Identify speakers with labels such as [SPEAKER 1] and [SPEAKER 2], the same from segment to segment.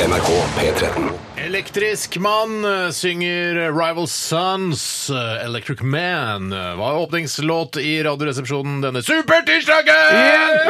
[SPEAKER 1] NRK P13.
[SPEAKER 2] Elektrisk mann eh, synger Rival Sons, eh, Electric Man, eh, var åpningslåt i Radioresepsjonen denne supertirsdagen!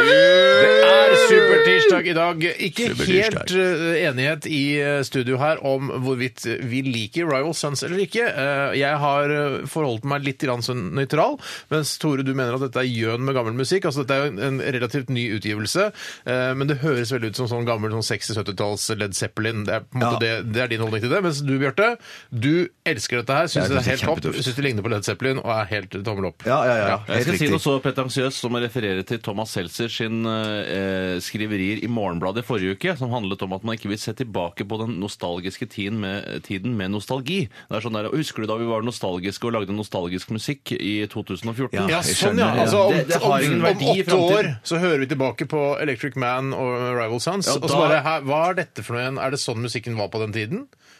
[SPEAKER 2] Det er supertirsdag i dag. Ikke helt eh, enighet i eh, studio her om hvorvidt vi liker Rival Sons eller ikke. Eh, Jeg har eh, forholdt meg litt grann sånn nøytral, mens Tore, du mener at dette er gjøn med gammel musikk. Altså dette er jo en- en relativt ny utgivelse, eh, men det høres veldig ut som sånn gammel sånn 60-70-talls Led Zeppelin. Det er på en måte det det er din holdning til det. Mens du, Bjarte, du elsker dette her. Syns det
[SPEAKER 3] Jeg
[SPEAKER 2] er
[SPEAKER 3] synes
[SPEAKER 2] helt
[SPEAKER 3] det er
[SPEAKER 2] topp.
[SPEAKER 3] kjempetøft.
[SPEAKER 2] Syns det ligner på Led Zeppelin og er helt tommel opp.
[SPEAKER 3] Ja, ja, ja.
[SPEAKER 4] Jeg skal
[SPEAKER 3] Helt
[SPEAKER 4] si noe
[SPEAKER 3] riktig.
[SPEAKER 4] så pretensiøst som å referere til Thomas Seltzer sin eh, skriverier i Morgenbladet i forrige uke, som handlet om at man ikke vil se tilbake på den nostalgiske tiden med, tiden med nostalgi. Det er sånn der, Husker du da vi var nostalgiske og lagde nostalgisk musikk i 2014?
[SPEAKER 3] Ja.
[SPEAKER 2] Ja,
[SPEAKER 3] Jeg
[SPEAKER 2] sånn ja.
[SPEAKER 3] skjønner, ja.
[SPEAKER 2] Altså, om,
[SPEAKER 4] Det- det har
[SPEAKER 2] om,
[SPEAKER 4] ingen verdi
[SPEAKER 2] om
[SPEAKER 4] i
[SPEAKER 2] åtte år
[SPEAKER 4] fremtiden.
[SPEAKER 2] så hører vi tilbake på Electric Man og Rival Sons.
[SPEAKER 4] Ja,
[SPEAKER 2] og så
[SPEAKER 4] da-
[SPEAKER 2] bare Hæ, Hva er dette for noe igjen? Er det sånn musikken var på den tiden?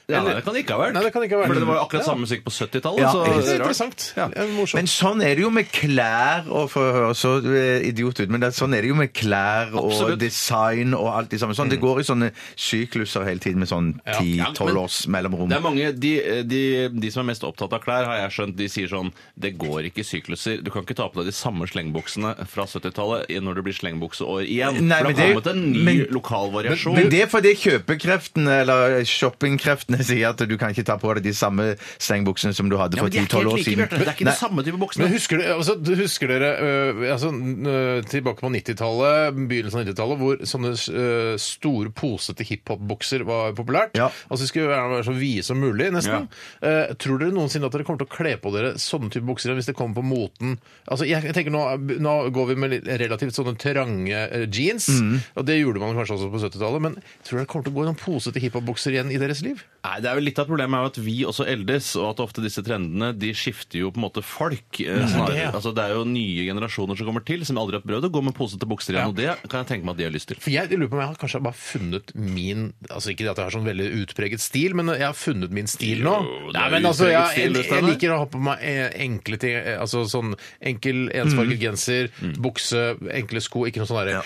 [SPEAKER 4] Ja, nei, det kan det ikke ha vært.
[SPEAKER 2] Nei, det kan ikke ha vært.
[SPEAKER 4] For det var jo akkurat samme musikk på 70-tallet.
[SPEAKER 3] Ja,
[SPEAKER 4] så
[SPEAKER 3] ikke
[SPEAKER 2] Det
[SPEAKER 3] sant.
[SPEAKER 2] er
[SPEAKER 4] rart.
[SPEAKER 2] interessant.
[SPEAKER 3] Ja.
[SPEAKER 2] Det er morsomt.
[SPEAKER 3] Men sånn er det jo med klær og For å høre så eh, idiot ut, men det, er- sånn er det jo med klær og
[SPEAKER 4] Absolutt. Mm.
[SPEAKER 3] design og alt det samme. Sånn, Det går i sånne sykluser hele tiden med sånn
[SPEAKER 2] Ja.
[SPEAKER 4] Ja,
[SPEAKER 3] 10-12
[SPEAKER 4] men-
[SPEAKER 3] års mellomrom.
[SPEAKER 4] Det er mange, de, de, de som er mest opptatt av klær, har jeg skjønt, de sier sånn Det går ikke i sykluser. Du kan ikke ta på deg de samme slengbuksene fra 70-tallet i- når det blir slengbukseår igjen.
[SPEAKER 3] Nei,
[SPEAKER 4] for
[SPEAKER 3] men
[SPEAKER 4] det har
[SPEAKER 3] det-
[SPEAKER 4] kommet en ny
[SPEAKER 3] men-
[SPEAKER 4] lokal variasjon.
[SPEAKER 3] Men det er fordi kjøpekreftene eller shoppingkreftene sier at du kan ikke ta på deg de samme stengbuksene som du hadde
[SPEAKER 4] ja,
[SPEAKER 3] for
[SPEAKER 4] men de er ikke
[SPEAKER 3] 10-12
[SPEAKER 4] helt
[SPEAKER 3] år
[SPEAKER 4] like,
[SPEAKER 3] siden.
[SPEAKER 4] Bjarte. Det er ikke
[SPEAKER 3] Nei.
[SPEAKER 4] den samme type buksene.
[SPEAKER 2] Men husker, dere- altså, du- husker dere øh, altså, øh, tilbake på 90-tallet, begynnelsen av 90-tallet, hvor sånne øh, store posete hiphop-bukser var populært?
[SPEAKER 3] Ja.
[SPEAKER 2] Altså, de skulle gjerne være så vide som mulig, nesten. Eh, tror dere noensinne at dere kommer til å kle på dere sånne type bukser hvis det kommer på moten? Altså, jeg, jeg tenker nå, nå går vi med litt relativt sånne trange eh, jeans, og det gjorde man kanskje også på 70-tallet, men tror dere kommer til å gå i noen posete hiphop-bukser igjen i deres liv?
[SPEAKER 4] Nei, det er jo Litt av problemet er jo at vi også eldes, og at ofte disse trendene de skifter jo på en måte folk. eh, snarere.
[SPEAKER 2] det, ja.
[SPEAKER 4] altså, det er jo nye generasjoner som kommer til, som aldri har prøvd å gå med posete bukser igjen. Og det kan jeg tenke meg at de har lyst til.
[SPEAKER 2] For jeg lurer på om jeg har kanskje bare funnet min Altså ikke at jeg har sånn veldig utpreget stil, men jeg har funnet min stil nå.
[SPEAKER 4] Jo, det er
[SPEAKER 2] Nei, men
[SPEAKER 4] jo
[SPEAKER 2] altså,
[SPEAKER 4] utpreget
[SPEAKER 2] jeg,
[SPEAKER 4] stil,
[SPEAKER 2] jeg,
[SPEAKER 4] det,
[SPEAKER 2] jeg
[SPEAKER 4] Steinar.
[SPEAKER 2] liker å ha på meg eh, enkle ting. eh, Altså sånn enkel
[SPEAKER 4] Mm.
[SPEAKER 2] ensfarget genser, bukse, enkle sko. Ikke noe sånn derre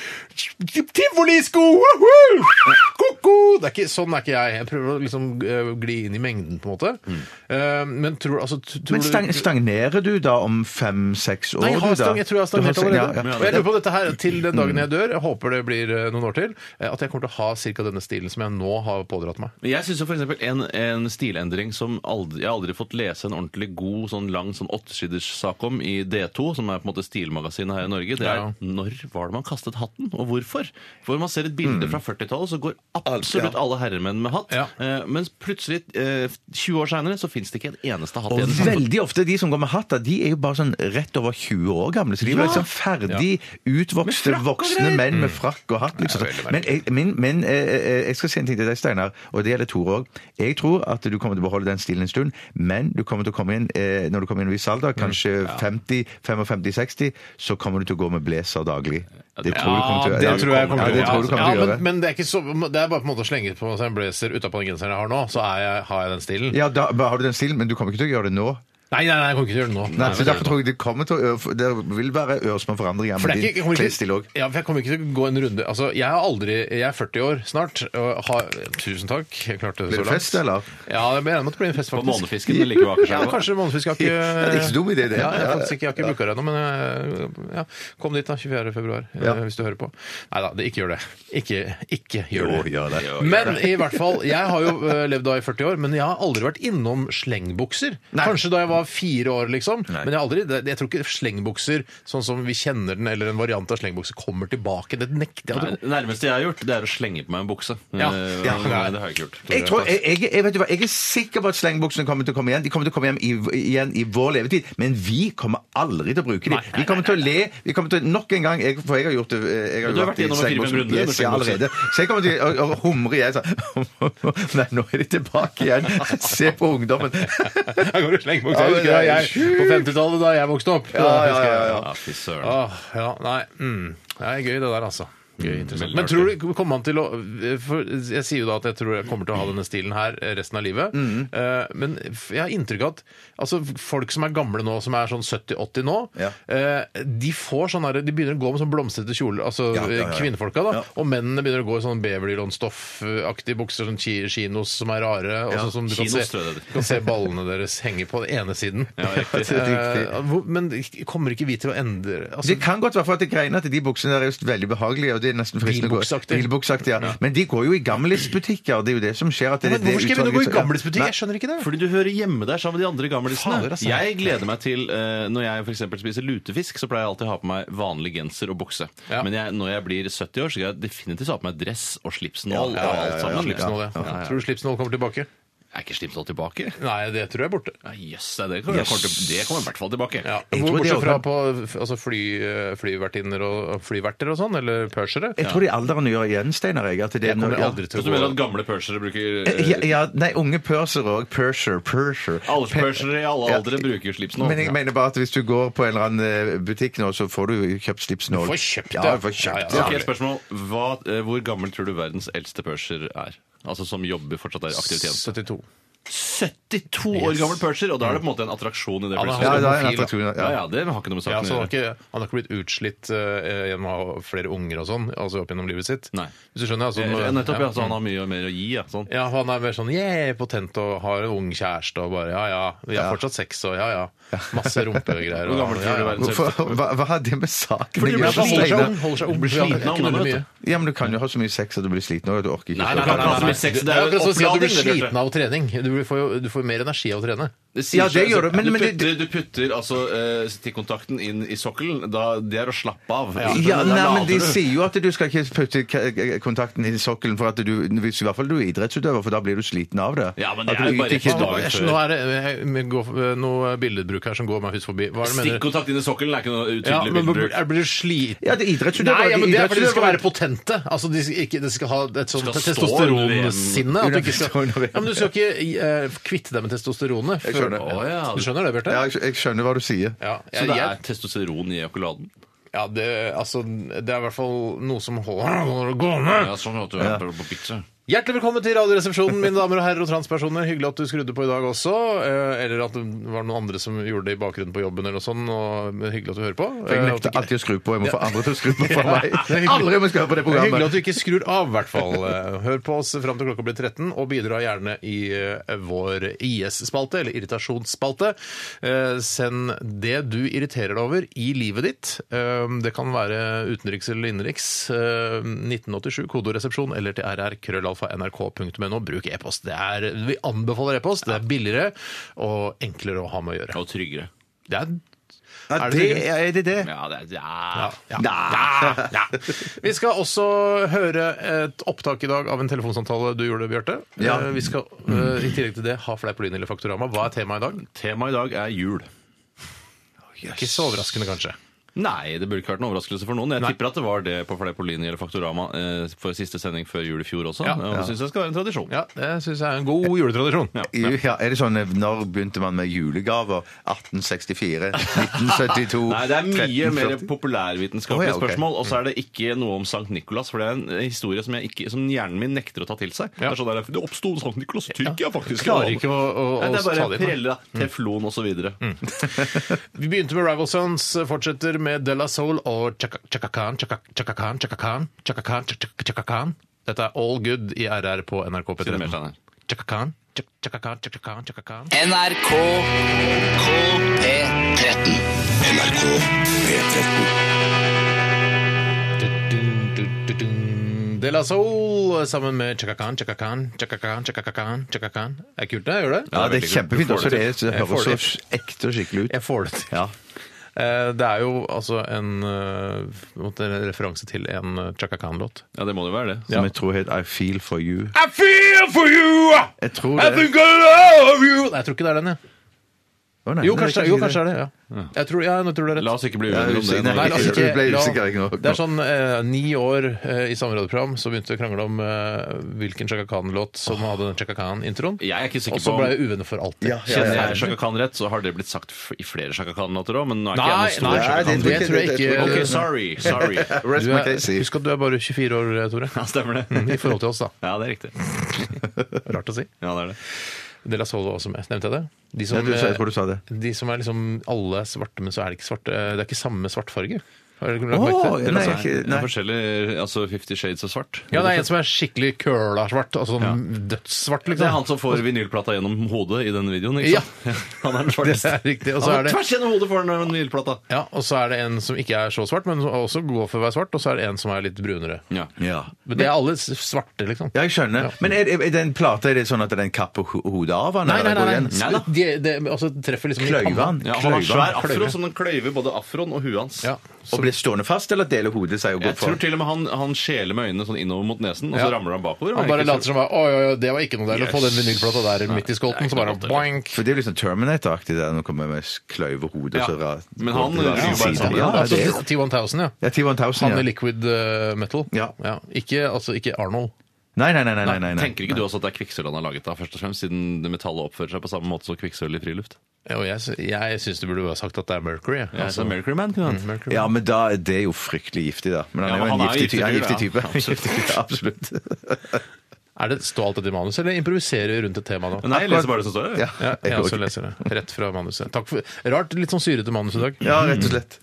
[SPEAKER 2] Tivolisko! woohoo! Ko-ko! Det er ikke, sånn er ikke jeg. Jeg prøver å liksom eh, gli inn i mengden, på en måte.
[SPEAKER 4] Mm.
[SPEAKER 2] Eh, Men tror altså, t- tror
[SPEAKER 3] Men
[SPEAKER 2] du-
[SPEAKER 3] stang, stagnerer du da om fem-seks år?
[SPEAKER 2] Nei, jeg har
[SPEAKER 3] du da?
[SPEAKER 2] stang, jeg tror jeg har
[SPEAKER 3] Du
[SPEAKER 2] stagnert
[SPEAKER 3] stang-
[SPEAKER 2] allerede.
[SPEAKER 3] ja, Mm. ja.
[SPEAKER 2] Og jeg lurer på dette her til den dagen jeg dør, jeg håper det blir eh, noen år til, eh, at jeg kommer til å ha cirka denne stilen som jeg nå har pådratt meg.
[SPEAKER 4] Men Jeg syns f.eks. En, en stilendring som aldri, jeg har aldri fått lese en ordentlig god, sånn lang sånn åttesiders sak om i D2, som er på en måte stilmagasinet her i Norge, det er
[SPEAKER 2] Ja.
[SPEAKER 4] når var det man kastet hatten, og hvorfor? For man ser et bilde fra 40-tallet, så går absolutt alle herremenn med hatt.
[SPEAKER 2] Mm. Ja.
[SPEAKER 4] Eh, mens plutselig, eh, 20 år seinere, så fins det ikke en eneste hatt
[SPEAKER 3] Og
[SPEAKER 4] igjen.
[SPEAKER 3] veldig ofte de som går med hatt, da, de er jo bare sånn rett over 20 år gamle. Så de er
[SPEAKER 4] Ja.
[SPEAKER 3] liksom ferdig utvokste voksne menn med frakk og hatt. Liksom. Men, jeg, men, men eh, eh, jeg skal si en ting til deg, Steinar, og det gjelder Tore òg. Jeg tror at du kommer til å beholde den stilen en stund, men du kommer til å komme inn eh, når du kommer inn i en viss alder, kanskje 50, 55-60, så kommer du til å gå med blazer daglig. Det tror du kommer til å gjøre. Ja, det tror du kommer til å
[SPEAKER 2] Ja,
[SPEAKER 3] gjøre.
[SPEAKER 2] men, men det er ikke så Det er bare på en måte å slenge på seg en blazer utapå den genseren jeg har nå, så er jeg, har jeg den stilen.
[SPEAKER 3] Ja, da har du den stilen, men du kommer ikke til å gjøre det nå.
[SPEAKER 2] Nei, nei, nei, jeg kommer ikke til å gjøre det nå.
[SPEAKER 3] Nei,
[SPEAKER 2] Nei,
[SPEAKER 3] så
[SPEAKER 2] nei,
[SPEAKER 3] Derfor tror jeg det kommer til å ø- Det vil være ørsmå forandringer
[SPEAKER 2] For
[SPEAKER 3] med
[SPEAKER 2] det er ikke, jeg
[SPEAKER 3] din
[SPEAKER 2] kommer
[SPEAKER 3] klesstil òg.
[SPEAKER 2] ikke, ja, for jeg kommer ikke til å gå en runde Altså, jeg har aldri Jeg er 40 år snart. Og har, tusen takk. Jeg klarte det
[SPEAKER 3] Blir
[SPEAKER 2] så
[SPEAKER 3] det
[SPEAKER 2] langt.
[SPEAKER 3] fest, eller?
[SPEAKER 2] Ja, jeg regner med at det blir en fest,
[SPEAKER 4] På
[SPEAKER 2] faktisk.
[SPEAKER 4] månefisken det ligger jo
[SPEAKER 2] Ja,
[SPEAKER 4] Akerselva.
[SPEAKER 2] kanskje Månefisk har ikke
[SPEAKER 3] Ja, det er ikke så dum idé, det.
[SPEAKER 2] Ja, jeg, har faktisk, ikke- jeg har ikke booka det ennå, men eh, ja, kom dit da, 24. februar, eh,
[SPEAKER 3] Ja.
[SPEAKER 2] hvis du hører på. Nei da, ikke gjør det. Ikke, ikke gjør
[SPEAKER 3] Jo,
[SPEAKER 2] det.
[SPEAKER 3] gjør det. Jo, gjør
[SPEAKER 2] Men i hvert fall, jeg har jo eh, levd da i 40 år, men jeg har aldri vært innom slengbukser.
[SPEAKER 3] Nei.
[SPEAKER 2] Kanskje da jeg var fire år, liksom.
[SPEAKER 3] Nei.
[SPEAKER 2] Men jeg, har aldri, det- jeg tror ikke slengbukser, sånn som vi kjenner den, eller en variant av slengbukser, kommer tilbake. Det nekter jeg.
[SPEAKER 4] Nei,
[SPEAKER 2] at det-
[SPEAKER 4] Det nærmeste jeg har gjort, det er å slenge på meg en bukse.
[SPEAKER 2] Ja.
[SPEAKER 4] Eh,
[SPEAKER 2] Ja.
[SPEAKER 4] Nei, det har jeg ikke gjort.
[SPEAKER 3] Jeg, tror, jeg, jeg, jeg, vet du hva, jeg er sikker på at slengbuksene kommer til å komme igjen. De kommer til å komme hjem i, igjen i vår levetid, men vi kommer aldri til å bruke dem. Vi kommer til å le. vi kommer til å, Nok en gang jeg, For jeg har gjort det. eh, Jeg
[SPEAKER 4] Men du har vært
[SPEAKER 3] i
[SPEAKER 4] gjennom en
[SPEAKER 3] slengbuksen.
[SPEAKER 4] fire-fem runder med
[SPEAKER 3] Yes, jeg har
[SPEAKER 4] slengbukser.
[SPEAKER 3] allerede. Så jeg kommer til å, å humre igjen sånn Nei, nå er de tilbake igjen. Se på ungdommen.
[SPEAKER 2] Her går det slengbukser.
[SPEAKER 3] Ja, men
[SPEAKER 2] Jeg husker da
[SPEAKER 3] det er
[SPEAKER 2] jeg på 50-tallet, da jeg vokste opp.
[SPEAKER 3] Ja, ja, ja, ja.
[SPEAKER 2] Ah,
[SPEAKER 4] Ja, fy søren.
[SPEAKER 2] Åh, ja, nei. Mm. Det er gøy, det der, altså. Gøy, interessant.
[SPEAKER 4] Veldig
[SPEAKER 2] Men tror du, kommer han til å for Jeg sier jo da at jeg tror jeg kommer til å ha denne stilen her resten av livet. Eh, men f- jeg har inntrykk av at altså, folk som er gamle nå, som er sånn 70-80 nå,
[SPEAKER 3] Ja.
[SPEAKER 2] eh, de får sånn her, de begynner å gå med sånn blomstrete kjoler, altså
[SPEAKER 3] Ja, ja, ja, ja.
[SPEAKER 2] kvinnefolka, da.
[SPEAKER 3] Ja.
[SPEAKER 2] Og mennene begynner å gå i sånn beverlylonstoffaktige bukser, sånn ki- kinos som er rare. Og sånn som du kan
[SPEAKER 4] kinos,
[SPEAKER 2] se,
[SPEAKER 4] tror jeg det
[SPEAKER 2] du kan se ballene deres henge på den ene siden.
[SPEAKER 4] riktig.
[SPEAKER 2] Eh, hvor- men kommer ikke vi til å endre altså,
[SPEAKER 3] Det kan godt være for at det greiene at de buksene der er just veldig behagelige. og det er nesten fristende å gå-
[SPEAKER 2] Bilbuksaktig.
[SPEAKER 3] Bilbuksaktig, ja. Men de går jo i gamlisbutikker. Det er jo det som skjer. At det,
[SPEAKER 2] Men
[SPEAKER 3] det
[SPEAKER 2] hvorfor skal jeg begynne å gå i
[SPEAKER 3] utvalget-
[SPEAKER 2] gamlisbutikk? Jeg skjønner ikke det.
[SPEAKER 4] Fordi du hører hjemme der sammen med de andre gamlisene.
[SPEAKER 2] Fader, altså.
[SPEAKER 4] Jeg gleder meg til eh, Når jeg f.eks. spiser lutefisk, så pleier jeg alltid å ha på meg vanlig genser og bukse.
[SPEAKER 2] Ja.
[SPEAKER 4] Men jeg, når jeg blir 70 år, så skal jeg definitivt ha på meg dress og slipsnål.
[SPEAKER 2] Ja, ja, ja,
[SPEAKER 4] og alt
[SPEAKER 2] ja,
[SPEAKER 4] sammen.
[SPEAKER 2] Slipsnål, ja.
[SPEAKER 4] Ja, ja, ja.
[SPEAKER 2] Tror du slipsnål kommer tilbake?
[SPEAKER 4] Er ikke slipsnål tilbake?
[SPEAKER 2] Nei, det tror jeg er borte.
[SPEAKER 4] Ja, Jøss, det, er det, kommer- det kommer til- det kommer i hvert fall tilbake.
[SPEAKER 2] Ja.
[SPEAKER 3] Jeg tror
[SPEAKER 2] Hvor
[SPEAKER 3] det
[SPEAKER 2] bortsett
[SPEAKER 3] også-
[SPEAKER 2] fra på f- altså fly, flyvertinner og flyverter og sånn, eller persere?
[SPEAKER 3] Jeg tror de alderen gjør igjen, Steinar. Jeg, at det er
[SPEAKER 2] Jeg kommer
[SPEAKER 3] når- ja.
[SPEAKER 2] aldri
[SPEAKER 4] Så
[SPEAKER 2] til
[SPEAKER 4] du
[SPEAKER 2] å
[SPEAKER 4] mener
[SPEAKER 2] gå
[SPEAKER 4] at gamle pursere bruker eh,
[SPEAKER 3] Ja, ja, nei, unge purser òg. Purser, purser.
[SPEAKER 4] Alderspursere eh, i alle
[SPEAKER 3] Ja.
[SPEAKER 4] aldre bruker jo slipsnål.
[SPEAKER 3] Men jeg mener bare at hvis du går på en eller annen eh, butikk nå, så får du jo kjøpt slipsnål.
[SPEAKER 2] Du får kjøpt det.
[SPEAKER 3] ja. Du får kjøpt det.
[SPEAKER 2] Ja,
[SPEAKER 4] Ok, et spørsmål. Hva, eh, hvor gammel tror du verdens eldste purser er? Altså Som jobber fortsatt er i aktiv tjeneste.
[SPEAKER 2] 72.
[SPEAKER 4] 72 år gammel purser, og da er det på en måte en attraksjon i det.
[SPEAKER 2] Ja, da-
[SPEAKER 4] purser.
[SPEAKER 3] Ja, da
[SPEAKER 2] Ja,
[SPEAKER 3] er jeg
[SPEAKER 2] homofil,
[SPEAKER 3] nettopp tror jeg-
[SPEAKER 4] Ja,
[SPEAKER 3] ja.
[SPEAKER 4] ja, det har ikke noe med
[SPEAKER 2] Ja,
[SPEAKER 4] saken
[SPEAKER 2] så han
[SPEAKER 4] å
[SPEAKER 2] har,
[SPEAKER 4] gjøre.
[SPEAKER 2] ikke, han har ikke blitt utslitt eh, gjennom å ha flere unger og sånn altså opp gjennom livet sitt.
[SPEAKER 4] Nei.
[SPEAKER 2] Hvis du skjønner? Altså,
[SPEAKER 4] Eh, Nettopp, ja,
[SPEAKER 2] ja.
[SPEAKER 4] så han har mye mer å gi. Ja, sånn.
[SPEAKER 2] Ja, han er mer sånn yeah, potent og har en ung kjæreste og bare ja ja. Vi har fortsatt sex og ja ja. Masse rumpegreier.
[SPEAKER 4] Hvor gammel
[SPEAKER 2] og-
[SPEAKER 4] tror du
[SPEAKER 2] ja, ja.
[SPEAKER 4] verdens eldste
[SPEAKER 3] Hvorfor- Hva, hva har det med saken å
[SPEAKER 2] Fordi
[SPEAKER 3] gjøre,
[SPEAKER 2] man holder seg
[SPEAKER 3] Steinar?
[SPEAKER 2] ung. Holder seg ung.
[SPEAKER 4] Du blir sliten
[SPEAKER 2] Ja,
[SPEAKER 4] av
[SPEAKER 2] kunne
[SPEAKER 4] ungene,
[SPEAKER 2] veldig
[SPEAKER 4] vet du.
[SPEAKER 2] mye.
[SPEAKER 3] Ja, men du kan jo ha så mye sex at du blir sliten òg. Du orker ikke.
[SPEAKER 4] Nei, nei, nei, nei, nei.
[SPEAKER 2] Nei,
[SPEAKER 4] sex,
[SPEAKER 2] det
[SPEAKER 4] det er jo
[SPEAKER 2] er akkurat som å si at du blir
[SPEAKER 4] oppladning, det,
[SPEAKER 2] sliten av å trening. Du får jo du får mer energi av å trene.
[SPEAKER 4] sier
[SPEAKER 3] Ja, det
[SPEAKER 4] seg-
[SPEAKER 3] gjør du, men-
[SPEAKER 4] du
[SPEAKER 3] men
[SPEAKER 4] putter,
[SPEAKER 3] det-
[SPEAKER 4] du putter altså eh, stikkontakten inn i sokkelen. Da, det er å slappe av.
[SPEAKER 3] Ja,
[SPEAKER 4] Da
[SPEAKER 3] nei, men
[SPEAKER 4] lader du.
[SPEAKER 3] De sier jo at du skal ikke putte k- kontakten inn i sokkelen, for at du, hvis, i hvert fall du er idrettsutøver, for da blir du sliten av det.
[SPEAKER 4] Ja, men det
[SPEAKER 3] At
[SPEAKER 4] er
[SPEAKER 3] du
[SPEAKER 4] jo
[SPEAKER 3] yter
[SPEAKER 4] bare
[SPEAKER 3] ikke-
[SPEAKER 4] et par dager.
[SPEAKER 2] Jeg skjønner, Nå er det eh, jeg- jeg går- noe billedbruk her som går meg hus forbi. Hva er det du mener?
[SPEAKER 4] Stikkontakt inn i sokkelen er ikke noe utydelig
[SPEAKER 2] Ja, men
[SPEAKER 4] bildebruk.
[SPEAKER 2] er- Blir du sliten?
[SPEAKER 3] Ja, det er idrettsutøvere.
[SPEAKER 2] Nei, ja, men det er fordi de skal
[SPEAKER 3] idrettsutøvere.
[SPEAKER 2] være potente. Altså, de, skal ikke, de skal ha et
[SPEAKER 4] Skal
[SPEAKER 2] sånt
[SPEAKER 4] stå
[SPEAKER 2] testosteronsinne. at du ikke skal-
[SPEAKER 3] Stå under VM.
[SPEAKER 2] Ja, men du skal ikke eh, kvitte deg med
[SPEAKER 3] Jeg
[SPEAKER 2] testosteronet. før-
[SPEAKER 3] skjønner.
[SPEAKER 4] Å, ja.
[SPEAKER 2] Du skjønner det, Bjarte?
[SPEAKER 3] Ja, jeg, skj- jeg skjønner hva du sier.
[SPEAKER 2] Ja,
[SPEAKER 4] Så
[SPEAKER 2] jeg,
[SPEAKER 4] det
[SPEAKER 2] jeg,
[SPEAKER 4] er testosteron i ejakuladen?
[SPEAKER 2] ja det, altså, det er i hvert fall noe som holder det gående.
[SPEAKER 4] Ja, sånn at du er på pizza.
[SPEAKER 2] Hjertelig velkommen til Radioresepsjonen, mine damer og herrer og transpersoner. Hyggelig at du skrudde på i dag også. eh, Eller at det var noen andre som gjorde det i bakgrunnen på jobben eller noe sånt. Og men hyggelig at du hører på.
[SPEAKER 3] For jeg
[SPEAKER 2] Eh,
[SPEAKER 3] nekter
[SPEAKER 2] at du ikke-
[SPEAKER 3] alltid å skru på. Jeg må få andre til å skru på for meg.
[SPEAKER 2] er hyggelig.
[SPEAKER 3] Aldri må jeg skru på det
[SPEAKER 2] Det er hyggelig at
[SPEAKER 3] programmet.
[SPEAKER 2] du ikke skrur av, i hvert fall. Eh, Hør på oss fram til klokka blir 13, og bidra gjerne i eh, vår IS-spalte, eller irritasjonsspalte. Eh, Send det du irriterer deg over i livet ditt. Eh, Det kan være utenriks eller innenriks. Eh, 1987, kodoresepsjon, eller til rrkrøllalfa.nrk.no. Bruk e-post. Det er, vi anbefaler e-post. Det er billigere og enklere å ha med å gjøre.
[SPEAKER 4] Og tryggere.
[SPEAKER 2] Det er
[SPEAKER 3] Ja,
[SPEAKER 2] Er det
[SPEAKER 3] det,
[SPEAKER 2] hyggelig?
[SPEAKER 3] er det det?
[SPEAKER 4] Ja, det er
[SPEAKER 2] ja,
[SPEAKER 4] ja.
[SPEAKER 2] ja. Ja, ja. Vi skal også høre et opptak i dag av en telefonsamtale du gjorde, Bjarte.
[SPEAKER 3] Ja.
[SPEAKER 2] Eh, Vi skal eh, i tillegg til det ha fleip lyn eller faktorama. Hva er temaet i dag?
[SPEAKER 4] Temaet i dag er jul.
[SPEAKER 2] Ikke så overraskende, kanskje.
[SPEAKER 4] Nei, det burde ikke vært en overraskelse for noen. Jeg tipper at det var det på Fleipolini eller Faktorama eh, for siste sending før jul i fjor også.
[SPEAKER 2] Ja.
[SPEAKER 4] og det syns jeg skal være en tradisjon.
[SPEAKER 2] Ja, Det syns jeg er en god juletradisjon.
[SPEAKER 3] Ja, er det sånn, eh, Når begynte man med julegaver? 1864? 1972?
[SPEAKER 4] Nei, det er mye mer
[SPEAKER 3] 1340?
[SPEAKER 4] populærvitenskapelige
[SPEAKER 3] Å, ja, ok.
[SPEAKER 4] spørsmål. Og så
[SPEAKER 2] Mm.
[SPEAKER 4] er det ikke noe om Sankt Nikolas, for det er en eh, historie som, jeg ikke, som hjernen min nekter å ta til seg.
[SPEAKER 2] Ja.
[SPEAKER 4] Det er sånn der, det oppsto Sankt Nikolas i Tyrkia, faktisk.
[SPEAKER 2] Klarer ikke å, å,
[SPEAKER 4] Nei, det
[SPEAKER 2] å
[SPEAKER 4] er
[SPEAKER 2] ta
[SPEAKER 4] bare
[SPEAKER 2] det Mm. inn.
[SPEAKER 4] prelle, teflon osv.
[SPEAKER 2] Mm.
[SPEAKER 4] videre
[SPEAKER 2] Vi begynte med Rival Sons, fortsetter med De La Soul og Chaka- Chaka Khan, Chaka Chaka Khan, Chaka Khan, Chaka Khan, Chaka- Chaka- Chaka Khan. Dette er All Good i RR på NRK
[SPEAKER 4] Si det mer, Steinar.
[SPEAKER 2] P13. Chaka Khan, Chaka- Chaka Khan, Chaka Khan, Chaka Khan.
[SPEAKER 5] NRK P13.
[SPEAKER 1] NRK P13.
[SPEAKER 2] De La Soul sammen med Chakakan, Chakakan, Chakakan, Chakakan, Chakakan. Det er kult, det. Gjør det?
[SPEAKER 3] Ja, det er kjempefint.
[SPEAKER 4] Får
[SPEAKER 3] Også
[SPEAKER 4] det
[SPEAKER 3] det, er- det
[SPEAKER 2] Jeg får
[SPEAKER 3] høres
[SPEAKER 2] det
[SPEAKER 3] så ekte og skikkelig ut.
[SPEAKER 2] Jeg får det til.
[SPEAKER 3] Ja.
[SPEAKER 2] Eh, Det er jo altså en, eh, på en måte en referanse til en eh, Chakakan-låt.
[SPEAKER 4] Ja, det må det jo være, det.
[SPEAKER 3] Som jeg tror het I Feel For You.
[SPEAKER 2] I feel for you!
[SPEAKER 3] Jeg tror det.
[SPEAKER 2] I love you! Nei, jeg tror ikke det er den, jeg.
[SPEAKER 3] Å, nei,
[SPEAKER 2] Jo,
[SPEAKER 3] nei,
[SPEAKER 2] kanskje,
[SPEAKER 3] jeg
[SPEAKER 2] jo,
[SPEAKER 3] kan si
[SPEAKER 2] kanskje er det. ja. Jeg tror, ja, jeg tror det er rett.
[SPEAKER 4] La oss ikke bli
[SPEAKER 3] Ja,
[SPEAKER 4] uenige
[SPEAKER 3] usikker-
[SPEAKER 4] om det.
[SPEAKER 3] nei,
[SPEAKER 2] Nei, la oss ikke,
[SPEAKER 3] Jeg ble
[SPEAKER 2] la,
[SPEAKER 3] usikker jeg nå.
[SPEAKER 2] det er sånn eh, ni år eh, i samme radioprogram så begynte vi å krangle om eh, hvilken Chaka Khan-låt som hadde den Chaka Khan-introen.
[SPEAKER 4] Jeg er ikke
[SPEAKER 2] Og
[SPEAKER 4] sikker
[SPEAKER 2] så
[SPEAKER 4] på
[SPEAKER 2] ble
[SPEAKER 4] om
[SPEAKER 2] vi uvenner for alltid.
[SPEAKER 3] Ja, ja,
[SPEAKER 4] Kjenner
[SPEAKER 3] ja,
[SPEAKER 4] jeg Shaka Khan rett, så har det blitt sagt f- i flere Shaka Khan-låter òg, men nå er ikke
[SPEAKER 2] Nei,
[SPEAKER 4] jeg noen
[SPEAKER 2] nei,
[SPEAKER 4] stor
[SPEAKER 3] Nei,
[SPEAKER 4] Shaka
[SPEAKER 2] det,
[SPEAKER 3] det-
[SPEAKER 4] Khan.
[SPEAKER 3] det-
[SPEAKER 2] tror jeg ikke.
[SPEAKER 4] Ok, sorry. Sorry.
[SPEAKER 3] det. Rest
[SPEAKER 2] Du
[SPEAKER 3] my
[SPEAKER 2] er,
[SPEAKER 3] case.
[SPEAKER 2] husk at du er bare 24 år, Tore.
[SPEAKER 4] Ja, stemmer det.
[SPEAKER 2] I forhold til oss, da.
[SPEAKER 4] Ja, det er riktig.
[SPEAKER 2] Rart å si.
[SPEAKER 4] Ja, det er det.
[SPEAKER 2] De La Soul var også med. Nevnte jeg det? De
[SPEAKER 3] Ja,
[SPEAKER 2] som, eh,
[SPEAKER 3] du sa- jeg tror du sa det.
[SPEAKER 2] de som er liksom alle er svarte, men så er det ikke svarte. eh, Det er ikke samme svartfarge. Har dere lagt
[SPEAKER 3] Åh,
[SPEAKER 2] merke til det?
[SPEAKER 3] ja, nei, jeg-
[SPEAKER 4] Det
[SPEAKER 3] nei.
[SPEAKER 4] er forskjellig altså Fifty Shades of Svart.
[SPEAKER 2] Ja, det er en som er skikkelig køla svart. Altså sånn dødssvart,
[SPEAKER 4] Det er
[SPEAKER 2] liksom.
[SPEAKER 4] han som får vinylplata gjennom hodet i den videoen,
[SPEAKER 2] Ja.
[SPEAKER 4] ikke sant? Han er den
[SPEAKER 2] Det
[SPEAKER 4] svarteste.
[SPEAKER 2] er riktig. Og så
[SPEAKER 4] Han
[SPEAKER 2] er
[SPEAKER 4] er
[SPEAKER 2] det
[SPEAKER 4] tvers gjennom hodet får han vinylplata.
[SPEAKER 2] Ja, og så er det en som ikke er så svart, men som også går for å være svart, og så er det en som er litt brunere.
[SPEAKER 4] Ja.
[SPEAKER 3] Ja.
[SPEAKER 2] Men det er alle s- svarte, liksom.
[SPEAKER 3] Ja, jeg skjønner. Men er, er er den plata er det sånn at den kapper ho- hodet av han?
[SPEAKER 2] Nei, nei,
[SPEAKER 3] eller
[SPEAKER 2] nei.
[SPEAKER 3] går
[SPEAKER 2] nei.
[SPEAKER 3] den-
[SPEAKER 4] Nei da.
[SPEAKER 2] De, de, altså, treffer liksom i
[SPEAKER 3] Kløyver
[SPEAKER 2] panna.
[SPEAKER 3] han?
[SPEAKER 4] Ja, han har
[SPEAKER 3] Kløyver
[SPEAKER 4] svær
[SPEAKER 3] han?
[SPEAKER 4] afro sånn
[SPEAKER 2] Kløyver.
[SPEAKER 4] som den kløyver både afroen og huet hans.
[SPEAKER 2] Ja.
[SPEAKER 3] Og blir stående fast, eller deler hodet seg og går
[SPEAKER 4] Jeg
[SPEAKER 3] for?
[SPEAKER 4] tror til og med han, han skjeler med øynene sånn innover mot nesen, og så
[SPEAKER 2] Ja.
[SPEAKER 4] ramler han bakover.
[SPEAKER 2] Han
[SPEAKER 4] Er
[SPEAKER 2] bare
[SPEAKER 4] ikke
[SPEAKER 2] later
[SPEAKER 4] så-
[SPEAKER 2] som bare, oi, oi, oi, det var ikke noe der. Å få
[SPEAKER 4] Yes.
[SPEAKER 2] den vinylplata der midt i skolten,
[SPEAKER 4] det er
[SPEAKER 2] så
[SPEAKER 4] ikke
[SPEAKER 2] bare
[SPEAKER 4] noe godt,
[SPEAKER 2] boink.
[SPEAKER 3] For det er jo liksom Terminator-aktig, der når han kommer med kløyver hodet og så
[SPEAKER 4] Ja.
[SPEAKER 3] ra-
[SPEAKER 4] Men han
[SPEAKER 3] går det
[SPEAKER 4] ryker
[SPEAKER 3] til
[SPEAKER 4] bare sånn-
[SPEAKER 3] siden.
[SPEAKER 4] sammen.
[SPEAKER 3] Ja,
[SPEAKER 2] Ja,
[SPEAKER 3] det er
[SPEAKER 2] altså, T1000, ja.
[SPEAKER 3] ja, T1000,
[SPEAKER 2] Han
[SPEAKER 3] ja.
[SPEAKER 2] i liquid eh, metal.
[SPEAKER 3] Ja.
[SPEAKER 2] Ikke, altså, ikke Arnold.
[SPEAKER 3] Nei, nei, nei. nei, nei, nei.
[SPEAKER 4] Tenker ikke du også at det er kvikksølv han har laget da, først og fremst, siden det metallet oppfører seg på samme måte som kvikksølv i friluft?
[SPEAKER 2] Ja, og jeg, sy- jeg syns du burde ha sagt at det er Mercury. jeg. Altså,
[SPEAKER 4] Ja, så Mm-hmm. Mercury Man kunne han.
[SPEAKER 2] Mercury.
[SPEAKER 3] Ja, men da, det er jo fryktelig giftig, da. Men han
[SPEAKER 4] Ja,
[SPEAKER 3] er jo
[SPEAKER 4] men
[SPEAKER 3] en
[SPEAKER 4] han er jo
[SPEAKER 3] giftig, ty-
[SPEAKER 4] giftig
[SPEAKER 3] han er en
[SPEAKER 4] fyr,
[SPEAKER 3] giftig type.
[SPEAKER 4] ja. Absolutt.
[SPEAKER 3] Ja, Absolutt.
[SPEAKER 2] Er det Står alt dette i manus, eller improviserer vi rundt et tema nå?
[SPEAKER 4] Nei, jeg leser bare det som står.
[SPEAKER 3] Ja,
[SPEAKER 4] Ja.
[SPEAKER 2] Ja, jeg også
[SPEAKER 3] også.
[SPEAKER 2] leser det. Rett fra manuset. Takk for, rart litt sånn syrete manus i dag.
[SPEAKER 3] ja, rett og slett.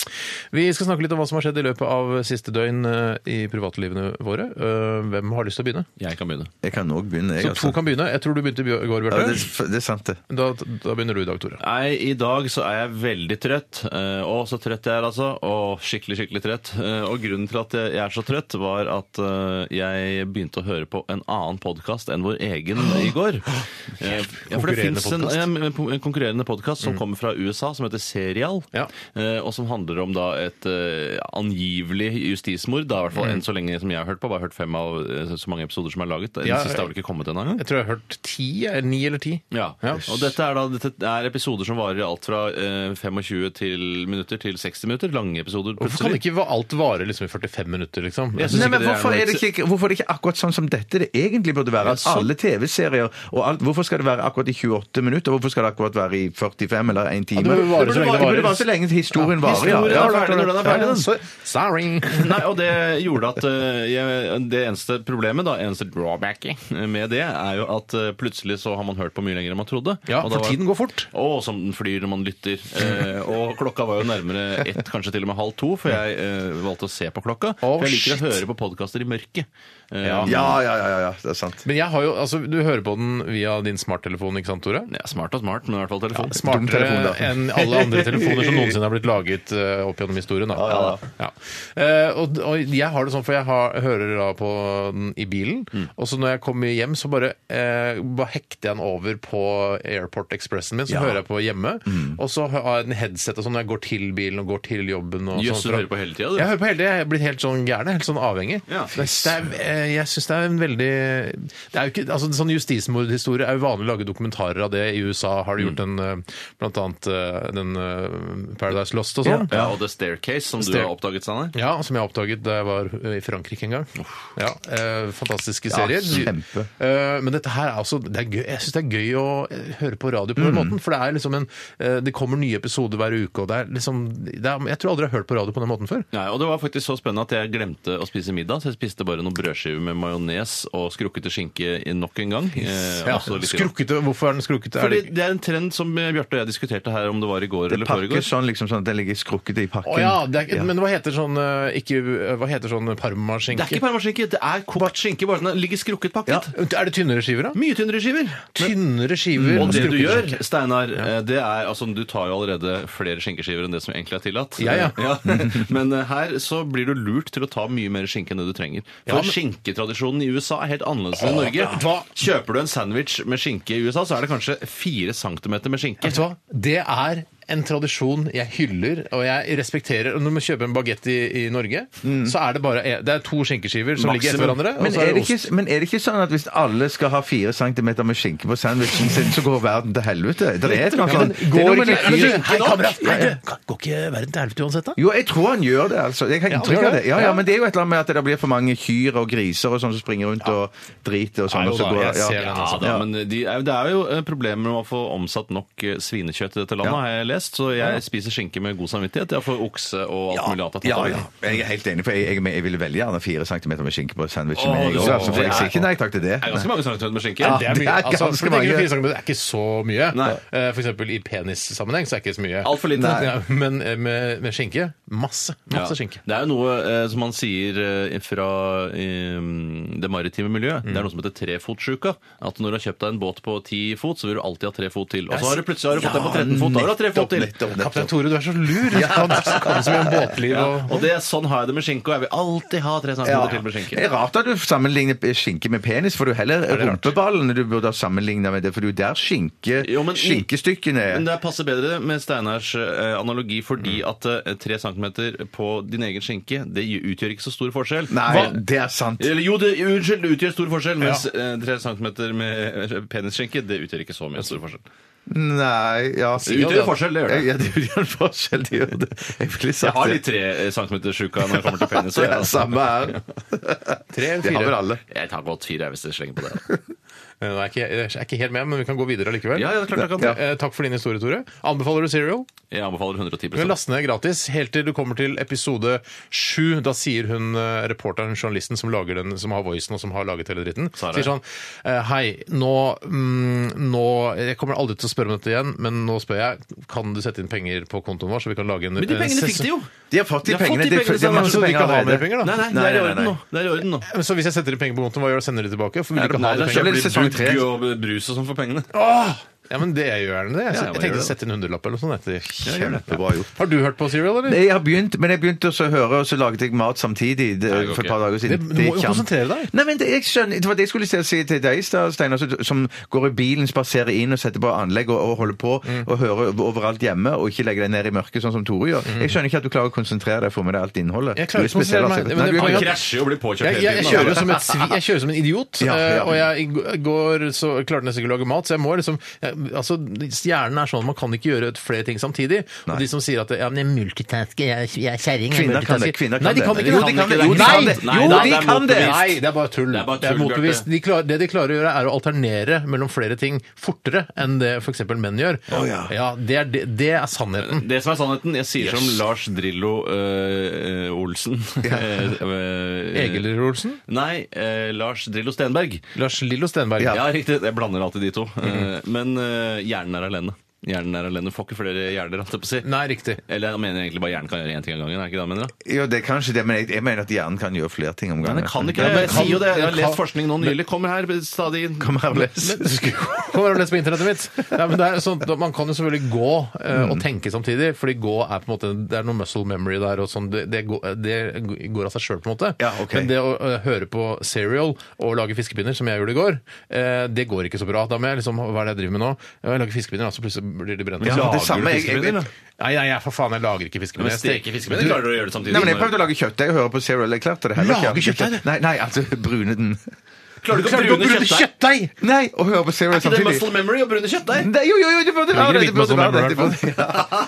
[SPEAKER 2] Vi skal snakke litt om hva som har skjedd i løpet av siste døgn eh, i privatlivene våre. Eh, Hvem har lyst til å begynne?
[SPEAKER 4] Jeg kan begynne.
[SPEAKER 3] Jeg kan òg begynne, jeg.
[SPEAKER 2] Så to
[SPEAKER 3] Altså.
[SPEAKER 2] kan begynne. Jeg tror du begynte i bjør- i
[SPEAKER 3] Ja,
[SPEAKER 2] går,
[SPEAKER 3] det,
[SPEAKER 2] Bjarte.
[SPEAKER 3] er- det er sant, det.
[SPEAKER 2] Da, da begynner du i dag, Tore.
[SPEAKER 4] Nei, i dag så er jeg veldig trøtt. Eh, Å, så trøtt jeg er, altså. Å, skikkelig, skikkelig trøtt. Eh, Og grunnen til at jeg er så trøtt, var at eh, jeg begynte å høre på en annen podkast enn vår egen i går. Eh, Ja, for det
[SPEAKER 2] Konkurrerende
[SPEAKER 4] finnes en,
[SPEAKER 2] podcast. Mm.
[SPEAKER 4] en- en konkurrerende podkast som kommer fra USA, som heter Serial.
[SPEAKER 2] Ja.
[SPEAKER 4] eh, Og som handler om da et eh, angivelig justismord. Da, i hvert fall
[SPEAKER 2] Mm.
[SPEAKER 4] enn så lenge som jeg har hørt på. Bare hørt fem av eh, så mange episoder som er laget. Den
[SPEAKER 2] Ja, ja.
[SPEAKER 4] siste har vel ikke kommet ennå engang?
[SPEAKER 2] Jeg tror jeg har hørt ti, eller ni eller ti.
[SPEAKER 4] Ja.
[SPEAKER 2] Ja.
[SPEAKER 4] Og dette er, da, dette er episoder som varer i alt fra eh, 25 til minutter til 60 minutter. Lange episoder.
[SPEAKER 2] Hvorfor kan ikke va- alt vare liksom i 45 minutter, liksom?
[SPEAKER 4] Jeg synes
[SPEAKER 3] Nei,
[SPEAKER 4] ikke
[SPEAKER 3] men
[SPEAKER 4] det er
[SPEAKER 3] hvorfor
[SPEAKER 4] noe-
[SPEAKER 3] er, det ikke, hvorfor er det ikke akkurat sånn som dette det egentlig burde være? At
[SPEAKER 4] sånn.
[SPEAKER 3] alle TV-serier og alt, Hvorfor skal det være akkurat i 28 minutter? Hvorfor skal det akkurat være i 45 eller 1 time?
[SPEAKER 2] det burde vare så lenge det
[SPEAKER 3] det burde
[SPEAKER 2] varer.
[SPEAKER 3] vare så lenge historien varer.
[SPEAKER 4] historien
[SPEAKER 3] ja.
[SPEAKER 4] er ferdig når den er ferdig, den.
[SPEAKER 2] så- Sorry!
[SPEAKER 4] Nei, og det gjorde at eh, jeg, Det eneste problemet, da, eneste drawbacket med det, er jo at eh, plutselig så har man hørt på mye lenger enn man trodde.
[SPEAKER 2] Ja,
[SPEAKER 4] Og da
[SPEAKER 2] for
[SPEAKER 4] var-
[SPEAKER 2] tiden går fort.
[SPEAKER 4] Å, som den flyr når man lytter. Eh, og klokka var jo nærmere ett, kanskje til og med halv to, for jeg eh, valgte å se på klokka.
[SPEAKER 2] Å,
[SPEAKER 4] for jeg liker
[SPEAKER 2] shit.
[SPEAKER 4] å høre på podkaster i mørket. Eh,
[SPEAKER 3] Ja, ja, ja, ja, ja, det er sant.
[SPEAKER 2] Men jeg har jo, altså, du hører på den via din smarttelefon, ikke sant, Tore?
[SPEAKER 4] ja, Smart og smart, men i hvert fall telefon.
[SPEAKER 3] Dum telefon,
[SPEAKER 2] smartere
[SPEAKER 3] da.
[SPEAKER 2] enn alle andre telefoner som noensinne har blitt laget eh, opp gjennom historien. Da. Ja. Eh, og, og jeg har det sånn, for jeg har, hører da på den i bilen,
[SPEAKER 4] Mm.
[SPEAKER 2] og så når jeg kommer hjem, så bare, eh, bare hekter jeg den over på Airport Expressen min, så hører jeg på hjemme,
[SPEAKER 4] Mm.
[SPEAKER 2] og så har jeg en headset og sånn når jeg går til bilen og går til jobben. Og
[SPEAKER 4] Jøss,
[SPEAKER 2] sånn,
[SPEAKER 4] du
[SPEAKER 2] for-
[SPEAKER 4] hører på hele tida, du.
[SPEAKER 2] Jeg hører på hele tiden, jeg er blitt helt sånn gæren, jeg er helt sånn avhengig.
[SPEAKER 4] Ja.
[SPEAKER 2] Det er, det er, jeg syns det er en veldig det er jo ikke, altså en Sånn justismordhistorie er jo vanlig å lage dokumentarer av det. I USA har de
[SPEAKER 4] Mm.
[SPEAKER 2] gjort en, eh, blant annet eh, den eh, Paradise Lost og sånn.
[SPEAKER 4] Ja, og The Staircase, som du
[SPEAKER 2] Stair-
[SPEAKER 4] har oppdaget, Steinar.
[SPEAKER 2] Ja, som jeg oppdaget da jeg var eh, i Frankrike en gang. Ja, eh, fantastiske serier.
[SPEAKER 3] kjempe.
[SPEAKER 2] Eh, men dette her er altså det er gøy, Jeg syns det er gøy å eh, høre på radio på den
[SPEAKER 4] Mm.
[SPEAKER 2] måten. For det er liksom en eh, Det kommer nye episoder hver uke, og det er liksom det er, Jeg tror aldri jeg har hørt på radio på den måten før.
[SPEAKER 4] Nei, og Det var faktisk så spennende at jeg glemte å spise middag, så jeg spiste bare noen brødskiver med majones og skrukkete skinke i- nok en gang. Eh,
[SPEAKER 2] Ja,
[SPEAKER 4] også litt-
[SPEAKER 2] skrukkete, Hvorfor er den skrukkete? Er
[SPEAKER 4] Fordi
[SPEAKER 2] det-
[SPEAKER 4] det er en trend som eh, Bjarte og jeg diskuterte her om det var i går
[SPEAKER 3] Det
[SPEAKER 4] eller foregår.
[SPEAKER 3] pakkes sånn liksom sånn at den ligger skrukket i pakken.
[SPEAKER 2] Å ja, det er, ikke- men hva heter sånn eh, ikke, Hva heter sånn parmaskinke?
[SPEAKER 4] Det er ikke parmaskinke, det er kokt skinke. Bare den ligger skrukket pakket.
[SPEAKER 2] Er det tynnere skiver, da?
[SPEAKER 4] Mye tynnere skiver.
[SPEAKER 2] Tynnere skiver.
[SPEAKER 4] Og det du
[SPEAKER 2] skrukket
[SPEAKER 4] gjør,
[SPEAKER 2] skinke.
[SPEAKER 4] Steinar, eh, det er altså Du tar jo allerede flere skinkeskiver enn det som egentlig er tillatt.
[SPEAKER 2] Ja, ja.
[SPEAKER 4] Men eh, her så blir du lurt til å ta mye mer skinke enn det du trenger. For
[SPEAKER 2] men-
[SPEAKER 4] skinketradisjonen i USA er helt annerledes enn i Norge.
[SPEAKER 2] Hva?
[SPEAKER 4] Kjøper du en sandwich med skinke i USA, så er det kanskje fire centimeter med skinke.
[SPEAKER 2] Vet du hva? Det er en tradisjon jeg hyller og jeg respekterer. Og Når man kjøper en bagett i, i Norge, så er det bare det er to skinkeskiver som ligger etter hverandre. Og
[SPEAKER 3] Men
[SPEAKER 2] så
[SPEAKER 3] er,
[SPEAKER 2] er
[SPEAKER 3] det
[SPEAKER 2] det ost.
[SPEAKER 3] ikke, men er det ikke sånn at hvis alle skal ha fire centimeter med skinke på sandwichen sin, så går verden til helvete? Det er et eller annet sånt. Det er noe
[SPEAKER 2] Går
[SPEAKER 3] med
[SPEAKER 2] ikke,
[SPEAKER 3] den fire-
[SPEAKER 2] Hei, kamerat! Hei, du, Går ikke verden til helvete uansett, da?
[SPEAKER 3] Jo, jeg tror han gjør det, altså. Jeg har
[SPEAKER 2] Ja,
[SPEAKER 3] inntrykk
[SPEAKER 2] han gjør
[SPEAKER 3] av det.
[SPEAKER 2] det.
[SPEAKER 3] Ja, ja,
[SPEAKER 2] Ja.
[SPEAKER 3] men det er jo et eller annet med at det blir for mange kyr og griser og sånn som springer rundt og driter og sånn.
[SPEAKER 2] Nei, jo
[SPEAKER 3] og så
[SPEAKER 2] da,
[SPEAKER 3] går-
[SPEAKER 2] jeg ser
[SPEAKER 4] Ja,
[SPEAKER 2] den også.
[SPEAKER 4] da, altså. men de, er- det er jo eh, problemer med å få omsatt nok eh, svinekjøtt i dette landet, har jeg lest. Så jeg spiser skinke med god samvittighet. Jeg får okse og alt mulig annet. jeg
[SPEAKER 3] Ja,
[SPEAKER 4] tar.
[SPEAKER 3] ja. Jeg er helt enig, for jeg, jeg, jeg ville veldig gjerne fire centimeter med skinke på sandwichen.
[SPEAKER 4] Åh,
[SPEAKER 3] men jeg,
[SPEAKER 4] det-
[SPEAKER 3] også, altså,
[SPEAKER 4] det
[SPEAKER 3] for jeg
[SPEAKER 4] er-
[SPEAKER 3] sier ikke nei takk til det.
[SPEAKER 4] Det er ganske mange centimeter med skinke.
[SPEAKER 2] Ja,
[SPEAKER 4] Det
[SPEAKER 2] det
[SPEAKER 4] er-
[SPEAKER 2] er mye.
[SPEAKER 3] er
[SPEAKER 2] Altså,
[SPEAKER 3] ganske
[SPEAKER 2] for tenker
[SPEAKER 3] mange.
[SPEAKER 2] fire centimeter er ikke så mye.
[SPEAKER 4] Nei.
[SPEAKER 2] Eh, For eksempel i penissammenheng så er det ikke så mye.
[SPEAKER 4] Alt for lite.
[SPEAKER 2] Nei. Ja, men eh, med, med skinke masse. Masse skinke.
[SPEAKER 4] Det er jo noe eh, som man sier eh, fra eh, det maritime miljøet. Det er noe som heter trefotsjuka. At når du har kjøpt deg en båt på ti fot, så vil du alltid ha tre fot til. Og så har du plutselig har du fått den på 13 fot, da har du hatt tre fot til.
[SPEAKER 3] Nettopp,
[SPEAKER 2] Kaptein
[SPEAKER 3] nettopp.
[SPEAKER 2] Tore, du er så lur! Du kan, du kan så mye om båtliv
[SPEAKER 4] Ja,
[SPEAKER 2] og
[SPEAKER 4] og det, sånn har jeg det med skinke, og jeg vil alltid ha tre centimeter til med
[SPEAKER 3] Det
[SPEAKER 4] skinke.
[SPEAKER 3] er rart at du sammenligner skinke med penis, for du heller
[SPEAKER 2] det rart?
[SPEAKER 3] rumpeballene du burde ha sammenlignet med det, for det er jo der skinke,
[SPEAKER 4] Jo, men-
[SPEAKER 3] skinkestykkene er.
[SPEAKER 4] Men det passer bedre med Steinars eh, analogi, fordi at eh, tre centimeter på din egen skinke, det utgjør ikke så stor forskjell.
[SPEAKER 3] Nei,
[SPEAKER 4] Hva-
[SPEAKER 3] det er sant.
[SPEAKER 4] Eller jo, det, unnskyld, det utgjør stor forskjell, mens eh, tre centimeter med penisskinke, det utgjør ikke så mye stor forskjell.
[SPEAKER 3] Nei, ja.
[SPEAKER 4] Det utgjør en forskjell, det gjør det.
[SPEAKER 3] Ja, det utgjør en forskjell, det gjør det. Jeg ville
[SPEAKER 4] Jeg
[SPEAKER 3] sagt
[SPEAKER 4] har
[SPEAKER 3] det.
[SPEAKER 4] litt tre centimeter sjuka når jeg kommer til penis.
[SPEAKER 3] Det er samme her.
[SPEAKER 2] Tre eller
[SPEAKER 3] Det har vel
[SPEAKER 2] fire?
[SPEAKER 3] alle.
[SPEAKER 4] Jeg tar godt fire jeg, hvis jeg slenger på det.
[SPEAKER 2] Eh, Nei, jeg er ikke- jeg er ikke helt med, men vi kan gå videre likevel.
[SPEAKER 4] Ja, ja, det er klart jeg kan.
[SPEAKER 2] Eh, Takk for din historie, Tore. Anbefaler du Serial?
[SPEAKER 4] Jeg anbefaler 110
[SPEAKER 2] Du kan laste ned gratis helt til du kommer til episode sju. Da sier hun eh, reporteren, journalisten som, lager den, som har voicen og som har laget hele dritten,
[SPEAKER 4] Sara.
[SPEAKER 2] sier sånn eh, Hei, nå, mm, nå Jeg kommer aldri til å spørre om dette igjen, men nå spør jeg Kan du sette inn penger på kontoen vår, så vi kan lage en eh,
[SPEAKER 4] Men de pengene fikk de jo!
[SPEAKER 3] De har fått de
[SPEAKER 4] De har fått de
[SPEAKER 3] pengene. De,
[SPEAKER 4] pengene,
[SPEAKER 3] de har
[SPEAKER 4] Steinar,
[SPEAKER 3] masse
[SPEAKER 2] Så du
[SPEAKER 3] penger
[SPEAKER 2] ikke har mer
[SPEAKER 3] allerede.
[SPEAKER 2] penger, da?
[SPEAKER 4] Nei, nei, det
[SPEAKER 3] Nei,
[SPEAKER 4] er i
[SPEAKER 3] nei,
[SPEAKER 4] orden
[SPEAKER 3] nei.
[SPEAKER 4] nå. Det er i orden nå.
[SPEAKER 2] Men Så hvis jeg setter inn penger på kontoen, hva gjør jeg? Sender de tilbake? For vil du ikke ha
[SPEAKER 4] Nei,
[SPEAKER 2] de
[SPEAKER 4] da
[SPEAKER 2] pengene?
[SPEAKER 4] kjøper
[SPEAKER 3] blir
[SPEAKER 4] de
[SPEAKER 3] sesong tre.
[SPEAKER 4] bugg og brus og sånn for pengene.
[SPEAKER 2] Åh! Ja, men det jeg gjør den det. Jeg,
[SPEAKER 4] Ja, man
[SPEAKER 2] jeg
[SPEAKER 4] gjør
[SPEAKER 2] tenkte
[SPEAKER 4] det.
[SPEAKER 2] å sette inn hundrelapp eller noe sånt etter.
[SPEAKER 3] Kjempebra gjort.
[SPEAKER 2] Har du hørt på Serial, eller?
[SPEAKER 3] Jeg har begynt, men jeg begynte også å høre, og så laget jeg mat samtidig det,
[SPEAKER 4] går
[SPEAKER 3] for et
[SPEAKER 4] ikke.
[SPEAKER 3] par dager siden.
[SPEAKER 2] Det- du må jo
[SPEAKER 3] gikk an.
[SPEAKER 2] konsentrere deg.
[SPEAKER 3] Nei, men det, jeg skjønner, det var det jeg skulle si til deg, i stad, Steinar, så- som går i bilen, spaserer inn og setter på anlegg og, og holder på og hører overalt hjemme, og ikke legger deg ned i mørket, sånn som Tore gjør. Jeg skjønner ikke at du klarer å konsentrere deg og få med deg alt innholdet.
[SPEAKER 2] Jeg klarer
[SPEAKER 3] Du er
[SPEAKER 2] ikke å
[SPEAKER 3] spesiell,
[SPEAKER 2] konsentrere meg.
[SPEAKER 3] altså. Nei,
[SPEAKER 2] Men det
[SPEAKER 3] du
[SPEAKER 2] er
[SPEAKER 3] er
[SPEAKER 2] poenget.
[SPEAKER 4] Man krasjer jo og blir påkjørt
[SPEAKER 2] Jeg,
[SPEAKER 4] hele
[SPEAKER 2] jeg,
[SPEAKER 4] tiden.
[SPEAKER 2] jeg
[SPEAKER 4] da.
[SPEAKER 2] kjører jo som, et svi, jeg kjører som en idiot.
[SPEAKER 3] Ja, ja.
[SPEAKER 2] eh, Og jeg i g- går så jeg klarte nesten ikke å lage mat, så jeg må liksom jeg, Altså, Hjernen er sånn at man kan ikke gjøre et- flere ting samtidig. Og de som sier at ja, men jeg multitasker, jeg, jeg er kjerring jeg
[SPEAKER 3] Kvinner kan
[SPEAKER 2] multitasker.
[SPEAKER 3] det, kvinner kan
[SPEAKER 2] Nei, de
[SPEAKER 3] det.
[SPEAKER 2] kan
[SPEAKER 3] Nei,
[SPEAKER 2] ikke
[SPEAKER 3] de
[SPEAKER 2] det.
[SPEAKER 3] kan ikke det.
[SPEAKER 2] Jo, de kan det.
[SPEAKER 4] Nei,
[SPEAKER 2] Jo,
[SPEAKER 4] nei, det
[SPEAKER 2] de
[SPEAKER 4] er
[SPEAKER 2] kan det.
[SPEAKER 4] motbevist.
[SPEAKER 2] Nei, det er bare tull.
[SPEAKER 4] Det er bare
[SPEAKER 2] Det er
[SPEAKER 4] tull, Bjarte.
[SPEAKER 2] motbevist. De klarer, det de klarer å gjøre, er å alternere mellom flere ting fortere enn det f.eks. menn gjør. Ja, det er, det, det er sannheten.
[SPEAKER 4] sånn. Det som er sannheten, jeg sier som Lars Drillo øh, øh, Olsen Øh,
[SPEAKER 2] Egil Olsen.
[SPEAKER 4] Nei, øh, Lars Drillo Stenberg.
[SPEAKER 2] Lars Lillo Stenberg.
[SPEAKER 4] Ja. riktig. Jeg blander alltid de to. Eh, Men øh, hjernen er alene. Hjernen er alene. Får ikke flere hjerner, holdt jeg på å si.
[SPEAKER 2] Nei, riktig.
[SPEAKER 4] Eller jeg mener egentlig bare hjernen kan gjøre én ting av gangen. er det ikke det han mener da?
[SPEAKER 3] Jo, det er kanskje det, men jeg, jeg mener at hjernen kan gjøre flere ting om gangen.
[SPEAKER 4] Men det kan ikke
[SPEAKER 3] Ja,
[SPEAKER 4] det.
[SPEAKER 3] men
[SPEAKER 4] Jeg sier jo det. Jeg har
[SPEAKER 2] kan-
[SPEAKER 4] lest forskning nå nylig. Kommer her stadig inn.
[SPEAKER 3] Kom her og les.
[SPEAKER 2] Kommer og leser på internettet mitt. Nei, men det er sånn, at man kan jo selvfølgelig gå eh, og tenke samtidig, fordi gå er på en måte Det er noe muscle memory der og sånn. Det, det, går, det går av seg sjøl, på en måte.
[SPEAKER 3] Ja, ok.
[SPEAKER 2] Men det å eh, høre på Serial og lage fiskepinner, som jeg gjorde i går, eh, det går ikke så bra. Da må jeg liksom Hva er det jeg driver med nå? Ja, Jeg lager fiskepinner, og så plutselig blir de brent.
[SPEAKER 3] Ja,
[SPEAKER 2] Lager
[SPEAKER 3] det samme.
[SPEAKER 2] du
[SPEAKER 3] Jeg, jeg,
[SPEAKER 2] fiskepinner? Nei, nei, jeg, for faen, jeg lager ikke fiskepinner.
[SPEAKER 4] Men steker fiskepinner klarer du å gjøre det samtidig.
[SPEAKER 3] Nei, men jeg prøvde å lage kjøttdeig og høre på Serial. Jeg klarte det heller
[SPEAKER 2] Lage kjøttdeig, du?
[SPEAKER 3] Nei, nei, altså brune den.
[SPEAKER 4] Klarer du ikke å
[SPEAKER 2] Klarer du
[SPEAKER 4] brune
[SPEAKER 2] å brune
[SPEAKER 4] kjøttdeig?
[SPEAKER 2] kjøttdeig?!
[SPEAKER 3] Nei, og høre på Serial
[SPEAKER 4] Er ikke det
[SPEAKER 3] samtidig.
[SPEAKER 4] muscle memory å brune kjøttdeig?
[SPEAKER 3] Nei, jo, jo, jo, det burde være det. det,
[SPEAKER 2] Det er ikke
[SPEAKER 3] burde
[SPEAKER 2] det
[SPEAKER 3] være det, det
[SPEAKER 2] hvite
[SPEAKER 3] burde,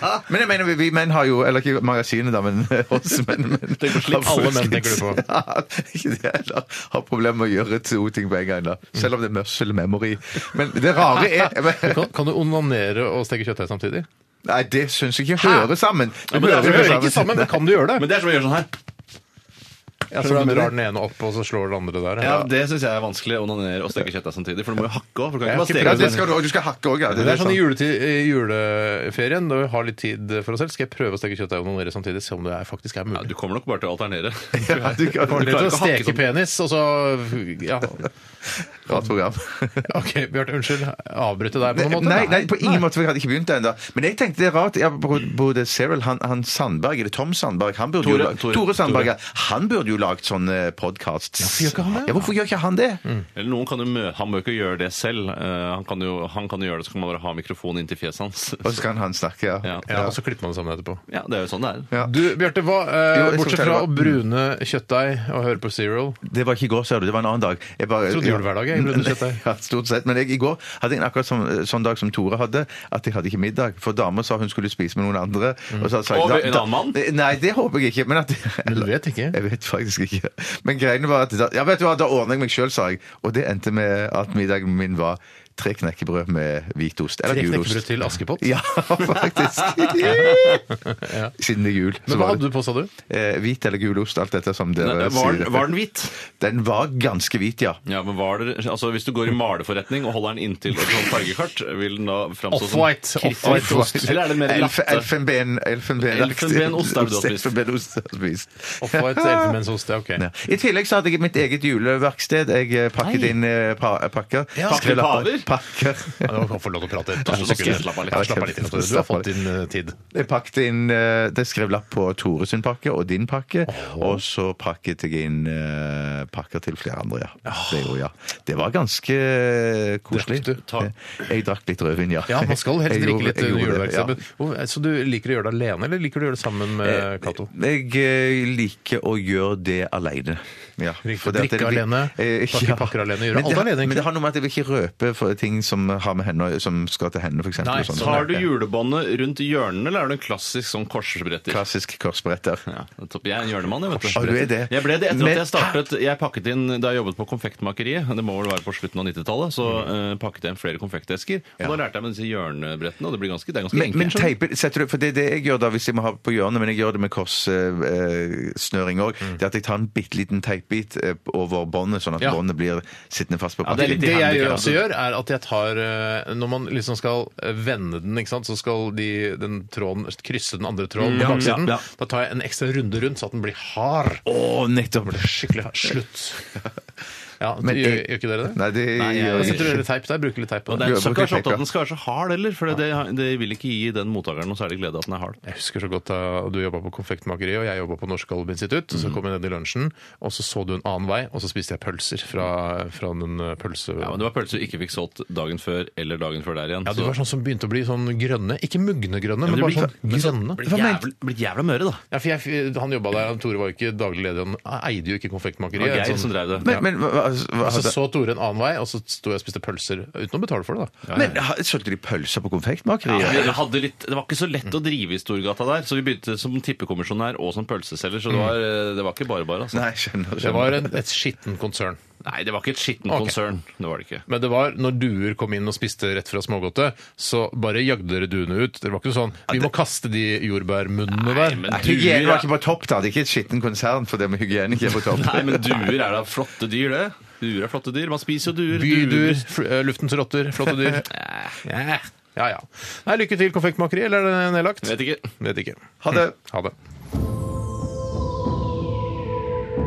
[SPEAKER 3] ja. Men jeg mener, vi, vi menn har jo Eller ikke magasinet, da, men oss menn. Men,
[SPEAKER 4] Tenk på slipp.
[SPEAKER 2] Alle menn tenker du på.
[SPEAKER 3] Ja, ikke det heller. Har problemer med å gjøre to ting på en gang, da. Selv om det er muscle memory. Men det rare er men,
[SPEAKER 2] Kan, kan du onanere og steke kjøttdeig samtidig?
[SPEAKER 3] Nei, det syns jeg ikke hører sammen. Det
[SPEAKER 4] men det
[SPEAKER 2] Det hører ikke sammen, men kan du gjøre det?
[SPEAKER 4] Men det er som å gjøre sånn her.
[SPEAKER 2] Ja, så du drar den ene opp, og så slår den andre der?
[SPEAKER 4] Ja, Det syns jeg er vanskelig å onanere og steke kjøttdeig samtidig. For du må jo hakke òg.
[SPEAKER 2] Jeg har ikke
[SPEAKER 3] Ja, det skal du, og du skal hakke òg, ja.
[SPEAKER 2] Det er sånn i juletid, i juleferien, når vi har litt tid for oss selv, skal jeg prøve å steke kjøttdeig og onanere samtidig, se om det er, faktisk er mulig.
[SPEAKER 4] Ja, du kommer nok bare til å alternere.
[SPEAKER 3] Ja, du kan-
[SPEAKER 2] Kommer dere
[SPEAKER 4] klarer
[SPEAKER 2] til å
[SPEAKER 4] ikke å hakke
[SPEAKER 2] steke
[SPEAKER 4] sånn.
[SPEAKER 2] penis, og så Ja.
[SPEAKER 3] Rart program.
[SPEAKER 2] OK, Bjarte, unnskyld. Avbryte deg på noen måte?
[SPEAKER 3] Nei, nei, på ingen måte, for jeg hadde ikke begynt ennå. Men jeg tenkte det er rart. Jeg, både Cyril, han, han Sandberg, eller Tom Sandberg han burde
[SPEAKER 4] Tore,
[SPEAKER 3] jo, la-
[SPEAKER 4] Tore,
[SPEAKER 3] Tore Sandberg, ja. han burde jo lagd sånne podkasts.
[SPEAKER 4] hvorfor gjør ikke han det?
[SPEAKER 3] Ja, hvorfor gjør ikke han det?
[SPEAKER 4] Eller noen kan jo mø han må jo ikke gjøre det selv. Eh, han, kan jo, han kan jo gjøre det, så kan man bare ha mikrofonen inntil fjeset hans.
[SPEAKER 3] Og så kan han snakke, ja.
[SPEAKER 4] Ja.
[SPEAKER 2] Ja, og så klipper man det sammen etterpå.
[SPEAKER 4] Ja, det er jo sånn det er.
[SPEAKER 3] Ja.
[SPEAKER 2] Du, Bjarte, hva, eh,
[SPEAKER 3] Jo, jeg skal
[SPEAKER 2] bortsett
[SPEAKER 3] fortelle
[SPEAKER 2] fra
[SPEAKER 3] hva-
[SPEAKER 2] å brune kjøttdeig og høre på Serial
[SPEAKER 3] Det var ikke i går, sa du. Det var en annen dag. Jeg bare,
[SPEAKER 2] Trodde jul hver dag, jeg, brune kjøttdeig.
[SPEAKER 3] Ja, stort sett. Men jeg, i går hadde jeg en akkurat sånn, sånn dag som Tore hadde, at jeg hadde ikke middag. For dama sa hun skulle spise med noen andre. Og, så sa jeg,
[SPEAKER 4] Og
[SPEAKER 3] da-
[SPEAKER 4] en
[SPEAKER 3] da-
[SPEAKER 4] annen mann?
[SPEAKER 3] Nei, det håper jeg ikke. Men at
[SPEAKER 2] Men du vet ikke?
[SPEAKER 3] Jeg vet faktisk ikke. Men greiene var at da, ja, vet du hva, da ordner jeg meg sjøl, sa jeg. Og det endte med at middagen min var tre knekkebrød med hvitost. Eller
[SPEAKER 2] Tre knekkebrød
[SPEAKER 3] gulost.
[SPEAKER 2] til Askepott?
[SPEAKER 3] Ja, faktisk. Siden det er jul.
[SPEAKER 2] Men hva hadde du på, sa du?
[SPEAKER 3] Eh, hvit eller gulost, alt dette som dere
[SPEAKER 4] Nei, Var,
[SPEAKER 3] sier.
[SPEAKER 4] den- var den hvit?
[SPEAKER 3] Den var ganske hvit, ja.
[SPEAKER 4] Ja, men var det, altså Hvis du går i maleforretning og holder den inntil et sånt fargekart, vil den da framstå som
[SPEAKER 2] Off-white, off-white
[SPEAKER 4] kritisk ost?
[SPEAKER 2] ost.
[SPEAKER 4] Eller er det mer
[SPEAKER 3] Elf,
[SPEAKER 4] latte?
[SPEAKER 3] elfenben, elfenbenaktig.
[SPEAKER 4] Elfenbenost har du da spist.
[SPEAKER 3] Elfenbenost har du spist.
[SPEAKER 2] Off-white elfenbensost, det er ok.
[SPEAKER 3] Ja. I tillegg så hadde jeg mitt eget juleverksted. Jeg eh, pakket
[SPEAKER 4] Nei.
[SPEAKER 3] inn eh, pa pakker.
[SPEAKER 2] Ja.
[SPEAKER 3] Pakker, lapper,
[SPEAKER 4] Skrev paver?
[SPEAKER 3] Pakker.
[SPEAKER 2] Ja, nå kan du få lov til å prate. et par
[SPEAKER 4] Slapp av litt.
[SPEAKER 2] sekunder. Ja, Slapp av litt. Tore. Du har fått din eh, tid.
[SPEAKER 3] Jeg pakket inn eh, Det skrev lapp på Tore sin pakke og din pakke. Og så pakket jeg inn eh, pakker til flere andre, ja. Det, gjorde, jeg. det var ganske eh, koselig.
[SPEAKER 2] Drakk du?
[SPEAKER 4] Ta-
[SPEAKER 3] Jeg drakk litt rødvin, ja.
[SPEAKER 2] Ja, man skal helst
[SPEAKER 3] Jeg
[SPEAKER 2] drikke
[SPEAKER 3] gjorde-
[SPEAKER 2] litt
[SPEAKER 3] jeg
[SPEAKER 2] under
[SPEAKER 3] gjorde det,
[SPEAKER 2] juleverkstedet.
[SPEAKER 3] ja.
[SPEAKER 2] men hvor- Så du liker å gjøre det alene, eller liker du å gjøre det sammen med Eh, Cato?
[SPEAKER 3] Eh, Jeg eh, liker å gjøre det alene. Ja,
[SPEAKER 2] Drikke-
[SPEAKER 3] fordi at det
[SPEAKER 2] drikke
[SPEAKER 3] blir-
[SPEAKER 2] alene,
[SPEAKER 3] Eh,
[SPEAKER 2] pakke pakker alene, gjøre
[SPEAKER 3] men
[SPEAKER 2] alt
[SPEAKER 3] det, har-
[SPEAKER 2] alene, egentlig.
[SPEAKER 3] Men det har noe med at jeg vil ikke røpe for ting som, har med henne, som skal til henne, for eksempel.
[SPEAKER 2] Nei,
[SPEAKER 3] og sånn. sånt.
[SPEAKER 4] Tar du julebåndet rundt hjørnene, eller er du en klassisk sånn korsbretter?
[SPEAKER 3] Klassisk korsbretter.
[SPEAKER 4] Ja, det er topp. jeg er en hjørnemann, jeg, vet
[SPEAKER 3] Ah, du er det.
[SPEAKER 4] Jeg ble det etter
[SPEAKER 3] Men-
[SPEAKER 4] at jeg startet Jeg pakket inn, Da jeg jobbet på konfektmakeriet, det må vel være på slutten av 90-tallet, så
[SPEAKER 3] Mm.
[SPEAKER 4] eh, pakket jeg inn flere konfektesker. Og da lærte jeg meg disse hjørnebrettene, og det blir ganske, det er ganske
[SPEAKER 3] Men, men
[SPEAKER 4] enkelt. skjønner du.
[SPEAKER 3] teiper, setter du, for det er det jeg gjør da hvis jeg må ha på hjørnet, men jeg gjør det med eh, korssnøring òg. Det er at jeg tar en bitte liten teipbit eh, over båndet, sånn at
[SPEAKER 2] Mm. Ja.
[SPEAKER 3] båndet blir sittende fast på
[SPEAKER 4] Ja, det er
[SPEAKER 3] pakken.
[SPEAKER 4] litt i
[SPEAKER 2] Det jeg
[SPEAKER 4] handicap,
[SPEAKER 2] gjør- også
[SPEAKER 4] altså.
[SPEAKER 2] gjør, er at jeg tar eh, Når man liksom skal eh, vende den, ikke sant, så skal de, den tråden krysse den andre tråden på
[SPEAKER 4] ja,
[SPEAKER 2] baksiden.
[SPEAKER 4] ja.
[SPEAKER 2] Da tar jeg en ekstra runde rundt, så at den blir hard.
[SPEAKER 3] Å, nettopp!
[SPEAKER 2] Skikkelig hard. Slutt. Ja,
[SPEAKER 3] Men
[SPEAKER 2] gjør,
[SPEAKER 3] jeg-
[SPEAKER 2] gjør ikke dere eh, det?
[SPEAKER 3] Nei, det
[SPEAKER 4] Nei, jeg-
[SPEAKER 3] gjør jeg
[SPEAKER 2] Sitter
[SPEAKER 3] ikke.
[SPEAKER 2] dere i teip der? Bruker litt teip på
[SPEAKER 4] Og det er
[SPEAKER 3] Du har
[SPEAKER 2] det?
[SPEAKER 4] ikke så
[SPEAKER 3] brukt
[SPEAKER 4] kanskje
[SPEAKER 3] teip,
[SPEAKER 4] opptatt
[SPEAKER 3] ja.
[SPEAKER 4] at den skal være så hard heller, for det, det vil ikke gi den mottakeren noe særlig glede at den er hard.
[SPEAKER 2] Jeg husker så godt da du jobba på konfektmakeri, og jeg jobba på Norsk Gallup-institutt.
[SPEAKER 4] Mhm.
[SPEAKER 2] Så kom jeg ned i lunsjen, og så så du en annen vei, og så spiste jeg pølser fra, fra den eh, pølse...
[SPEAKER 4] Ja, men Det var pølser du ikke fikk solgt dagen før eller dagen før der igjen.
[SPEAKER 2] Ja,
[SPEAKER 4] så-
[SPEAKER 2] de var sånn som begynte å bli sånn grønne. Ikke mugne grønne, men,
[SPEAKER 4] det
[SPEAKER 2] bare
[SPEAKER 4] blir-
[SPEAKER 2] sånn grønne.
[SPEAKER 4] blir jævla, blir jævla møre, da.
[SPEAKER 2] Ja, for jeg, han jobba der, og Tore var jo ikke daglig leder, han eide jo ikke
[SPEAKER 4] Det
[SPEAKER 2] konfektmakeriet.
[SPEAKER 4] var Geir
[SPEAKER 2] Sånn-
[SPEAKER 4] som drev det.
[SPEAKER 3] Men, men hva, hva,
[SPEAKER 2] Og så
[SPEAKER 3] hadde-
[SPEAKER 2] så Tore en annen vei, og så sto jeg og spiste pølser uten å betale for det. da.
[SPEAKER 3] Men ha- solgte de pølser på konfektmakeriet?
[SPEAKER 4] Ja, vi hadde litt, det var ikke så lett å drive i Storgata der, så vi begynte som tippekommisjonær og som pølseselger, så det var, eh, det var ikke bare bare. Altså.
[SPEAKER 3] Nei, skjønner,
[SPEAKER 2] Det
[SPEAKER 3] skjønner.
[SPEAKER 2] var en, et skittent konsern.
[SPEAKER 4] Nei, det var ikke et skittent
[SPEAKER 2] Ok.
[SPEAKER 4] konsern. Det var det ikke.
[SPEAKER 2] Men det var når duer kom inn og spiste rett fra smågodtet, så bare jagde dere duene ut. Det var ikke sånn Vi må kaste de jordbærmunnene der.
[SPEAKER 4] men-
[SPEAKER 3] Nei,
[SPEAKER 4] Duer,
[SPEAKER 3] Hygiene
[SPEAKER 4] ja.
[SPEAKER 3] var ikke på topp, da. Det er ikke et skitten konsern for det med hygiene ikke er på topp.
[SPEAKER 4] Nei, men duer er da flotte dyr, det. Duer er flotte dyr. Man spiser jo duer.
[SPEAKER 2] Byduer,
[SPEAKER 4] Duer-
[SPEAKER 2] fl- eh, luftens rotter, flotte dyr. Ja, ja. ja. Nei, lykke til, konfektmakeri. Eller er det nedlagt?
[SPEAKER 4] Vet ikke.
[SPEAKER 2] Vet ikke.
[SPEAKER 3] Ha det.
[SPEAKER 2] Ha det.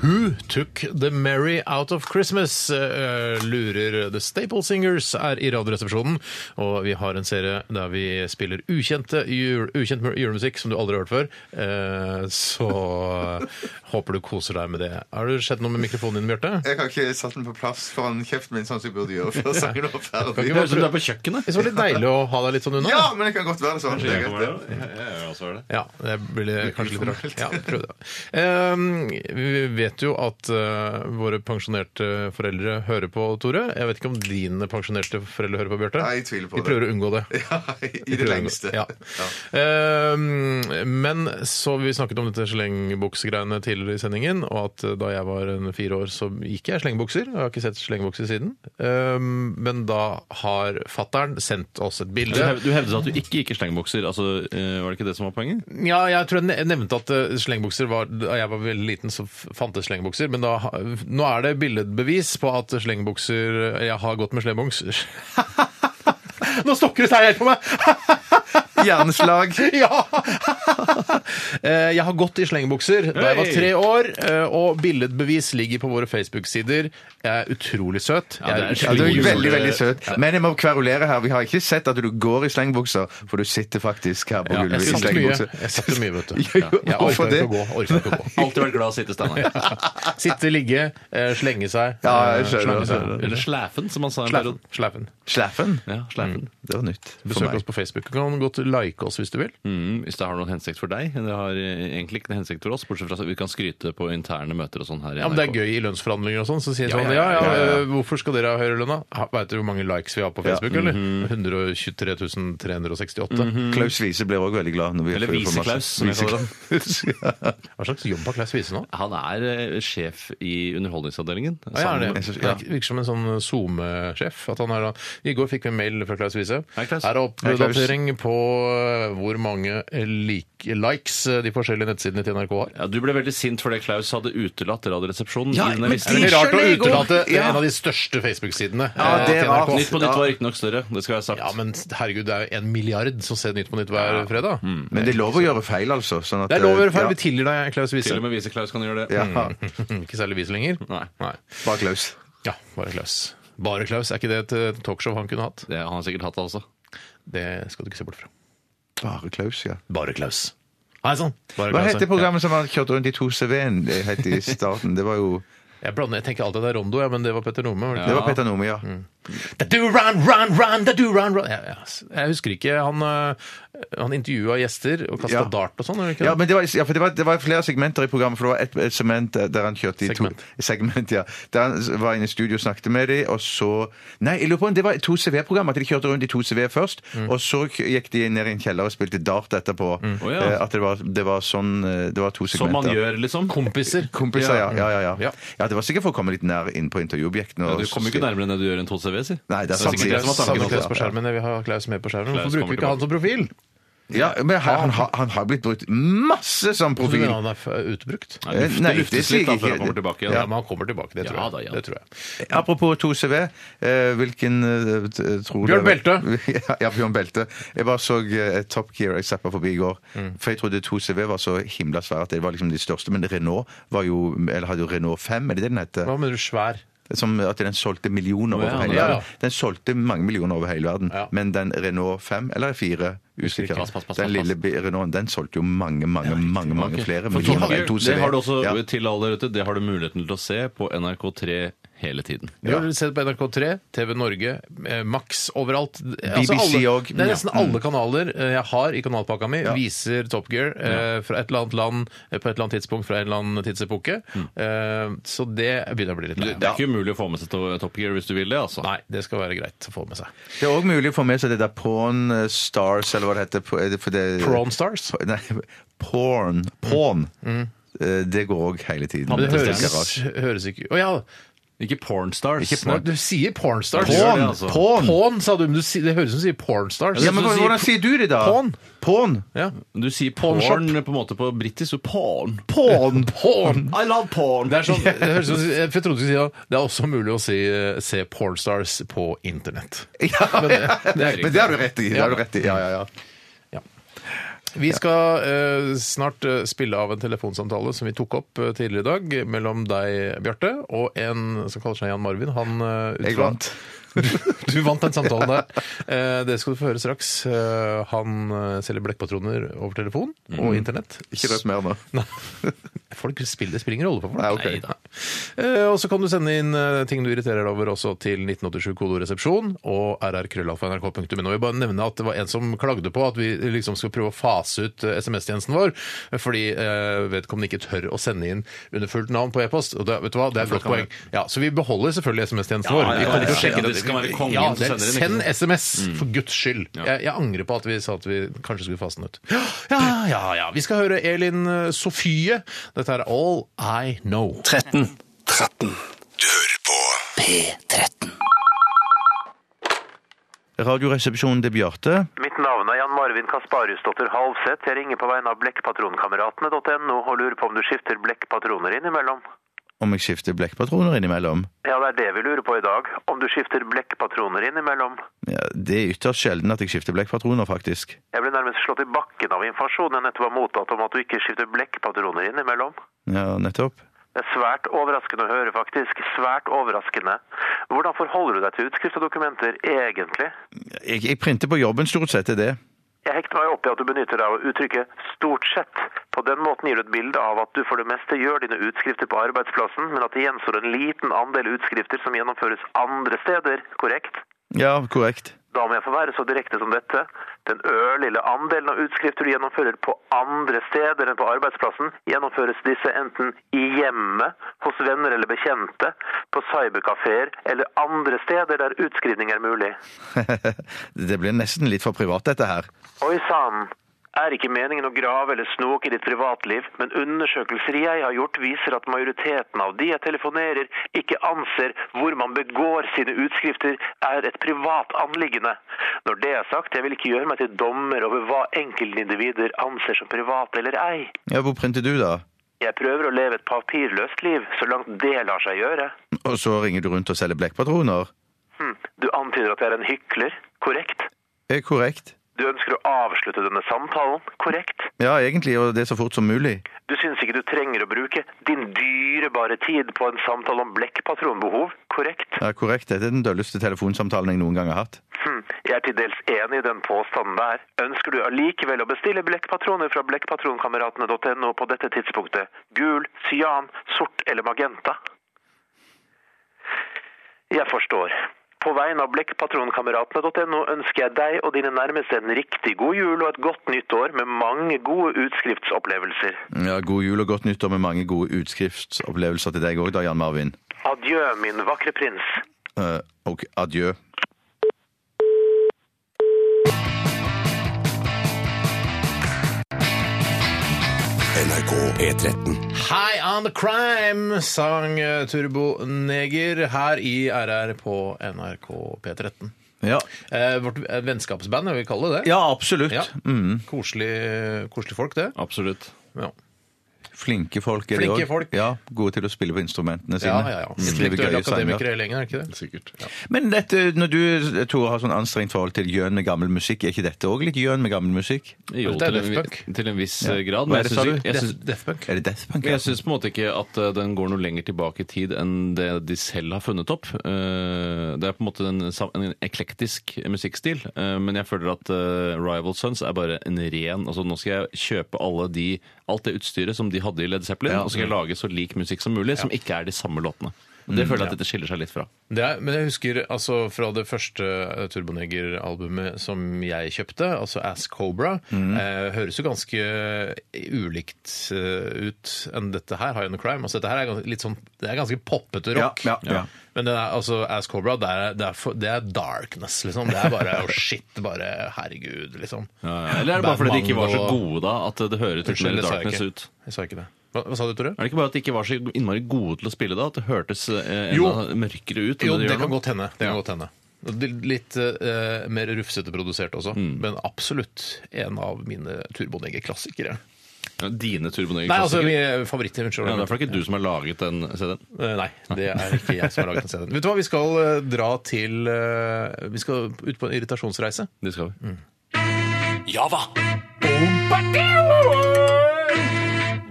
[SPEAKER 2] Who took the Mary out of Christmas? eh, lurer The Staple Singers er i Radioresepsjonen. Og vi har en serie der vi spiller ukjente jul, ukjent mu- julemusikk som du aldri har hørt før. Eh, så håper du koser deg med det. Har det skjedd noe med mikrofonen din, Bjarte?
[SPEAKER 3] Jeg har ikke satt den på plass foran kjeften min, sånn som jeg burde gjøre før sangen var
[SPEAKER 2] Kan
[SPEAKER 3] ferdig.
[SPEAKER 2] ikke
[SPEAKER 4] Det høres ut som du er på kjøkkenet.
[SPEAKER 2] Det var litt deilig å ha deg litt sånn unna.
[SPEAKER 3] Ja, men det kan godt være sånn. Det er greit, det.
[SPEAKER 4] Nei,
[SPEAKER 2] Ja, det blir kanskje litt rart. Ja, prøv det. Ehm, vi vet jo at eh, våre pensjonerte foreldre hører på, Tore. Jeg vet ikke om dine pensjonerte foreldre hører på, Bjarte.
[SPEAKER 3] Nei, jeg tviler på
[SPEAKER 2] Vi
[SPEAKER 3] det.
[SPEAKER 2] prøver å unngå det.
[SPEAKER 3] Ja,
[SPEAKER 2] Vi
[SPEAKER 3] I
[SPEAKER 2] prøver
[SPEAKER 3] det
[SPEAKER 2] å unngå
[SPEAKER 3] lengste.
[SPEAKER 2] Ja. Ehm, men så vi snakket om dette slengbuksegreiene tidligere i sendingen, og at eh, da jeg var en fire år, så gikk jeg i slengbukser. og Jeg har ikke sett slengbukser siden. Ehm, men da har fattern sendt oss et
[SPEAKER 4] Du,
[SPEAKER 2] bilde.
[SPEAKER 4] hev- du hevdet at du ikke gikk i slengbukser. Altså, eh, var det ikke det som var poenget?
[SPEAKER 2] Ja, jeg tror jeg ne- nevnte at eh, slengbukser var Da jeg var veldig liten, så f- fantes slengbukser. Men da, ha- nå er det billedbevis på at slengbukser Jeg har gått med slengbukser. nå stokker det seg helt på meg!
[SPEAKER 3] Hjerneslag.
[SPEAKER 2] Ja! Eh, Jeg har gått i slengebukser da jeg var
[SPEAKER 4] Hei!
[SPEAKER 2] tre år, eh, og billedbevis ligger på våre Facebook-sider. Jeg er utrolig søt. Jeg
[SPEAKER 4] det er
[SPEAKER 3] Ja, du er
[SPEAKER 2] utrolig-
[SPEAKER 3] veldig, veldig søt. Men jeg må kverulere her. Vi har ikke sett at du går i slengbukser, for du sitter faktisk her på
[SPEAKER 2] Ja,
[SPEAKER 3] gulvet
[SPEAKER 2] jeg
[SPEAKER 3] i
[SPEAKER 2] satt mye,
[SPEAKER 3] slengbukser.
[SPEAKER 2] jeg satt mye, vet du.
[SPEAKER 3] Jo, jo,
[SPEAKER 2] Jeg
[SPEAKER 3] hvorfor
[SPEAKER 2] orker ikke
[SPEAKER 3] det?
[SPEAKER 2] å gå. Orker ikke å gå.
[SPEAKER 4] Alltid vært glad i å sitte, Steinar.
[SPEAKER 2] Sitte, ligge, eh, slenge seg.
[SPEAKER 3] Ja, jeg
[SPEAKER 2] eh,
[SPEAKER 3] skjønner,
[SPEAKER 2] slange
[SPEAKER 3] jeg
[SPEAKER 2] seg.
[SPEAKER 3] skjønner.
[SPEAKER 4] Eller slæfen, som han sa en
[SPEAKER 2] Sleifen.
[SPEAKER 4] periode.
[SPEAKER 2] Sleifen.
[SPEAKER 3] Slaffen? Mm,
[SPEAKER 4] Ja, slæfen.
[SPEAKER 3] Det var nytt. for
[SPEAKER 2] Besøk
[SPEAKER 3] meg.
[SPEAKER 2] oss på Facebook. Du kan godt like oss hvis du vil.
[SPEAKER 4] Mm, hvis det har noen hensikt for deg. Det har eh, egentlig ikke noen hensikt for oss, bortsett fra at vi kan skryte på interne møter og sånn her. i
[SPEAKER 2] Ja, men Det er
[SPEAKER 4] NRK.
[SPEAKER 2] gøy i lønnsforhandlinger og sånn. Så sier
[SPEAKER 4] Ja,
[SPEAKER 2] sånn ja,
[SPEAKER 4] ja,
[SPEAKER 2] ja,
[SPEAKER 4] ja,
[SPEAKER 2] eh, hvorfor skal dere ha høyere lønna? Veit dere hvor mange likes vi har på Facebook, eller? 123 368.
[SPEAKER 3] Klaus Wiese blir òg veldig glad. Når vi
[SPEAKER 4] Eller
[SPEAKER 3] får informasjon.
[SPEAKER 4] Wiese-Klaus, som jeg kaller ham.
[SPEAKER 3] Wiese-Klaus, ja.
[SPEAKER 2] Hva slags jobb har Klaus Wiese nå?
[SPEAKER 4] Han er eh, sjef i Underholdningsavdelingen.
[SPEAKER 2] Ja, er
[SPEAKER 4] Sammen
[SPEAKER 2] det.
[SPEAKER 4] med-
[SPEAKER 2] Det virker som en sånn SoMe-sjef. at han er da- I går fikk vi en mail fra Klaus Wiese.
[SPEAKER 4] Hei, Klaus.
[SPEAKER 2] Her er
[SPEAKER 3] Hei, Klaus.
[SPEAKER 2] oppdatering på eh, hvor mange lik- likes eh, de forskjellige nettsidene til NRK har.
[SPEAKER 4] Ja, Du ble veldig sint fordi Klaus hadde utelatt Radioresepsjonen.
[SPEAKER 3] Ja,
[SPEAKER 4] i denne
[SPEAKER 3] men
[SPEAKER 2] Det er
[SPEAKER 4] listen.
[SPEAKER 3] de-
[SPEAKER 2] veldig rart å
[SPEAKER 3] skjønner jeg godt.
[SPEAKER 2] utelate
[SPEAKER 3] Ja.
[SPEAKER 2] en av de største Facebook-sidene.
[SPEAKER 3] Ja,
[SPEAKER 2] eh,
[SPEAKER 3] det er
[SPEAKER 2] til NRK.
[SPEAKER 3] rart.
[SPEAKER 4] Nytt på Nytt var riktignok større. Det skal være sagt.
[SPEAKER 2] Ja, men herregud, det er jo en milliard som ser Nytt på Nytt hver fredag.
[SPEAKER 3] Men det er lov å gjøre feil, altså. Sånn at,
[SPEAKER 2] Det er lov å gjøre feil.
[SPEAKER 3] Mm.
[SPEAKER 2] Mm.
[SPEAKER 3] ja,
[SPEAKER 2] Vi tilgir deg Klaus Wiese.
[SPEAKER 4] Til og Mm. med Wiese-Klaus kan gjøre det.
[SPEAKER 3] Ja,
[SPEAKER 2] Ikke særlig Wiese lenger.
[SPEAKER 4] Nei.
[SPEAKER 3] Bare Klaus.
[SPEAKER 2] Ja, bare Klaus. Bare Klaus, er ikke det et eh, talkshow han kunne hatt?
[SPEAKER 4] Det har han sikkert hatt, altså. det også.
[SPEAKER 2] Det skal du ikke se bort fra.
[SPEAKER 3] Bare Klaus, ja.
[SPEAKER 2] Bare Klaus. Nei sann. Bare
[SPEAKER 3] Hva
[SPEAKER 2] Klaus,
[SPEAKER 3] het det
[SPEAKER 2] ja.
[SPEAKER 3] programmet som han kjørte rundt i 2CV-en det het i starten? Det var jo
[SPEAKER 2] Jeg, blander, jeg tenker alltid at det er Rondo, ja, Mm. men det var Petter Nome.
[SPEAKER 3] Det var Petter Nome, ja.
[SPEAKER 2] Da do run, run, run, da do run, run. Ja, ja. Jeg husker ikke. Han, øh, han intervjua gjester og kasta
[SPEAKER 3] Ja.
[SPEAKER 2] dart og sånn. gjorde han ikke det?
[SPEAKER 3] Ja, men det var, ja, for det var, det var flere segmenter i programmet. For det var et, et segment eh, der han kjørte i
[SPEAKER 2] Segment.
[SPEAKER 3] to segment, ja. Der han var inne i studio og snakket med dem, og så Nei, jeg lurer på om det var to CV-program. At de kjørte rundt i to CV først, og så k- gikk de ned i en kjeller og spilte dart etterpå.
[SPEAKER 4] Mm. Å, ja.
[SPEAKER 3] Eh, At det var, det var sånn eh, Det var to
[SPEAKER 4] Som man
[SPEAKER 3] segmenter.
[SPEAKER 4] gjør, liksom.
[SPEAKER 2] Kompiser.
[SPEAKER 3] Kompiser, ja. Ja, ja, ja.
[SPEAKER 2] Ja.
[SPEAKER 3] ja. det var sikkert for å komme litt nær inn på intervjuobjektene.
[SPEAKER 4] Ja,
[SPEAKER 3] og
[SPEAKER 4] du kommer jo ikke nærmere enn det du gjør i en 2CV, si.
[SPEAKER 3] Nei, det er sant,
[SPEAKER 4] sikkert
[SPEAKER 3] det er
[SPEAKER 4] det som var
[SPEAKER 3] sant.
[SPEAKER 4] tanken
[SPEAKER 2] Savner
[SPEAKER 4] også.
[SPEAKER 2] Klaus på skjermen. Vi har Klaus med på skjermen.
[SPEAKER 4] Klaus
[SPEAKER 2] Hvorfor bruker
[SPEAKER 4] kommer
[SPEAKER 2] vi ikke han som profil?
[SPEAKER 3] Ja, men her, han, har- han har blitt brukt masse som
[SPEAKER 2] Tror
[SPEAKER 3] profil. Eh,
[SPEAKER 2] du Han er f- utbrukt.
[SPEAKER 4] Nei, det
[SPEAKER 3] Nei, det
[SPEAKER 4] luftes
[SPEAKER 3] sier
[SPEAKER 4] litt da,
[SPEAKER 3] jeg
[SPEAKER 4] før
[SPEAKER 3] ikke.
[SPEAKER 4] han kommer tilbake
[SPEAKER 2] Ja,
[SPEAKER 4] igjen.
[SPEAKER 2] men han kommer tilbake, det tror
[SPEAKER 4] Ja
[SPEAKER 2] jeg.
[SPEAKER 4] da, ja.
[SPEAKER 2] Det tror jeg.
[SPEAKER 3] Apropos 2CV. Eh, hvilken eh, t- tror
[SPEAKER 2] Bjørn
[SPEAKER 3] dere-
[SPEAKER 2] Belte.
[SPEAKER 3] ja, ja, Bjørn Belte. Jeg bare så eh, Top Gear jeg zappa forbi i går.
[SPEAKER 4] Mm.
[SPEAKER 3] For jeg trodde 2CV var så himla svære at det var liksom de største. Men Renault var jo, eller hadde jo Renault 5, er det det den heter?
[SPEAKER 2] Hva mener du svær?
[SPEAKER 3] Som at den solgte millioner
[SPEAKER 4] Å, ja,
[SPEAKER 3] over hele
[SPEAKER 2] ja, ja.
[SPEAKER 3] verden. Den solgte mange millioner over hele verden.
[SPEAKER 2] Ja.
[SPEAKER 3] Men den Renault 5, eller 4 Usikker.
[SPEAKER 4] Pass, pass, pass,
[SPEAKER 3] den
[SPEAKER 4] pass.
[SPEAKER 3] lille bi- Renaulten den solgte jo mange, mange mange, mange flere
[SPEAKER 4] For Top
[SPEAKER 3] millioner enn
[SPEAKER 4] Gear,
[SPEAKER 3] 2CV.
[SPEAKER 4] det har du også
[SPEAKER 3] Ja.
[SPEAKER 4] til alle der ute. Det har du muligheten til å se på NRK3 hele tiden.
[SPEAKER 2] Vi har sett på NRK3, TV Norge, eh, Max overalt. Altså,
[SPEAKER 3] BBC
[SPEAKER 2] alle-
[SPEAKER 3] og-
[SPEAKER 2] Det er nesten
[SPEAKER 3] Ja.
[SPEAKER 2] alle kanaler eh, jeg har i kanalpakka mi, viser Top Gear eh, fra et eller annet land eh, på et eller annet tidspunkt fra en eller annen tidsepoke.
[SPEAKER 4] Mm.
[SPEAKER 2] Eh, Så det begynner å bli litt
[SPEAKER 4] Det
[SPEAKER 2] lei.
[SPEAKER 4] er ikke umulig å få med seg to- Top Gear hvis du vil det, altså.
[SPEAKER 2] Nei, det skal være greit å få med seg.
[SPEAKER 3] Det er òg mulig å få med seg det der Pawn eh, Stars, eller hva det heter. på- er det- For det,
[SPEAKER 2] Prawn Stars?
[SPEAKER 3] P- Nei, porn. Porn. Eh, Det går òg hele tiden.
[SPEAKER 2] Mm. Men det
[SPEAKER 3] er
[SPEAKER 2] høres,
[SPEAKER 3] garasje.
[SPEAKER 2] høres ikke Å ja!
[SPEAKER 4] Ikke Pornstars.
[SPEAKER 2] Nei, Du sier Pornstars.
[SPEAKER 4] Porn,
[SPEAKER 2] Gjør det, altså.
[SPEAKER 3] porn.
[SPEAKER 2] Porn, sa du, men du, sier- det høres ut som du sier Pornstars.
[SPEAKER 3] Ja, men
[SPEAKER 4] du
[SPEAKER 3] hva-
[SPEAKER 4] sier
[SPEAKER 3] Hvordan sier du det, da?
[SPEAKER 2] porn.
[SPEAKER 3] Porn.
[SPEAKER 2] Ja.
[SPEAKER 4] Du sier
[SPEAKER 2] Porn
[SPEAKER 4] porn
[SPEAKER 2] shop.
[SPEAKER 4] på en måte på britisk, så porn.
[SPEAKER 3] Porn.
[SPEAKER 2] Porn!
[SPEAKER 4] I love porn!
[SPEAKER 2] Det er sånn, det høres ut som- jeg trodde du skulle si da, det er også mulig å si, eh, se pornstars på internett. Men det, det er
[SPEAKER 3] Men
[SPEAKER 2] riktig.
[SPEAKER 3] det har du rett i. Det har du rett i. Ja, ja, ja.
[SPEAKER 2] Vi skal eh, snart eh, spille av en telefonsamtale som vi tok opp eh, tidligere i dag, eh, mellom deg, Bjarte, og en som kaller seg Jan Marvin. Han eh, ut
[SPEAKER 3] Jeg
[SPEAKER 2] fra-
[SPEAKER 3] vant.
[SPEAKER 2] Du, du vant den samtalen der. Eh, det skal du få høre straks. Eh, han eh, selger blekkpatroner over telefon og internett.
[SPEAKER 3] Mm. Ikke røp mer nå.
[SPEAKER 2] Nei. Folk spiller, det spiller ingen rolle for folk.
[SPEAKER 3] Nei, ok.
[SPEAKER 2] Eh, og så kan du sende inn eh, ting du irriterer deg over også til 1987 kodoresepsjon og rrkrøllalfa.nrk.no. Jeg bare nevne at det var en som klagde på at vi liksom skal prøve å fase ut eh, SMS-tjenesten vår, fordi eh, vedkommende ikke tør å sende inn under fullt navn på e-post. Og det, vet du hva, det er et godt poeng. Ja, så vi beholder selvfølgelig SMS-tjenesten vår.
[SPEAKER 4] Ja, ja, ja,
[SPEAKER 2] Vi kommer til å
[SPEAKER 4] ja,
[SPEAKER 2] sjekke
[SPEAKER 4] ja, det skal være kongen
[SPEAKER 2] Ja,
[SPEAKER 4] som
[SPEAKER 2] det-
[SPEAKER 4] sender den,
[SPEAKER 2] Send
[SPEAKER 4] ikke
[SPEAKER 2] SMS, for guds skyld. Jeg, jeg angrer på at vi sa at vi kanskje skulle fase den ut. Ja, ja, ja. Vi skal høre Elin eh, Sofie. Dette er All I Know.
[SPEAKER 5] 13.
[SPEAKER 1] 13. Du hører på
[SPEAKER 5] P13.
[SPEAKER 3] Radioresepsjonen til Bjarte.
[SPEAKER 6] Mitt navn er Jan Marvin Kasparusdotter Halvseth. Jeg ringer på vegne av blekkpatronkameratene.no og lurer på om du skifter blekkpatroner innimellom.
[SPEAKER 3] om jeg skifter blekkpatroner innimellom.
[SPEAKER 6] Ja, det er det vi lurer på i dag. Om du skifter blekkpatroner innimellom.
[SPEAKER 3] Ja, det er ytterst sjelden at jeg skifter blekkpatroner, faktisk.
[SPEAKER 6] Jeg ble nærmest slått i bakken av informasjonen jeg nettopp har mottatt om at du ikke skifter blekkpatroner innimellom.
[SPEAKER 3] Ja, nettopp.
[SPEAKER 6] Det er svært overraskende å høre, faktisk. Svært overraskende. Hvordan forholder du deg til utskrift av dokumenter, egentlig?
[SPEAKER 3] Jeg, jeg printer på jobben stort sett, det er det.
[SPEAKER 6] Jeg hekter meg opp i at du benytter deg av uttrykket 'stort sett'. På den måten gir du et bilde av at du for det meste gjør dine utskrifter på arbeidsplassen, men at det gjenstår en liten andel utskrifter som gjennomføres andre steder, korrekt?
[SPEAKER 3] Ja, korrekt.
[SPEAKER 6] Da må jeg få være så direkte som dette. Den ørlille andelen av utskrifter du gjennomfører på andre steder enn på arbeidsplassen, gjennomføres disse enten i hjemmet, hos venner eller bekjente, på cyberkafeer eller andre steder der utskrivning er mulig.
[SPEAKER 3] det blir nesten litt for privat, dette her.
[SPEAKER 6] Oi sann! Er ikke meningen å grave eller snoke i ditt privatliv, men undersøkelser jeg har gjort viser at majoriteten av de jeg telefonerer, ikke anser hvor man begår sine utskrifter er et privat anliggende. Når det er sagt, jeg vil ikke gjøre meg til dommer over hva enkeltindivider anser som privat eller ei.
[SPEAKER 3] Ja, Hvor printer du, da?
[SPEAKER 6] Jeg prøver å leve et papirløst liv, så langt det lar seg gjøre.
[SPEAKER 3] Og så ringer du rundt og selger blekkpatroner?
[SPEAKER 6] Hm, du antyder at jeg er en hykler, korrekt?
[SPEAKER 3] Eh, korrekt.
[SPEAKER 6] Du ønsker å avslutte denne samtalen, korrekt?
[SPEAKER 3] Ja, egentlig, og det så fort som mulig.
[SPEAKER 6] Du syns ikke du trenger å bruke din dyrebare tid på en samtale om blekkpatronbehov, korrekt?
[SPEAKER 3] Ja, korrekt. Dette er den dølleste telefonsamtalen jeg noen gang har hatt.
[SPEAKER 6] Hm, jeg er til dels enig i den påstanden der. Ønsker du allikevel å bestille blekkpatroner fra blekkpatronkameratene.no på dette tidspunktet? Gul, cyan, sort eller magenta? Jeg forstår. På vegne av blekkpatronkameratene.no ønsker jeg deg og dine nærmeste en riktig god jul og et godt nytt år med mange gode utskriftsopplevelser.
[SPEAKER 3] Mm, Ja, God jul og godt nyttår med mange gode utskriftsopplevelser til deg òg, da, Jan Marvin.
[SPEAKER 6] Adjø, min vakre prins.
[SPEAKER 3] Eh, og adjø.
[SPEAKER 7] NRK P13.
[SPEAKER 2] High on the crime, sang eh, Turbo Neger her i RR på NRK P13.
[SPEAKER 3] Ja.
[SPEAKER 2] Eh, vårt eh, vennskapsband, vil vi kalle det det?
[SPEAKER 3] ja, absolutt.
[SPEAKER 2] Ja. Koselig, koselig folk, det.
[SPEAKER 4] Absolutt.
[SPEAKER 2] Ja.
[SPEAKER 3] Flinke folk er
[SPEAKER 2] Flinke
[SPEAKER 3] de òg.
[SPEAKER 2] folk.
[SPEAKER 3] Ja, Mm. gode til å spille på instrumentene sine.
[SPEAKER 2] Ja, ja, ja.
[SPEAKER 3] Skrive
[SPEAKER 2] Intellektuelle
[SPEAKER 3] gøye sanger.
[SPEAKER 2] akademikere lenger, er ikke det? Sikkert. Ja.
[SPEAKER 3] Men dette, når du Tore, har sånn anstrengt forhold til gjøn med gammel musikk, er ikke dette òg litt gjøn med gammel musikk?
[SPEAKER 4] Jo,
[SPEAKER 2] Dette
[SPEAKER 4] til
[SPEAKER 2] er
[SPEAKER 4] en,
[SPEAKER 2] Daft
[SPEAKER 4] vi-
[SPEAKER 2] Punk.
[SPEAKER 4] til en viss eh, grad.
[SPEAKER 3] Hva
[SPEAKER 4] Men
[SPEAKER 3] er det,
[SPEAKER 4] jeg
[SPEAKER 3] sa
[SPEAKER 4] syns
[SPEAKER 3] du?
[SPEAKER 4] jeg
[SPEAKER 2] Death,
[SPEAKER 4] syns-
[SPEAKER 2] Death Punk.
[SPEAKER 3] Er det Death Punk?
[SPEAKER 4] jeg syns på en måte ikke at eh, den går noe lenger tilbake i tid enn det de selv har funnet opp. Eh, Det er på en måte en, sam- en eklektisk musikkstil, eh, men jeg føler at eh, Rival Sons er bare en ren Altså Nå skal jeg kjøpe alle de, alt det utstyret som de hadde i Led Zeppelin,
[SPEAKER 3] Ja.
[SPEAKER 4] og så skal jeg lage så lik musikk som mulig, som ikke er de samme låtene. Og
[SPEAKER 2] Mm,
[SPEAKER 4] Det føler jeg at dette skiller seg litt fra.
[SPEAKER 2] Det er, men jeg husker altså, fra det første eh, Turboneger-albumet som jeg kjøpte, altså Ass Cobra,
[SPEAKER 3] Mm.
[SPEAKER 2] eh, høres jo ganske ulikt eh, ut enn dette her, High on the Crime. Altså, dette her er ganske, litt sånn, det er ganske poppete rock.
[SPEAKER 3] Ja, ja, ja.
[SPEAKER 2] Men det er, altså, Ass Cobra, det er, det, er for, det er darkness, liksom. Det er bare oh, shit, bare herregud, liksom.
[SPEAKER 4] Eller er det bare fordi de ikke var så
[SPEAKER 2] Mango-
[SPEAKER 4] gode da, at det høres litt
[SPEAKER 2] Unnskyld,
[SPEAKER 4] mer
[SPEAKER 2] det sa jeg
[SPEAKER 4] darkness
[SPEAKER 2] ikke.
[SPEAKER 4] ut?
[SPEAKER 2] Jeg sa ikke det. Hva, hva sa du, Tore?
[SPEAKER 4] Er det ikke bare at de ikke var så innmari gode til å spille da? At det hørtes eh,
[SPEAKER 2] Jo.
[SPEAKER 4] enda mørkere ut? enn
[SPEAKER 2] Jo,
[SPEAKER 4] det
[SPEAKER 2] det
[SPEAKER 4] gjør
[SPEAKER 2] kan
[SPEAKER 4] nå?
[SPEAKER 2] godt hende. Det kan godt hende. Og det- Litt eh, mer rufsete produsert også, men absolutt en av mine turbonegger-klassikere.
[SPEAKER 4] Ja, Dine turboneger
[SPEAKER 2] Nei, altså
[SPEAKER 4] klassikere.
[SPEAKER 2] mine favoritter. Unnskyld.
[SPEAKER 4] ja, Derfor er det ikke du som har laget den CD-en.
[SPEAKER 2] Eh, Nei, det er ikke jeg som har laget den CD-en. Vet du hva, vi skal eh, dra til eh, Vi skal ut på en irritasjonsreise.
[SPEAKER 4] Det skal vi.
[SPEAKER 8] Java.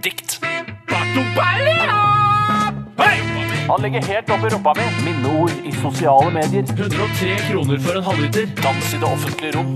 [SPEAKER 8] Dikt. Han ligger helt oppi rumpa mi. Minneord i sosiale medier. 103 kroner for en halvliter. Dans i det offentlige rom.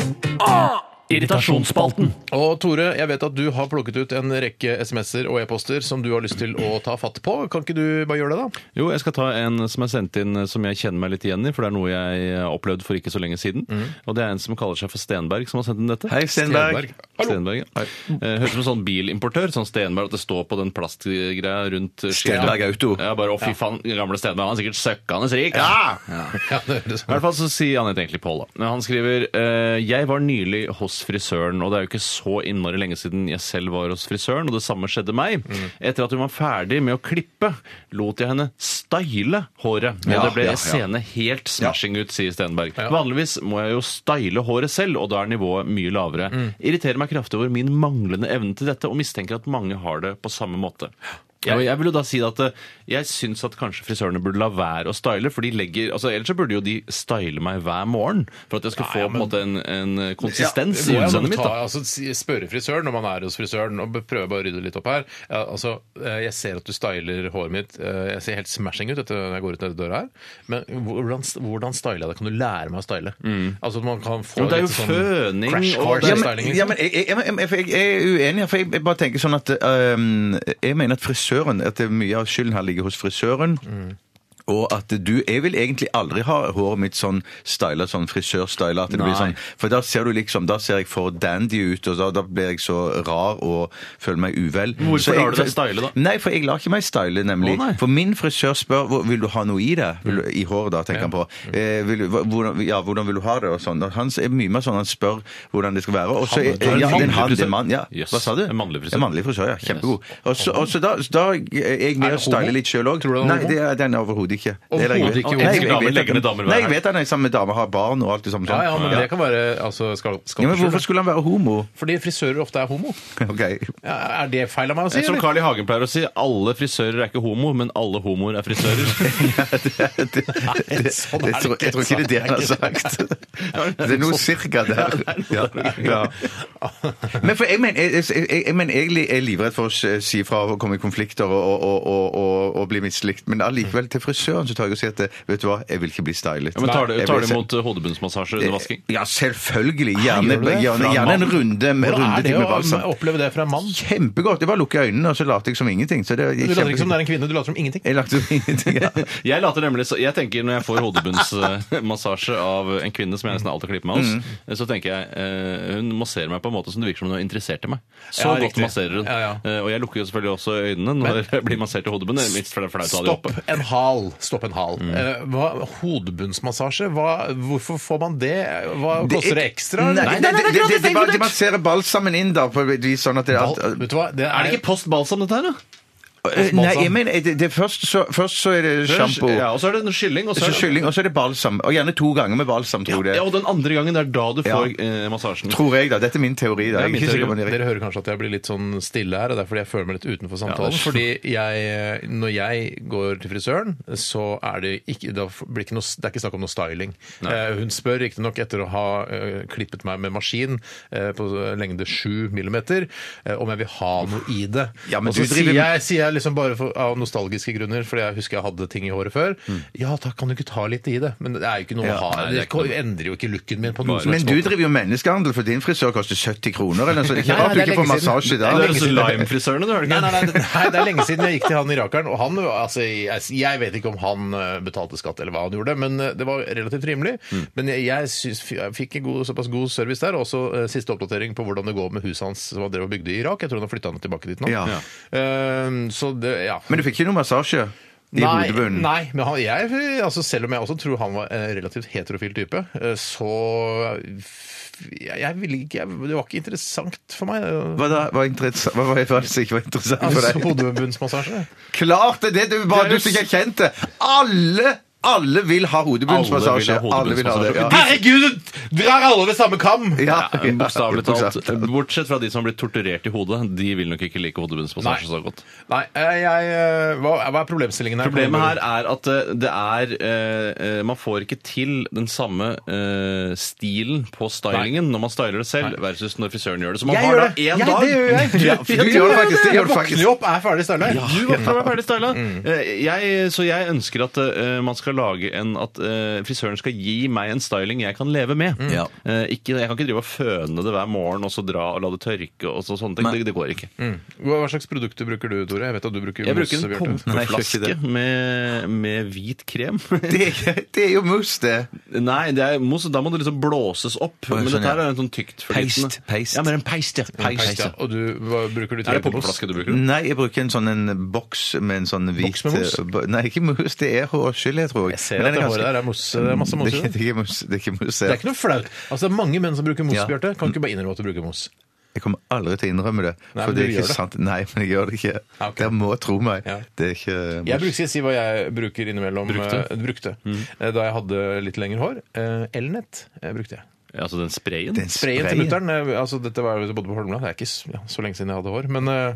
[SPEAKER 8] Irritasjonsspalten.
[SPEAKER 2] Og Tore, jeg vet at du har plukket ut en rekke SMS-er og e-poster som du har lyst til å ta fatt på. Kan ikke du bare gjøre det, da?
[SPEAKER 4] Jo, jeg skal ta en som er sendt inn eh, som jeg kjenner meg litt igjen i, for det er noe jeg har opplevd for ikke så lenge siden. Og det er en som kaller seg for Stenberg, som har sendt inn dette.
[SPEAKER 3] Hei, Stenberg.
[SPEAKER 2] Stenberg.
[SPEAKER 4] Stenberg, ja. Eh, Høres ut som en sånn bilimportør, sånn Stenberg, at det står på den plastgreia rundt eh, skiltet.
[SPEAKER 3] Stenberg Auto.
[SPEAKER 4] Ja, bare, å fy faen, gamle Stenberg, han er sikkert søkkende rik. Ja!
[SPEAKER 2] Ja, det høres
[SPEAKER 4] I hvert fall så sier han egentlig Pål, da. Men han skriver eh, Jeg var nylig hos frisøren, og det er jo ikke så innmari lenge siden jeg selv var hos frisøren, og det samme skjedde meg.
[SPEAKER 3] Mm.
[SPEAKER 4] Etter at hun var ferdig med å klippe, lot jeg henne style håret. Og
[SPEAKER 3] Ja,
[SPEAKER 4] det ble
[SPEAKER 3] ja, ja.
[SPEAKER 4] seende helt smashing ut, sier Stenberg.
[SPEAKER 2] Ja.
[SPEAKER 4] Vanligvis må jeg jo style håret selv, og da er nivået mye lavere. Irriterer meg kraftig over min manglende evne til dette, og mistenker at mange har det på samme måte. Ja, men jeg vil jo da si at eh, jeg syns at kanskje frisørene burde la være å style, for de legger altså Ellers så burde jo de style meg hver morgen for at jeg skal få på en måte en, en konsistens sånn
[SPEAKER 2] Det
[SPEAKER 4] i
[SPEAKER 2] må jeg
[SPEAKER 4] utseendet
[SPEAKER 2] nok
[SPEAKER 4] mitt.
[SPEAKER 2] ta,
[SPEAKER 4] da.
[SPEAKER 2] altså, si- spørre frisøren når man er hos frisøren, og be- prøve bare å rydde litt opp her. Ja, altså, eh, jeg ser at du styler håret mitt. Eh, Jeg ser helt smashing ut etter når jeg går ut denne døra her. Men hvordan, hvordan styler jeg det? Kan du lære meg å style? Altså at man kan få
[SPEAKER 4] Men det er jo
[SPEAKER 2] litt sånn
[SPEAKER 4] føning
[SPEAKER 2] crash
[SPEAKER 4] og-
[SPEAKER 3] Ja,
[SPEAKER 2] course i
[SPEAKER 3] men,
[SPEAKER 2] stylingen.
[SPEAKER 3] ja, men jeg, jeg, jeg, jeg, for jeg er uenig, for jeg, jeg bare tenker sånn at øhm, Jeg mener at frisøren At det er mye av skylden her ligger hos frisøren. Og at du Jeg vil egentlig aldri ha håret mitt sånn styla, sånn frisørstyla. At det blir sånn, for da ser du liksom Da ser jeg for dandy ut, og da, da blir jeg så rar og føler meg uvel.
[SPEAKER 4] Hvorfor
[SPEAKER 3] Så jeg-
[SPEAKER 4] lar du deg style, da?
[SPEAKER 3] Nei, for jeg lar ikke meg style, nemlig.
[SPEAKER 4] Å, nei.
[SPEAKER 3] for min frisør spør hvor, Vil du ha noe i det. Vil du,
[SPEAKER 2] Mm.
[SPEAKER 3] I håret, da, tenker han på. Eh, vil, du- hva- hvordan, ja, hvordan vil du ha det? Og sånn. Og Han er mye mer sånn han spør hvordan det skal være. Og så
[SPEAKER 4] Han-
[SPEAKER 3] ja,
[SPEAKER 4] det er en
[SPEAKER 3] det er en
[SPEAKER 4] mannlig
[SPEAKER 3] han, det er
[SPEAKER 4] frisør.
[SPEAKER 3] en mann. Ja.
[SPEAKER 4] Yes.
[SPEAKER 3] Hva sa du?
[SPEAKER 4] En mannlig frisør.
[SPEAKER 3] En mannlig frisør, ja. Kjempegod. Og så- Og så da, da er jeg med
[SPEAKER 2] Er
[SPEAKER 3] og
[SPEAKER 2] det homo?
[SPEAKER 3] styler litt sjøl òg.
[SPEAKER 2] Tror du han er
[SPEAKER 3] Nei,
[SPEAKER 2] homo?
[SPEAKER 3] det er den er overhodet ikke. Det er det
[SPEAKER 2] Overhodet
[SPEAKER 3] jeg vet.
[SPEAKER 2] ikke
[SPEAKER 3] Nei, jeg- jeg
[SPEAKER 4] homo.
[SPEAKER 3] vet at-
[SPEAKER 4] Legger ned damer hver
[SPEAKER 3] Nei, jeg
[SPEAKER 4] her.
[SPEAKER 3] vet han er sammen med damer, har barn og alt det samme.
[SPEAKER 2] ja,
[SPEAKER 3] sånn.
[SPEAKER 2] ja, men
[SPEAKER 3] Ja.
[SPEAKER 2] det kan være altså, skal, skal
[SPEAKER 3] Ja, men hvorfor skulle han være homo?
[SPEAKER 2] Fordi frisører ofte er homo.
[SPEAKER 3] Ok.
[SPEAKER 2] Ja, er det feil av meg å si?
[SPEAKER 4] Det er Som
[SPEAKER 2] eller?
[SPEAKER 4] Carl I. Hagen pleier å si, alle frisører er ikke homo, men alle homoer er frisører.
[SPEAKER 3] det, det, det, det,
[SPEAKER 2] sånn er
[SPEAKER 3] jeg,
[SPEAKER 2] det
[SPEAKER 3] tror,
[SPEAKER 2] ikke,
[SPEAKER 3] jeg tror ikke det er det han har
[SPEAKER 2] sånn er
[SPEAKER 3] sagt. Det er noe cirka der. Ja, ja. Men for jeg, men, jeg, jeg, jeg, jeg, men egentlig er jeg livredd for å s- si fra og komme i konflikter og, og, og, og, og, og bli mislikt. Men allikevel, til frisøren så tar jeg og sier at vet du hva, jeg vil ikke bli stylet.
[SPEAKER 4] Ja, men tar du,
[SPEAKER 3] Jeg
[SPEAKER 4] tar
[SPEAKER 3] vil
[SPEAKER 4] du
[SPEAKER 3] se-
[SPEAKER 4] imot eh, hodebunnsmassasje under vasking?
[SPEAKER 3] Ja, selvfølgelig.
[SPEAKER 2] Gjør
[SPEAKER 3] Gjerne,
[SPEAKER 2] du det?
[SPEAKER 3] gjerne,
[SPEAKER 2] Fra
[SPEAKER 3] gjerne en
[SPEAKER 2] mann?
[SPEAKER 3] runde med,
[SPEAKER 2] Hvordan
[SPEAKER 3] runde
[SPEAKER 2] er det
[SPEAKER 3] til med
[SPEAKER 2] å
[SPEAKER 3] balsam.
[SPEAKER 2] oppleve det fra en mann?
[SPEAKER 3] Kjempegodt. Jeg bare lukker øynene, og så later jeg som ingenting. Så det er
[SPEAKER 2] Du later ikke som
[SPEAKER 3] kjempe...
[SPEAKER 2] det er en kvinne, du later som ingenting.
[SPEAKER 3] Jeg later som ingenting. Ja.
[SPEAKER 4] Jeg later nemlig, så, jeg tenker Når jeg får hodebunnsmassasje av en kvinne som jeg nesten alltid klipper meg hos, så tenker jeg eh, hun masserer meg på en måte som det virker som hun er interessert i meg. Så
[SPEAKER 2] Ja,
[SPEAKER 4] godt
[SPEAKER 2] riktig.
[SPEAKER 4] masserer hun.
[SPEAKER 2] Ja, ja.
[SPEAKER 4] Eh, og jeg lukker jo selvfølgelig også øynene når jeg blir massert i hodebunnen. Det er litt flaut å ha de
[SPEAKER 2] Stopp
[SPEAKER 4] oppe.
[SPEAKER 2] en hal. Stopp en hal. Eh, hva, hodebunnsmassasje, hva, hvorfor får man det? Hva koster det ekstra?
[SPEAKER 3] Nei,
[SPEAKER 2] eller?
[SPEAKER 3] nei, nei, nei, det, det, det, det, man ser balsamen inn da, på et vis sånn at det er
[SPEAKER 2] Bal-
[SPEAKER 3] alt-
[SPEAKER 2] Vet du hva?
[SPEAKER 4] Er
[SPEAKER 2] Det
[SPEAKER 4] det
[SPEAKER 2] er,
[SPEAKER 4] ikke post balsam, dette her? da?
[SPEAKER 3] Eh, Nei, jeg mener, det, det er først, så, først så er det sjampo,
[SPEAKER 4] Ja, og så er det en kylling. Og så
[SPEAKER 3] så
[SPEAKER 4] er det,
[SPEAKER 3] kylling, og så er det balsam. Og gjerne to ganger med balsam, tror jeg.
[SPEAKER 4] ja, og den andre gangen, det er da du får
[SPEAKER 3] Ja.
[SPEAKER 4] eh, massasjen.
[SPEAKER 3] Tror jeg, da. Dette er min teori.
[SPEAKER 4] er
[SPEAKER 3] da. Jeg er
[SPEAKER 4] min
[SPEAKER 3] ikke
[SPEAKER 4] teori.
[SPEAKER 3] sikker på om det er
[SPEAKER 2] dere
[SPEAKER 3] riktig.
[SPEAKER 2] hører kanskje at jeg blir litt sånn stille her, og det er fordi jeg føler meg litt utenfor samtalen.
[SPEAKER 4] det er-
[SPEAKER 2] fordi jeg, når jeg går til frisøren, så er det ikke, da blir ikke noe, det er ikke snakk om noe styling. Eh, hun spør riktignok etter å ha eh, klippet meg med maskin eh, på lengde 7 millimeter, eh, om jeg vil ha noe i det.
[SPEAKER 3] Ja, men
[SPEAKER 2] og så
[SPEAKER 3] du driver-
[SPEAKER 2] sier jeg, sier jeg liksom bare for, av nostalgiske grunner, fordi jeg husker jeg hadde ting i håret før. Ja takk, kan du ikke ta litt i det? Men det er jo ikke noe
[SPEAKER 3] Ja,
[SPEAKER 2] å ha.
[SPEAKER 4] nei,
[SPEAKER 2] Det
[SPEAKER 4] det er ikke noe.
[SPEAKER 2] endrer jo ikke looken min på noen som
[SPEAKER 3] Men
[SPEAKER 2] helst
[SPEAKER 3] du
[SPEAKER 2] måte.
[SPEAKER 3] driver jo menneskehandel, for din frisør koster 70 kroner. Eller, noe, så det er ikke
[SPEAKER 2] Nei,
[SPEAKER 3] rart du
[SPEAKER 2] det er
[SPEAKER 3] ikke får
[SPEAKER 2] lenge siden.
[SPEAKER 3] massasje da.
[SPEAKER 4] Det
[SPEAKER 2] Det er
[SPEAKER 4] høres ut som Lime-frisørene, du, er det
[SPEAKER 2] Nei, nei,
[SPEAKER 4] ikke?
[SPEAKER 2] nei, det- nei, det er lenge siden jeg gikk til han irakeren. Og han, altså, jeg, jeg vet ikke om han eh, betalte skatt eller hva han gjorde, men eh, det var relativt rimelig. Men jeg, jeg, syns- jeg fikk en god, såpass god service der. og Også eh, siste oppdatering på hvordan det går med huset hans som han drev og bygde i Irak. Jeg tror han har flytta tilbake dit nå.
[SPEAKER 3] Ja.
[SPEAKER 2] Eh, så det, ja.
[SPEAKER 3] Men du fikk ikke noe massasje i
[SPEAKER 2] Nei,
[SPEAKER 3] hodebunnen?
[SPEAKER 2] nei, men han, jeg, altså selv om jeg også tror han var en relativt heterofil type, eh, så f- jeg, jeg ville ikke jeg, Det var ikke interessant for meg. eh,
[SPEAKER 3] Hva da? Hva, interessa- hva var det som ikke var interessant for
[SPEAKER 2] Altså,
[SPEAKER 3] deg?
[SPEAKER 2] Hodebunnsmassasje.
[SPEAKER 3] Klart det! det du, bare du som ikke erkjente Alle, alle vil ha hodebunnsmassasje. Alle vil ha det. ja.
[SPEAKER 2] Herregud, drar alle ved samme kam!
[SPEAKER 3] Ja,
[SPEAKER 4] Ja, Eh, Bokstavelig talt.
[SPEAKER 3] Bokstavelig talt.
[SPEAKER 4] Bortsett fra de som blir torturert i hodet. De vil nok ikke like hodebunnsmassasje
[SPEAKER 2] Nei.
[SPEAKER 4] så godt.
[SPEAKER 2] Nei, eh, jeg, eh, hva, hva er problemstillingen her?
[SPEAKER 4] Problemet her er at eh, det er eh, eh, Man får ikke til den samme eh, stilen på stylingen når man styler det selv, versus når frisøren gjør det. Så man
[SPEAKER 3] Jeg
[SPEAKER 4] har
[SPEAKER 3] gjør
[SPEAKER 4] da
[SPEAKER 3] det.
[SPEAKER 4] én
[SPEAKER 3] Jeg-
[SPEAKER 4] dag
[SPEAKER 3] det gjør jeg.
[SPEAKER 4] Ja,
[SPEAKER 3] Du gjør det faktisk, det gjør du faktisk.
[SPEAKER 2] Våkner opp, er ferdig styla.
[SPEAKER 4] Du var fra meg ferdig styla. Eh, Jeg, så jeg ønsker at eh, man skal lage en At eh, frisøren skal gi meg en styling jeg kan leve med.
[SPEAKER 3] Mm. Ja.
[SPEAKER 4] Eh, ikke, jeg kan ikke drive og føne det hver morgen og så dra og la det tørke. og så, sånne ting. Det, det går ikke.
[SPEAKER 2] Hva hva slags produkter bruker du, Tore? Jeg vet at du bruker
[SPEAKER 4] Jeg bruker en
[SPEAKER 2] masse, Bjarte.
[SPEAKER 3] Nei, jeg gjør ikke
[SPEAKER 4] pumpeflaske
[SPEAKER 3] det.
[SPEAKER 4] med, med hvit krem.
[SPEAKER 3] Det, det er jo mus, det.
[SPEAKER 4] Nei, det er mos, da må det liksom blåses opp.
[SPEAKER 3] jeg
[SPEAKER 4] Men
[SPEAKER 3] skjønner,
[SPEAKER 4] dette her er en sånn tykt
[SPEAKER 3] Peist, peist.
[SPEAKER 4] Ja, mer en peist, ja.
[SPEAKER 2] Peis, ja. Og du, hva bruker
[SPEAKER 4] Er
[SPEAKER 2] du til
[SPEAKER 4] det pumpeflaske du bruker?
[SPEAKER 3] Nei, jeg bruker en sånn en boks med en sånn hvit
[SPEAKER 2] Boks med mus?
[SPEAKER 3] eh, bo- Nei, ikke mus. Det er hårskyll, jeg tror.
[SPEAKER 2] Jeg ser at det håret der er mos- det er masse mos i
[SPEAKER 3] Mm, Det,
[SPEAKER 2] det.
[SPEAKER 3] det er ikke mus. Det er ikke mus
[SPEAKER 2] Det
[SPEAKER 3] jeg.
[SPEAKER 2] er ikke noe flaut. Altså, det er mange menn som bruker mos,
[SPEAKER 3] Ja.
[SPEAKER 2] Bjarte.
[SPEAKER 4] Mm.
[SPEAKER 2] Kan ikke bare innrømme at du bruker mos.
[SPEAKER 3] Jeg kommer aldri til å innrømme det.
[SPEAKER 2] Nei,
[SPEAKER 3] for
[SPEAKER 2] men
[SPEAKER 3] det
[SPEAKER 2] du
[SPEAKER 3] er
[SPEAKER 2] gjør det.
[SPEAKER 3] ikke sant. Nei, men jeg gjør det ikke.
[SPEAKER 2] Ja, ok.
[SPEAKER 3] Dere må tro meg.
[SPEAKER 2] Ja.
[SPEAKER 3] Det er ikke
[SPEAKER 2] Jeg bruker, skal jeg si hva jeg bruker innimellom.
[SPEAKER 4] Brukte? Mm.
[SPEAKER 2] eh, brukte. Eh, Da jeg hadde litt lengre hår. Eh, Elnett eh, brukte jeg.
[SPEAKER 4] Altså den sprayen?
[SPEAKER 3] Den
[SPEAKER 2] Sprayen til
[SPEAKER 3] sprayen.
[SPEAKER 2] mutter'n eh, altså Dette var jeg bodde på Holmland, det er ikke s- ja, så lenge siden jeg hadde hår. Men eh,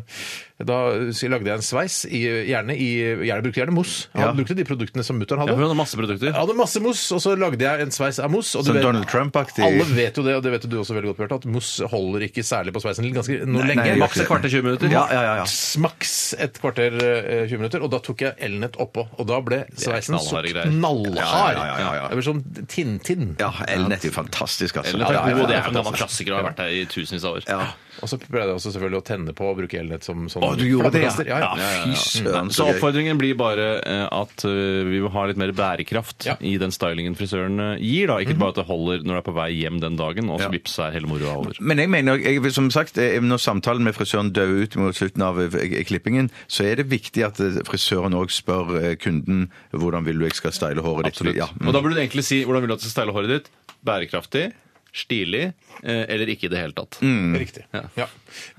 [SPEAKER 2] da s- lagde jeg en sveis, i, gjerne i gjerne, Brukte gjerne mos. Han
[SPEAKER 3] Ja.
[SPEAKER 2] brukte de produktene som mutter'n
[SPEAKER 4] Ja,
[SPEAKER 2] hadde.
[SPEAKER 4] hun hadde masse produkter.
[SPEAKER 2] jeg hadde masse mos, og så lagde jeg en sveis av mos. Og du
[SPEAKER 3] Sånn
[SPEAKER 2] vet-
[SPEAKER 3] Donald Trump-aktig.
[SPEAKER 2] Alle vet jo det, og det vet jo du også veldig godt, Bjarte, at mos holder ikke særlig på sveisen ganske noe
[SPEAKER 3] Nei,
[SPEAKER 2] lenge.
[SPEAKER 3] nei,
[SPEAKER 4] Maks et kvarter 20 minutter.
[SPEAKER 3] Ja, ja, ja, ja.
[SPEAKER 2] Smaks et kvarter, eh, 20 minutter, og da tok jeg Elnett oppå. Og da ble sveisen så
[SPEAKER 4] knallharde greier.
[SPEAKER 2] knallhard.
[SPEAKER 3] Ja, ja, ja, ja, ja.
[SPEAKER 2] Det ble som Tintin.
[SPEAKER 3] Ja, Elnett er jo fantastisk, altså.
[SPEAKER 4] Eller,
[SPEAKER 3] Ja, ja, ja,
[SPEAKER 4] Det
[SPEAKER 3] ja.
[SPEAKER 4] er en gammel klassiker og har vært her i tusenvis av år.
[SPEAKER 3] Ja.
[SPEAKER 2] Og så prøvde jeg også selvfølgelig å tenne på og bruke Elnett som sånn
[SPEAKER 3] Å, du gjorde det, ja.
[SPEAKER 2] flammekaster. Ja, ja.
[SPEAKER 3] Fy søren,
[SPEAKER 4] Så
[SPEAKER 3] så gøy.
[SPEAKER 4] oppfordringen blir bare eh, at eh, vi må ha litt mer bærekraft
[SPEAKER 2] Ja.
[SPEAKER 4] i den stylingen frisøren eh, gir. da. Ikke
[SPEAKER 3] Mhm.
[SPEAKER 4] bare at det holder når du er på vei hjem den dagen, og så vips er hele moroa over.
[SPEAKER 3] Men jeg mener, jeg, vil- som sagt, eh, når samtalen med frisøren dør ut mot slutten av eh, klippingen, så er det viktig at eh, frisøren òg spør eh, kunden hvordan vil du jeg skal style håret ditt.
[SPEAKER 4] Absolutt.
[SPEAKER 3] Ja. mm.
[SPEAKER 4] Og da burde du egentlig si hvordan vil du at du skal style håret ditt? Bærekraftig, stilig eh, eller ikke i det hele tatt.
[SPEAKER 3] Mm.
[SPEAKER 2] Riktig. Ja.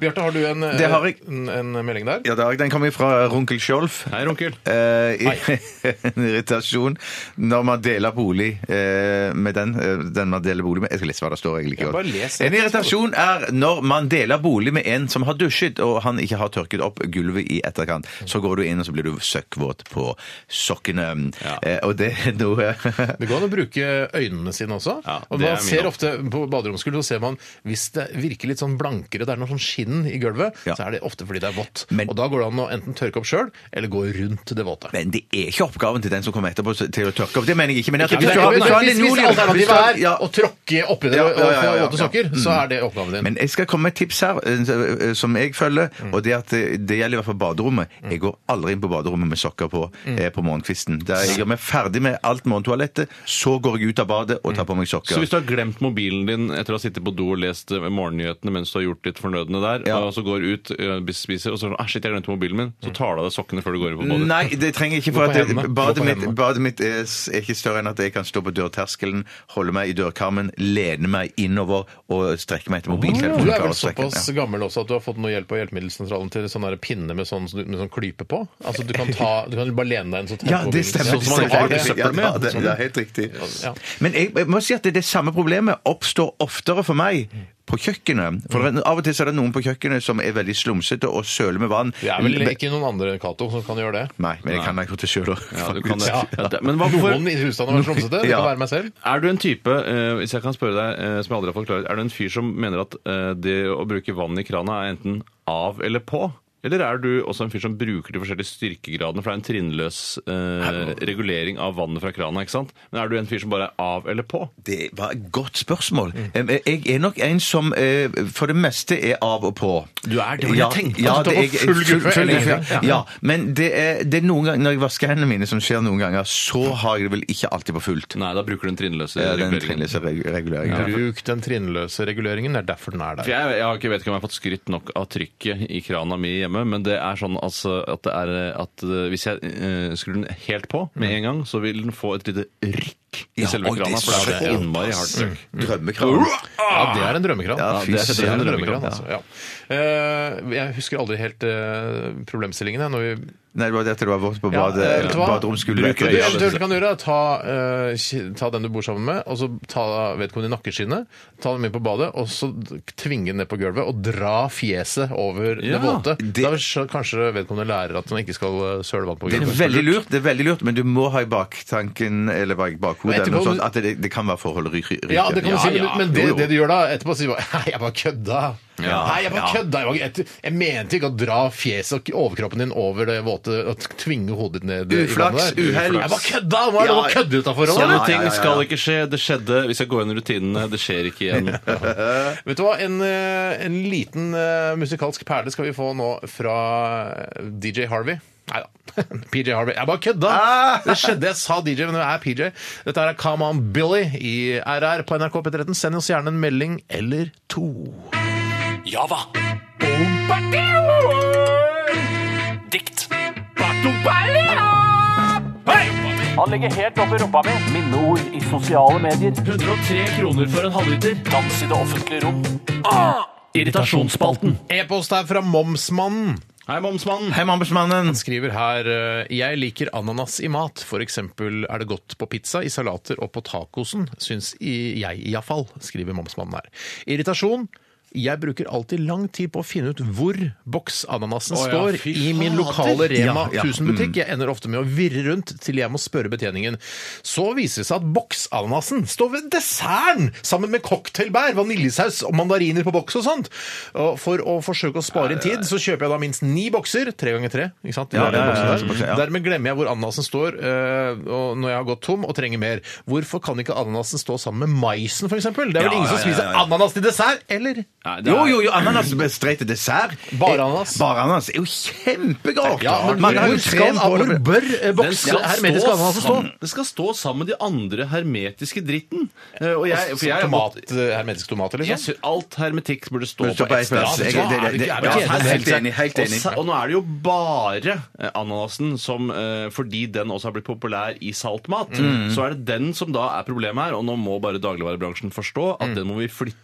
[SPEAKER 2] Bjarte, har du en, eh,
[SPEAKER 3] Det har jeg.
[SPEAKER 2] en, en melding der?
[SPEAKER 3] Ja, da, den kommer fra Runkel Skjolf.
[SPEAKER 4] Hei, Ronkel.
[SPEAKER 3] Eh, i- en irritasjon når man deler bolig eh, med den, eh, den man deler bolig med. Jeg skal lese hva det står. jeg liker
[SPEAKER 2] Ja,
[SPEAKER 3] godt.
[SPEAKER 2] bare les det.
[SPEAKER 3] En irritasjon er når man deler bolig med en som har dusjet, og han ikke har tørket opp gulvet i etterkant. Så går du inn, og så blir du søkkvåt på sokkene. Eh, og det er noe
[SPEAKER 2] Det går an å bruke øynene sine også.
[SPEAKER 4] Ja,
[SPEAKER 2] og
[SPEAKER 4] det er
[SPEAKER 2] man
[SPEAKER 4] min
[SPEAKER 2] ser
[SPEAKER 4] opp-
[SPEAKER 2] ofte På baderomsgulvet så ser man hvis det virker litt sånn blankere, det er noe sånn skinn i gulvet,
[SPEAKER 3] Ja.
[SPEAKER 2] så er det ofte fordi det er vått.
[SPEAKER 3] Men-
[SPEAKER 2] og da går det an å enten tørke opp sjøl, eller gå rundt det våte.
[SPEAKER 3] Men det er ikke oppgaven til den som kommer etterpå til å tørke opp. Det mener jeg ikke. Men jeg tror-
[SPEAKER 2] Hvis
[SPEAKER 3] hvis du har- hvis du har
[SPEAKER 2] hvis- hvis
[SPEAKER 3] linoleum- hvis du
[SPEAKER 2] alternativet
[SPEAKER 3] har-
[SPEAKER 2] er
[SPEAKER 3] ja.
[SPEAKER 2] å tråkke oppi det
[SPEAKER 3] Ja,
[SPEAKER 2] og
[SPEAKER 3] ja, ja, ja,
[SPEAKER 2] få
[SPEAKER 3] ja.
[SPEAKER 2] våte sokker, så er det oppgaven din.
[SPEAKER 3] Men jeg skal komme med et tips her eh, som jeg følger,
[SPEAKER 2] Mm.
[SPEAKER 3] og det er at eh, det gjelder i hvert fall baderommet. Jeg går aldri inn på baderommet med sokker på
[SPEAKER 2] Mm.
[SPEAKER 3] eh, på morgenkvisten. Da jeg gjør meg ferdig med alt morgentoalettet, så går jeg ut av badet og tar på meg
[SPEAKER 4] Så
[SPEAKER 3] sokker.
[SPEAKER 4] hvis du har glemt mobilen din etter å ha sittet på do og lest eh, morgennyhetene mens du har gjort ditt fornødne der,
[SPEAKER 3] Ja. Mm.
[SPEAKER 4] og så går du ut, eh, spiser, og så er det sånn, «Ah, shit, jeg glemte mobilen min, så tar du av deg sokkene før du går inn på badet.
[SPEAKER 3] Nei, det trenger jeg ikke.
[SPEAKER 2] Gå
[SPEAKER 3] for
[SPEAKER 2] på
[SPEAKER 3] at det,
[SPEAKER 2] hendene. Gå
[SPEAKER 3] Badet
[SPEAKER 2] på
[SPEAKER 3] mitt,
[SPEAKER 2] hendene.
[SPEAKER 3] badet mitt er, s- er ikke større enn at jeg kan stå på dørterskelen, holde meg i dørkarmen, lene meg innover og strekke meg etter mobiltelefonen.
[SPEAKER 2] Du er
[SPEAKER 3] Klarer
[SPEAKER 2] vel
[SPEAKER 3] å strekke den,
[SPEAKER 2] såpass
[SPEAKER 3] ja.
[SPEAKER 2] gammel også at du har fått noe hjelp på hjelpemiddelsentralen til sånn der pinne med sånn, med sånn klype på? Altså Du kan, ta, du kan bare lene deg inn så tett
[SPEAKER 3] Ja,
[SPEAKER 2] på
[SPEAKER 3] det
[SPEAKER 2] bilen.
[SPEAKER 3] stemmer.
[SPEAKER 2] Sånn som man har
[SPEAKER 3] Det
[SPEAKER 2] det.
[SPEAKER 3] stemmer.
[SPEAKER 4] søppel med.
[SPEAKER 3] Ja, det, det er helt riktig.
[SPEAKER 2] Ja.
[SPEAKER 3] Men jeg, jeg må si at det, det samme problemet oppstår oftere for meg på kjøkkenet. For det er- Av og til så er det noen på kjøkkenet som er veldig slumsete og søler med vann.
[SPEAKER 2] Det er vel ikke noen andre enn Cato som kan gjøre det?
[SPEAKER 3] Nei, men jeg kan da ikke til sjøl
[SPEAKER 4] Ja, du kan det.
[SPEAKER 2] Ja.
[SPEAKER 4] Ja, det- Men hvorfor,
[SPEAKER 2] Noen i husstanden har vært slumsete. Det
[SPEAKER 3] Ja.
[SPEAKER 2] kan være meg selv.
[SPEAKER 4] Er du en type, eh, hvis jeg kan spørre deg, eh, som jeg aldri har fått klarhet, er du en fyr som mener at eh, det å bruke vann i krana er enten av eller på? Eller er du også en fyr som bruker de forskjellige styrkegradene, for det er en trinnløs eh, regulering av vannet fra krana, ikke sant? Men er du en fyr som bare er av eller på?
[SPEAKER 3] Det var et godt spørsmål.
[SPEAKER 2] Mm.
[SPEAKER 3] Em, Jeg er nok en som eh, for det meste er av og på.
[SPEAKER 2] Du er det, men jeg tenkte
[SPEAKER 3] ja,
[SPEAKER 2] at du
[SPEAKER 3] det
[SPEAKER 2] var
[SPEAKER 3] er-
[SPEAKER 2] full guffe
[SPEAKER 3] full
[SPEAKER 2] hele
[SPEAKER 3] guffe,
[SPEAKER 2] tiden.
[SPEAKER 3] Ja, men det er, det er noen ganger, når jeg vasker hendene mine, som skjer noen ganger, så har jeg det vel ikke alltid på fullt.
[SPEAKER 4] Nei, da bruker du den trinnløse
[SPEAKER 3] Ja, den
[SPEAKER 4] reguleringen.
[SPEAKER 3] trinnløse reg- reguleringen.
[SPEAKER 2] Bruk den trinnløse reguleringen. Det er derfor den er
[SPEAKER 4] For
[SPEAKER 2] der.
[SPEAKER 4] jeg, jeg har ikke vet ikke om jeg har fått skrytt nok av trykket i krana mi hjemme, men det er sånn altså, at, det er, eh, at eh, hvis jeg eh, skrur den helt på med en gang, så vil den få et lite rykk i
[SPEAKER 3] Ja,
[SPEAKER 4] selve
[SPEAKER 3] oi, det
[SPEAKER 4] krana,
[SPEAKER 3] er
[SPEAKER 4] for det er
[SPEAKER 3] såpass.
[SPEAKER 4] innmari hardt trykk.
[SPEAKER 3] Drømmekran.
[SPEAKER 2] Ja, det er en drømmekran.
[SPEAKER 3] Ja, fy
[SPEAKER 2] det er, det er
[SPEAKER 3] søren,
[SPEAKER 2] en drømmekran,
[SPEAKER 3] drømmekran,
[SPEAKER 2] altså. Ja. Eh, Jeg husker aldri helt eh, problemstillingene. Når vi
[SPEAKER 3] Nei, det var det at det var vått på
[SPEAKER 2] Ja,
[SPEAKER 3] bade,
[SPEAKER 2] eh, vet du hva?
[SPEAKER 3] baderomsgulvet.
[SPEAKER 4] Bruk
[SPEAKER 2] Det
[SPEAKER 4] Ja,
[SPEAKER 2] eventuelt du kan gjøre, er å ta, eh, ki- ta den du bor sammen med, og så ta vedkommende i nakkeskinnet, ta dem med på badet, og så d- tvinge den ned på gulvet og dra fjeset over
[SPEAKER 4] Ja,
[SPEAKER 2] det våte.
[SPEAKER 3] det-
[SPEAKER 2] Da vil så- kanskje vedkommende lærer at man ikke skal eh, søle vann på
[SPEAKER 3] Det er
[SPEAKER 2] gulvet.
[SPEAKER 3] veldig lurt, det er veldig lurt, men du må ha i baktanken eller bak bakhodet eller
[SPEAKER 2] Etterpå-
[SPEAKER 3] noe sånt, at det, det kan være forhold ry- ry- ryker.
[SPEAKER 2] Ja, det kan du si, men,
[SPEAKER 4] ja.
[SPEAKER 2] men det,
[SPEAKER 3] Jo, jo.
[SPEAKER 2] det du gjør da etterpå, sier du bare Nei, jeg bare kødda. Nei, jeg bare kødda. Jeg, var- jeg, jeg mente ikke å dra fjeset og overkroppen din over det våte og t- tvinge hodet ditt ned i
[SPEAKER 3] Uflaks,
[SPEAKER 2] vannet. der.
[SPEAKER 3] uhell.
[SPEAKER 2] Jeg bare kødda! Hva er det
[SPEAKER 3] Ja,
[SPEAKER 2] å kødde utafor?
[SPEAKER 4] Sånne
[SPEAKER 3] ja,
[SPEAKER 4] ting
[SPEAKER 3] ja, ja.
[SPEAKER 4] skal ikke skje. Det skjedde. Hvis jeg går inn i rutinene, det skjer ikke igjen.
[SPEAKER 2] Vet du hva, en, eh, en liten eh, musikalsk perle skal vi få nå fra DJ Harvey. Nei da. PJ Harvey. Jeg bare kødda! Det skjedde. Jeg sa DJ, men det er PJ. Dette er Come On Billy i RR på NRK P13. Send oss gjerne en melding eller to.
[SPEAKER 8] Java. Dikt. Han legger helt opp i rumpa mi. Minneord i sosiale medier. 103 kroner for en halvliter. Dans i det offentlige rom. Ah! Irritasjonsspalten.
[SPEAKER 2] E-post her fra Momsmannen.
[SPEAKER 4] Hei, momsmannen!
[SPEAKER 3] Hei, mannsmannen!
[SPEAKER 2] Skriver her eh, Jeg liker ananas i mat. For eksempel er det godt på pizza, i salater og på tacosen, syns i- jeg iallfall, skriver momsmannen her. Irritasjon. Jeg bruker alltid lang tid på å finne ut hvor
[SPEAKER 4] Å
[SPEAKER 2] boksananasen
[SPEAKER 4] ja,
[SPEAKER 2] står
[SPEAKER 4] fy
[SPEAKER 2] i min lokale
[SPEAKER 4] fader.
[SPEAKER 2] Rema
[SPEAKER 3] Ja, ja,
[SPEAKER 2] 1000-butikk.
[SPEAKER 4] Mm.
[SPEAKER 2] Jeg ender ofte med å virre rundt til jeg må spørre betjeningen. Så viser det seg at boksananasen står ved desserten sammen med cocktailbær, vaniljesaus og mandariner på boks og sånt. Og for å forsøke å spare inn tid, så kjøper jeg da minst ni bokser, tre ganger tre, ikke sant?
[SPEAKER 3] Ja,
[SPEAKER 2] Det er den
[SPEAKER 3] ja, ja,
[SPEAKER 2] boksen
[SPEAKER 3] ja,
[SPEAKER 2] der.
[SPEAKER 3] ja.
[SPEAKER 2] Dermed glemmer jeg hvor ananasen står eh, og når jeg har gått tom og trenger mer. Hvorfor kan ikke ananasen stå sammen med maisen, f.eks.? Det er
[SPEAKER 4] Ja,
[SPEAKER 2] vel ingen som
[SPEAKER 4] ja, ja,
[SPEAKER 2] spiser
[SPEAKER 4] ja, ja.
[SPEAKER 2] ananas til dessert, eller?
[SPEAKER 4] Nei, det er-
[SPEAKER 3] Jo, jo, jo, ananas med streit til dessert.
[SPEAKER 2] Bare ananas.
[SPEAKER 3] Eh, Bare ananas er jo kjempegodt!
[SPEAKER 2] Ja, men
[SPEAKER 3] Man har
[SPEAKER 2] hvor,
[SPEAKER 3] jo krem
[SPEAKER 2] skal,
[SPEAKER 3] på
[SPEAKER 2] hvor
[SPEAKER 3] det.
[SPEAKER 2] bør eh,
[SPEAKER 4] Den
[SPEAKER 2] boks
[SPEAKER 4] skal
[SPEAKER 2] hermetisk
[SPEAKER 4] stå
[SPEAKER 2] ananasen stå?
[SPEAKER 4] sam- Den skal stå sammen med de andre hermetiske dritten. Eh, Og jeg, for jeg,
[SPEAKER 2] Tomat, eh, hermetisk tomat, eller
[SPEAKER 4] jeg synes alt hermetikk burde stå
[SPEAKER 3] Burde stå
[SPEAKER 4] på ett sted.
[SPEAKER 2] plass.
[SPEAKER 3] Jeg-
[SPEAKER 2] Ja,
[SPEAKER 3] det- det- det-
[SPEAKER 2] er
[SPEAKER 3] ja,
[SPEAKER 2] vi ikke enige?
[SPEAKER 3] Helt enig. helt
[SPEAKER 4] Og,
[SPEAKER 3] enig.
[SPEAKER 4] sa- og nå er det jo bare eh, ananasen som eh, Fordi den også har blitt populær i saltmat,
[SPEAKER 3] Mm.
[SPEAKER 4] så er det den som da er problemet her. Og nå må bare dagligvarebransjen forstå
[SPEAKER 3] Mm.
[SPEAKER 4] at den må vi flytte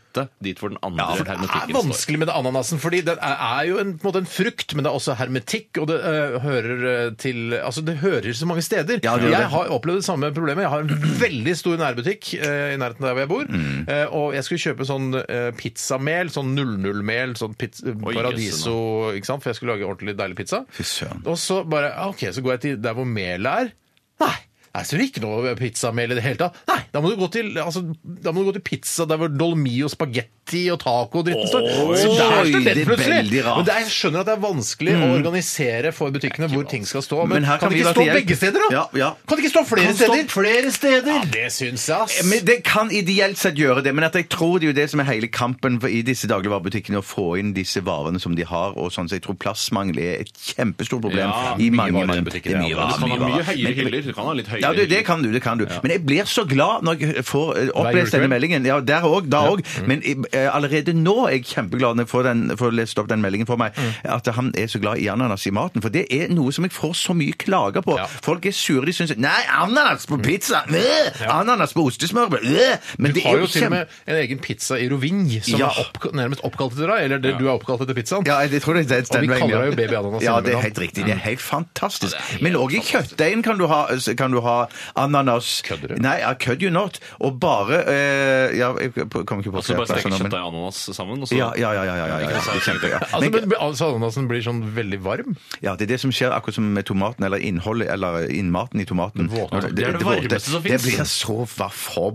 [SPEAKER 4] dit hvor den andre
[SPEAKER 2] Ja, for det er
[SPEAKER 4] hermetikken står.
[SPEAKER 2] vanskelig med det ananasen, fordi den er, er jo en, på en måte en frukt, men det er også hermetikk, og det eh, hører eh, til Altså, det hører så mange steder.
[SPEAKER 3] Ja, det gjør det.
[SPEAKER 2] jeg har opplevd det samme problemet. Jeg har en veldig stor nærbutikk eh, i nærheten der hvor jeg bor,
[SPEAKER 3] Mm.
[SPEAKER 2] eh, og jeg skulle kjøpe sånn eh, pizzamel, sånn 00-mel, sånn pizz- paradiso, ikke sant, for jeg skulle lage ordentlig deilig pizza.
[SPEAKER 3] Fy søren.
[SPEAKER 2] Og så bare ah, OK, så går jeg til der hvor melet er. Nei! Jeg ser ikke noe pizzamel i det hele tatt. Nei, da må du gå til, altså, da må du gå til pizza der hvor dolmi og spagetti og taco og dritten står. Så der står
[SPEAKER 3] det
[SPEAKER 2] den
[SPEAKER 3] er
[SPEAKER 2] plutselig!
[SPEAKER 3] veldig rart. Mm.
[SPEAKER 2] Men det er, jeg skjønner at det er vanskelig å organisere for butikkene hvor ting skal stå. Men,
[SPEAKER 3] Men her kan
[SPEAKER 2] kan, det
[SPEAKER 3] vi
[SPEAKER 2] ikke
[SPEAKER 3] være
[SPEAKER 2] stå
[SPEAKER 3] til hjelp.
[SPEAKER 2] begge steder, da?
[SPEAKER 3] Ja, ja.
[SPEAKER 2] Kan det ikke stå flere
[SPEAKER 3] Kan stå
[SPEAKER 2] steder? flere steder! Ja, det syns jeg, ass.
[SPEAKER 3] Eh, Men Det kan ideelt sett gjøre det, men at jeg tror det er jo det som er hele kampen for i disse dagligvarebutikkene, å få inn disse varene som de har. og sånn, så Jeg tror plassmangel er et kjempestort problem
[SPEAKER 4] Ja,
[SPEAKER 3] i
[SPEAKER 4] mye
[SPEAKER 3] mange
[SPEAKER 4] varer i
[SPEAKER 3] mange
[SPEAKER 4] butikken, ja, men Du kan ha mye høyere hyller. Du kan ha litt høyere
[SPEAKER 3] Ja, du, det
[SPEAKER 4] hyller.
[SPEAKER 3] kan du. det kan du. Men jeg blir så glad når jeg får eh, opplest
[SPEAKER 2] julekveld?
[SPEAKER 3] denne meldingen. Ja, der òg. Da òg.
[SPEAKER 2] Mm.
[SPEAKER 3] Men eh, allerede nå er jeg kjempeglad når jeg får, den, får lest opp den meldingen for
[SPEAKER 2] Mm.
[SPEAKER 3] meg, at han er så glad i ananas i maten. For det er noe som jeg får så mye klager på.
[SPEAKER 2] Ja.
[SPEAKER 3] Folk er sure. De syns Nei, ananas på pizza! Øh! Ananas på ostesmørbrød! Øh! Men
[SPEAKER 2] Du
[SPEAKER 3] det
[SPEAKER 2] har
[SPEAKER 3] er
[SPEAKER 2] jo
[SPEAKER 3] jo
[SPEAKER 2] til
[SPEAKER 3] kjempe...
[SPEAKER 2] og med en egen pizza i Rovinj som
[SPEAKER 3] Ja.
[SPEAKER 2] er oppka nærmest oppkalt etter deg. Eller det, du er oppkalt etter pizzaen.
[SPEAKER 3] Ja, jeg tror det er den
[SPEAKER 2] Og vi
[SPEAKER 3] veien, ja.
[SPEAKER 2] kaller det jo babyananas
[SPEAKER 3] Ja, det er
[SPEAKER 2] innimellom.
[SPEAKER 3] helt riktig. Det er helt fantastisk. Men òg i kjøttdeigen kan du ha, kan du ha ananas
[SPEAKER 2] Kødder du?
[SPEAKER 3] Nei, ja, kødd you not. Og bare eh, Ja, jeg kom ikke på
[SPEAKER 4] Så Altså, bare
[SPEAKER 3] flere plasser
[SPEAKER 4] steke
[SPEAKER 3] nå, men-
[SPEAKER 4] kjøttdeig og ananas sammen, og så
[SPEAKER 3] Ja, ja, ja. ja, ja, ja, ja, ja. Kjempe, ja.
[SPEAKER 2] Altså,
[SPEAKER 3] Men,
[SPEAKER 2] men, men altså, Ananasen blir sånn veldig varm.
[SPEAKER 3] ja, det er det som skjer akkurat som med tomaten, eller innholdet, eller innmaten i tomaten.
[SPEAKER 2] Våte.
[SPEAKER 3] Når
[SPEAKER 4] Det er det
[SPEAKER 3] våte.
[SPEAKER 4] varmeste som
[SPEAKER 3] Det
[SPEAKER 4] finnes.
[SPEAKER 3] blir så hva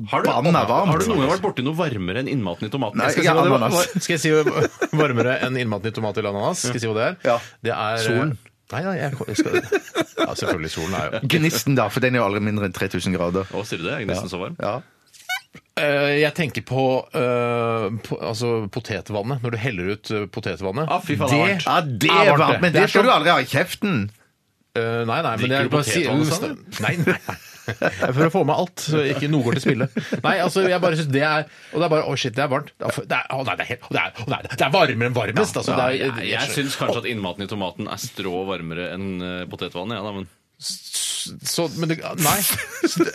[SPEAKER 4] Har du,
[SPEAKER 3] forbanna varmt.
[SPEAKER 4] har du noen gang vært borti noe varmere enn innmaten i tomaten?
[SPEAKER 3] altså. Nei,
[SPEAKER 4] Jeg skal
[SPEAKER 3] Ja,
[SPEAKER 2] Skal jeg si hva det var?
[SPEAKER 3] ananas.
[SPEAKER 2] var- Skal jeg si hva- varmere enn innmaten i tomat eller ananas? Skal jeg si hva det er?
[SPEAKER 3] Ja.
[SPEAKER 2] Det er eh,
[SPEAKER 3] Solen.
[SPEAKER 2] Nei, nei, jeg, jeg skal Ja, selvfølgelig. Solen er jo
[SPEAKER 3] Gnisten, da, for den er jo aldri mindre enn 3000 grader.
[SPEAKER 4] Å, sier du det? Jeg er nesten så varm.
[SPEAKER 3] Ja.
[SPEAKER 2] Eh, Jeg tenker på, eh, på altså, potetvannet. Når du heller ut eh, potetvannet.
[SPEAKER 4] Ah, fy faen, det er
[SPEAKER 2] det
[SPEAKER 3] Ja, det er varmt, men det skal du
[SPEAKER 2] sånn-
[SPEAKER 3] aldri ha i kjeften.
[SPEAKER 2] Eh, Nei, nei, men
[SPEAKER 4] Drikker
[SPEAKER 2] jeg
[SPEAKER 4] du
[SPEAKER 2] bare sier
[SPEAKER 4] potetvann også, eller?
[SPEAKER 2] Nei, nei. For å få med alt, så ikke noe går til spille. Nei, altså, jeg bare syns det er Og det er bare Å, shit, det er varmt. Det er, det er, å, nei, det er, helt- å, det er, å, nei, det er varmere enn varmest. Altså, det er,
[SPEAKER 4] Jeg, jeg, syns kanskje at innmaten i tomaten er strå varmere enn eh, potetvannet. Ja, da, men
[SPEAKER 2] Så, men det, nei.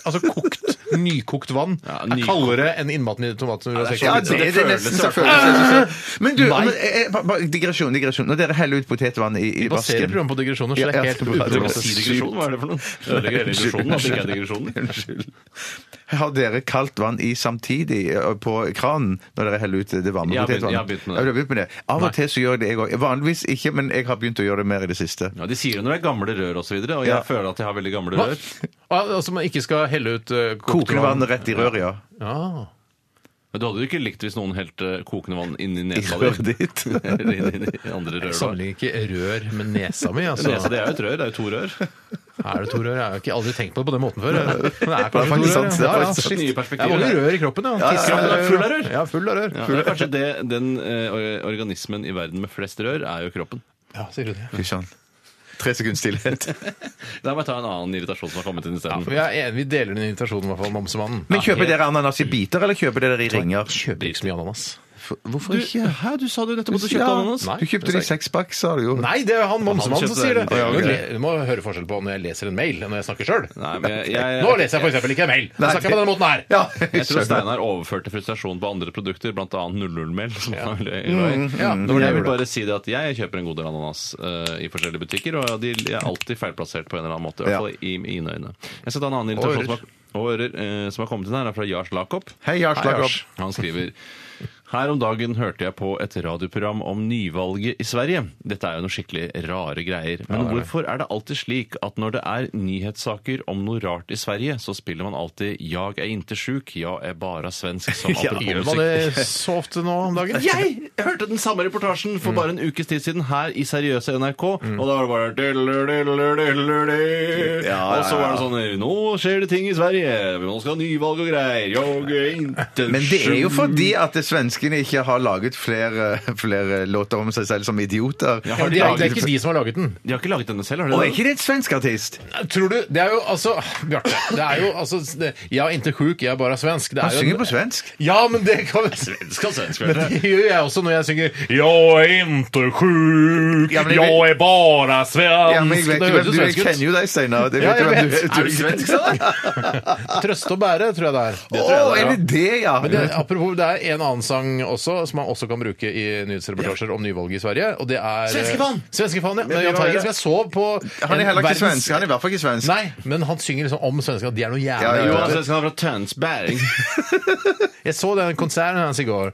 [SPEAKER 2] Altså kokt, nykokt vann
[SPEAKER 4] Ja,
[SPEAKER 2] er
[SPEAKER 4] nykokt.
[SPEAKER 2] kaldere enn innmaten i tomaten. Ja,
[SPEAKER 3] Ja, det, det er nesten selvfølgelig. Men du, men, eh, bare- bare digresjon, digresjon. Når dere heller ut potetvann i, i
[SPEAKER 2] Vi baserer
[SPEAKER 3] vasken
[SPEAKER 2] programmet på digresjoner, så det
[SPEAKER 3] Ja,
[SPEAKER 2] er
[SPEAKER 3] ja,
[SPEAKER 2] helt
[SPEAKER 3] det var- det var-
[SPEAKER 2] uproblematisk.
[SPEAKER 4] Si digresjon, hva er det for noe? Ødelegger hele digresjonen. da, så ikke er digresjonen.
[SPEAKER 3] Har dere kaldt vann i samtidig eh, på kranen når dere heller ut eh, det varme
[SPEAKER 4] Jeg har begynt- jeg har
[SPEAKER 3] potetvannet?
[SPEAKER 4] begynt med det.
[SPEAKER 3] Ja, du har begynt med det. Av og til så gjør jeg det jeg òg. Vanligvis ikke, men jeg har begynt å gjøre det mer i det siste.
[SPEAKER 4] Ja, de sier det når det er gamle rør osv., og, så videre, og jeg
[SPEAKER 3] Ja.
[SPEAKER 4] føler at jeg har veldig gamle
[SPEAKER 2] Hva?
[SPEAKER 4] rør.
[SPEAKER 2] Al- Altså man ikke skal helle ut eh, kokt
[SPEAKER 3] Kokende vann rett i røret, ja.
[SPEAKER 2] Ja.
[SPEAKER 4] Men du hadde jo ikke likt hvis noen helte kokende vann inn i
[SPEAKER 3] I
[SPEAKER 4] nesa di.
[SPEAKER 3] røret ditt.
[SPEAKER 4] Eller inn i andre rør.
[SPEAKER 2] Jeg
[SPEAKER 4] da.
[SPEAKER 2] sammenligner ikke rør med nesa mi. Altså.
[SPEAKER 4] Nesa, det er jo et rør. Det er jo to rør.
[SPEAKER 2] Er det to rør? Jeg har ikke aldri tenkt på det på den måten før. Men det er
[SPEAKER 3] Det er
[SPEAKER 2] kanskje
[SPEAKER 3] faktisk
[SPEAKER 2] to rør.
[SPEAKER 3] sant, det er
[SPEAKER 2] Ja, ja,
[SPEAKER 3] faktisk
[SPEAKER 2] shit.
[SPEAKER 4] Nye
[SPEAKER 2] Det er
[SPEAKER 4] perspektiver.
[SPEAKER 2] mange rør i kroppen. Ja. Tissekroppen
[SPEAKER 4] ja, ja. Full av rør.
[SPEAKER 2] Ja, full av rør.
[SPEAKER 4] Ja, det er kanskje det, den eh, or- organismen i verden med flest rør er jo kroppen.
[SPEAKER 2] Ja, sier du det.
[SPEAKER 3] Fy søren. Tre sekunds stillhet.
[SPEAKER 4] Da må jeg ta en annen irritasjon som har kommet inn
[SPEAKER 2] Ja,
[SPEAKER 4] isteden.
[SPEAKER 2] vi, er enige, vi deler den invitasjonen, i hvert fall, Momsemannen.
[SPEAKER 3] Men kjøper dere ananas i biter, eller kjøper dere i ringer?
[SPEAKER 2] Kjøper ikke så mye ananas.
[SPEAKER 3] For- Hvorfor ikke?
[SPEAKER 4] Hæ, du sa det jo nettopp at du
[SPEAKER 3] Ja,
[SPEAKER 4] kjøpte ananas.
[SPEAKER 3] Du kjøpte det i sekspakk, sa du jo.
[SPEAKER 2] Nei, det er han Momsemann
[SPEAKER 4] Han kjøpte
[SPEAKER 2] som sier det.
[SPEAKER 4] den i
[SPEAKER 2] Du
[SPEAKER 4] tillegg.
[SPEAKER 2] le- Du må høre forskjell på når jeg leser en mail, enn når jeg snakker sjøl.
[SPEAKER 4] Nei, men jeg, jeg,
[SPEAKER 2] Nå leser jeg f.eks. ikke en mail. Nå snakker jeg på denne måten her.
[SPEAKER 3] Ja,
[SPEAKER 4] Jeg tror
[SPEAKER 3] skjønner.
[SPEAKER 4] Steinar overførte frustrasjon på andre produkter, bl.a. 00-mel. som han er veldig glad i.
[SPEAKER 2] ja,
[SPEAKER 4] Men Jeg vil bare si det at jeg kjøper en god del ananas eh, i forskjellige butikker, og de er alltid feilplassert på en eller annen måte. I hvert fall i mine øyne. Jeg skal ta en annen
[SPEAKER 2] ører.
[SPEAKER 4] irritasjon som har, og ører, eh, som har kommet inn her, er fra Jars Lakopp.
[SPEAKER 3] Hei, Lars Lagerup.
[SPEAKER 4] Han skriver her om dagen hørte jeg på et radioprogram om nyvalget i Sverige. Dette er jo noe skikkelig rare greier. Men hvorfor er det alltid slik at når det er nyhetssaker om noe rart i Sverige, så spiller man alltid 'Jag er inte sjuk, jag er bara svensk' som
[SPEAKER 2] Ja, gjør man
[SPEAKER 4] apropos
[SPEAKER 2] det så ofte nå om dagen?
[SPEAKER 4] jeg hørte den samme reportasjen
[SPEAKER 3] Mm.
[SPEAKER 4] for bare en ukes tid siden her i seriøse NRK, og da var det bare dillerdiddillerdill. Og så var det sånn Nå skjer det ting i Sverige! Nå skal ha nyvalg og greier! Jag är inte
[SPEAKER 3] Men det er jo
[SPEAKER 4] sjuk.
[SPEAKER 3] fordi at svenskene ikke har laget flere, flere låter om seg selv som idioter.
[SPEAKER 4] Ja,
[SPEAKER 2] Ja,
[SPEAKER 4] har
[SPEAKER 2] Det
[SPEAKER 4] de,
[SPEAKER 2] er, det er
[SPEAKER 4] laget,
[SPEAKER 2] ikke de som har laget den.
[SPEAKER 4] de har ikke laget denne selv, har de
[SPEAKER 3] Og er
[SPEAKER 4] det?
[SPEAKER 3] ikke det et svensk artist?
[SPEAKER 2] Tror du Det er jo altså Bjarte. Det er jo altså det, Jeg er ikke sjuk, jeg er bare svensk. Det
[SPEAKER 3] Han
[SPEAKER 2] er
[SPEAKER 3] synger
[SPEAKER 2] jo
[SPEAKER 3] på svensk.
[SPEAKER 2] Ja, men det kan
[SPEAKER 4] Svensk og svensk,
[SPEAKER 2] Men
[SPEAKER 4] vet du.
[SPEAKER 2] det gjør jeg også når jeg synger 'Jeg er inte sjuk,
[SPEAKER 3] Ja, men jeg
[SPEAKER 2] jeg er bare svensk'.
[SPEAKER 3] Ja, men jeg vet,
[SPEAKER 2] det
[SPEAKER 3] ikke hvem-
[SPEAKER 2] høres jo
[SPEAKER 3] du, jeg
[SPEAKER 2] svensk ut.
[SPEAKER 3] kjenner jo deg, Steinar. Det
[SPEAKER 2] Ja,
[SPEAKER 3] vet jo
[SPEAKER 2] jeg
[SPEAKER 3] hvem
[SPEAKER 2] vet.
[SPEAKER 3] du-
[SPEAKER 2] Er du svensk, Steinar? Trøste og bære, tror jeg det er.
[SPEAKER 3] Å, er det det, ja?
[SPEAKER 2] Men det, apropos, det er en annen sang også som man også kan bruke i nyhetsreportasjer om nyvalget i Sverige, og det er
[SPEAKER 4] Svenskefan!
[SPEAKER 2] Svenskefan, ja.
[SPEAKER 3] det
[SPEAKER 2] Med Jahn
[SPEAKER 3] var
[SPEAKER 2] Teigen,
[SPEAKER 3] det.
[SPEAKER 2] som jeg så på
[SPEAKER 3] Han er heller ikke
[SPEAKER 2] verdens-
[SPEAKER 3] svensk. Han er i hvert fall ikke svensk.
[SPEAKER 2] Nei, men han synger liksom om svensker, at de er noe jævla
[SPEAKER 3] Ja, ja,
[SPEAKER 4] Jo,
[SPEAKER 3] ja.
[SPEAKER 2] idioter.
[SPEAKER 4] altså, jeg skal ha fra Tønsberg.
[SPEAKER 2] Jeg så den konserten hans i går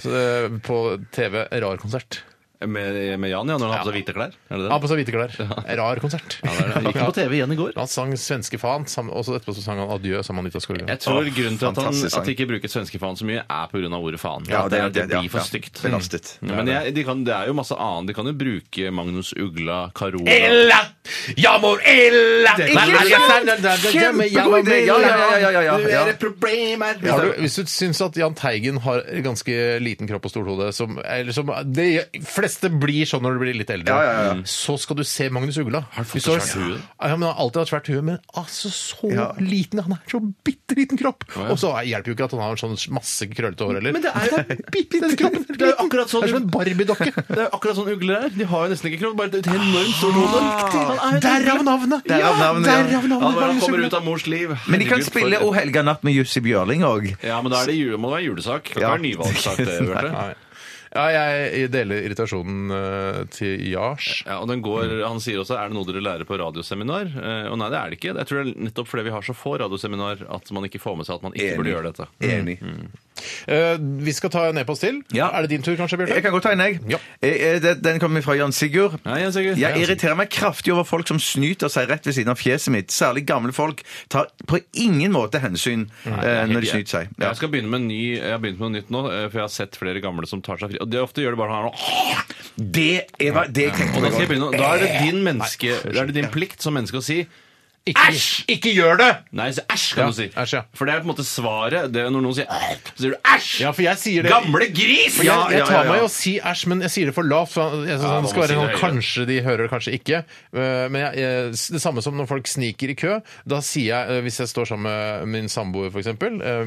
[SPEAKER 2] så, eh, på TV. Rar konsert.
[SPEAKER 4] Med, med Jan, ja, når han har på seg hvite klær. Er det det?
[SPEAKER 2] Han på seg hvite klær. Rar konsert.
[SPEAKER 4] det er det. Gikk han på TV igjen i går?
[SPEAKER 2] Han sang 'Svenske fan', sam- og så etterpå så sang han 'Adjø' sammen med Anita Skorgan.
[SPEAKER 4] Jeg tror grunnen til at han
[SPEAKER 3] fantastisk sang.
[SPEAKER 4] at de ikke bruker svenskefan så mye, er pga. ordet faen.
[SPEAKER 3] Ja,
[SPEAKER 4] det,
[SPEAKER 3] det er-
[SPEAKER 4] er, det
[SPEAKER 3] ja,
[SPEAKER 4] blir for
[SPEAKER 3] ja.
[SPEAKER 4] stygt.
[SPEAKER 3] Belastet.
[SPEAKER 4] Ja, men jeg, de kan, det er jo masse annet. De kan jo bruke Magnus Ugla, Carola
[SPEAKER 2] Jeg mår illa!
[SPEAKER 3] Kjempegod idé! Ja, ja, ja, ja, ja, ja.
[SPEAKER 2] Har du, hvis du syns at Jahn Teigen har ganske liten kropp og stort hode som, eller som De fleste blir sånn når du blir litt eldre. Mm.
[SPEAKER 3] Ja, ja, ja.
[SPEAKER 2] Så skal du se Magnus Ugla. Har
[SPEAKER 4] fått et svært hue?
[SPEAKER 2] Ja, men Han har alltid hatt svært hue, men altså så
[SPEAKER 3] Ja.
[SPEAKER 2] liten! Han har så bitte liten kropp! Og så hjelper jo ikke at han har sånn masse krøllete hår heller.
[SPEAKER 4] Men det er jo-
[SPEAKER 2] bitte liten kropp!
[SPEAKER 4] Det er jo akkurat sånn-
[SPEAKER 2] Det er som en Barbie-dokke.
[SPEAKER 4] Det er jo akkurat sånn ugler er. De har jo nesten ikke kropp, bare et enormt stort
[SPEAKER 2] Ah,
[SPEAKER 4] hode.
[SPEAKER 3] Derav
[SPEAKER 2] Derav navnet!
[SPEAKER 3] navnet, ja.
[SPEAKER 2] Ja, derav
[SPEAKER 4] Ja, når
[SPEAKER 2] navnet
[SPEAKER 4] han
[SPEAKER 2] Magnus
[SPEAKER 4] kommer
[SPEAKER 2] Ugla.
[SPEAKER 4] ut av mors liv.
[SPEAKER 3] Men de kan
[SPEAKER 4] Herregud, for
[SPEAKER 3] spille
[SPEAKER 4] et-
[SPEAKER 3] O helga natt med Jussi Bjørling òg.
[SPEAKER 4] Ja, men da er det jule, må det være julesak. Kan
[SPEAKER 3] Ja.
[SPEAKER 4] ikke være nyvalgsak, det. Bjarte.
[SPEAKER 2] Nei. Ja, jeg deler irritasjonen eh, til Jars.
[SPEAKER 4] Ja, og den går, Han sier også er det noe dere lærer på radioseminar. Eh, og nei, det er det ikke. Jeg tror det er nettopp fordi vi har så få radioseminar at man ikke får med seg at man ikke burde gjøre dette.
[SPEAKER 3] Enig.
[SPEAKER 2] Eh, vi skal ta en e-post til.
[SPEAKER 3] Ja.
[SPEAKER 2] Er det din tur, kanskje, Bjarte?
[SPEAKER 3] Jeg kan godt ta en, jeg.
[SPEAKER 2] Ja.
[SPEAKER 3] Eh, eh, det- Den kommer fra Jan Sigurd.
[SPEAKER 4] Nei, Jens Egil.
[SPEAKER 3] Jeg irriterer meg kraftig over folk som snyter seg rett ved siden av fjeset mitt. Særlig gamle folk tar på ingen måte hensyn eh, når de snyter seg. Ja.
[SPEAKER 4] Jeg skal begynne med en ny, jeg har begynt med noe nytt nå, eh, for jeg har sett flere gamle som tar seg fri. Og det ofte gjør det bare sånn her nå.
[SPEAKER 3] Det er hva det tenkte
[SPEAKER 4] Og da, skal
[SPEAKER 3] jeg
[SPEAKER 4] jeg
[SPEAKER 3] på.
[SPEAKER 4] begynne, da er det din menneske, da er det din plikt som menneske å si
[SPEAKER 2] Ikke, ikke gjør det!
[SPEAKER 4] Nei, så æsj, kan
[SPEAKER 2] Ja,
[SPEAKER 4] du si.
[SPEAKER 2] æsj, ja.
[SPEAKER 4] For det er på en måte svaret. Det er når noen sier æsj, så sier du æsj!
[SPEAKER 2] Ja, for jeg sier det
[SPEAKER 4] Gamle gris!
[SPEAKER 2] jeg,
[SPEAKER 3] Ja,
[SPEAKER 2] jeg
[SPEAKER 3] ja,
[SPEAKER 2] tar
[SPEAKER 3] ja, ja.
[SPEAKER 2] meg i å si æsj, men jeg sier det for lavt. For jeg, jeg, synes
[SPEAKER 4] man
[SPEAKER 2] det
[SPEAKER 4] må
[SPEAKER 2] skal
[SPEAKER 4] si
[SPEAKER 2] være
[SPEAKER 4] det
[SPEAKER 2] noe,
[SPEAKER 4] høyere.
[SPEAKER 2] kanskje de hører det, kanskje ikke. Eh, Men jeg, jeg, det samme som når folk sniker i kø. Da sier jeg, eh, Hvis jeg står sammen med min samboer, f.eks.,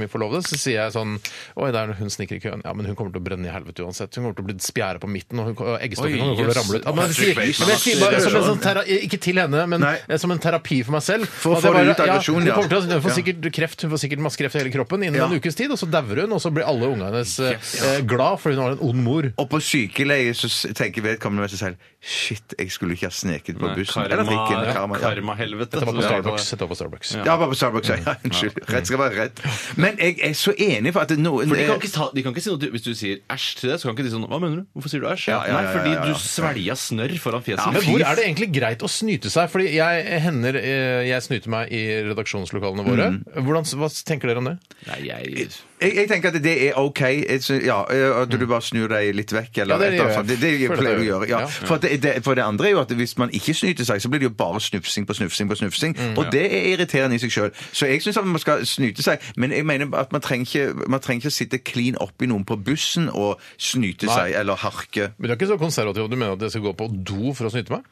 [SPEAKER 2] min forlovede, så sier jeg sånn Oi, der, hun sniker i køen. Ja, men hun kommer til å brenne i helvete uansett. Hun kommer til å bli spjæra på midten, og, hun- og eggstokken
[SPEAKER 4] Oi,
[SPEAKER 2] kommer til å
[SPEAKER 4] jøss.
[SPEAKER 2] ramle ut. Ja, men, jeg sier,
[SPEAKER 4] Patrick
[SPEAKER 2] men jeg sier bare som en sånn tera, Ikke til henne, men
[SPEAKER 3] Nei.
[SPEAKER 2] eh, som en terapi for meg selv.
[SPEAKER 3] For å
[SPEAKER 2] At
[SPEAKER 3] få
[SPEAKER 2] jeg
[SPEAKER 3] det
[SPEAKER 2] bare,
[SPEAKER 3] ut av aggresjonen,
[SPEAKER 2] hun
[SPEAKER 3] ja.
[SPEAKER 2] kommer til å- Hun får
[SPEAKER 3] Ja.
[SPEAKER 2] sikkert kreft, hun får sikkert masse kreft i hele kroppen innen
[SPEAKER 3] Ja.
[SPEAKER 2] en ukes tid, og så dauer hun, og så blir alle ungene hennes eh, eh, glad, for hun har en ond mor.
[SPEAKER 3] Og på sykeleie så s- tenker vedkommende med seg selv Shit, jeg skulle ikke ha sneket på bussen. Eller trikken. eller
[SPEAKER 4] Karma,
[SPEAKER 3] karma, ja.
[SPEAKER 4] karmahelvete.
[SPEAKER 2] Dette var på
[SPEAKER 4] Så-
[SPEAKER 2] Starbucks. Dette var på Starbucks.
[SPEAKER 3] Ja, bare på Starbucks. Ja, unnskyld. Rett skal være rett. Men jeg er så enig for at det noen
[SPEAKER 4] For de kan, ikke ta, de kan ikke si noe til, Hvis du sier æsj til det, så kan ikke de sånn Hva mener du? Hvorfor sier du æsj?
[SPEAKER 3] Ja, ja, ja,
[SPEAKER 4] Nei, fordi
[SPEAKER 3] ja, ja, ja.
[SPEAKER 4] du svelga snørr foran fjeset
[SPEAKER 2] Men
[SPEAKER 4] mitt.
[SPEAKER 2] hvor er det egentlig greit å snyte seg? Fordi jeg hender eh, jeg snyter meg i redaksjonslokalene våre. Hvordan, hva tenker dere om det?
[SPEAKER 4] Nei, jeg
[SPEAKER 3] jeg, jeg tenker at det er OK. Jeg sy- Ja, eh, at du bare snur deg litt vekk. Eller,
[SPEAKER 2] Ja, det
[SPEAKER 3] et eller annet
[SPEAKER 2] gjør jeg.
[SPEAKER 3] sånt. det, det,
[SPEAKER 2] Føler
[SPEAKER 3] pleier
[SPEAKER 2] jeg
[SPEAKER 3] du å
[SPEAKER 2] gjør.
[SPEAKER 3] gjøre. Ja.
[SPEAKER 2] Ja.
[SPEAKER 3] For, at det, det, for det andre er jo at hvis man ikke snyter seg, så blir det jo bare snufsing på snufsing på snufsing. og det er irriterende i seg sjøl. Så jeg syns man skal snyte seg. Men jeg mener at man trenger ikke, man trenger ikke å sitte clean oppi noen på bussen og snyte
[SPEAKER 2] Nei.
[SPEAKER 3] seg eller harke.
[SPEAKER 2] Men Du er ikke så konservativ at du mener at jeg skal gå på do for å snyte meg?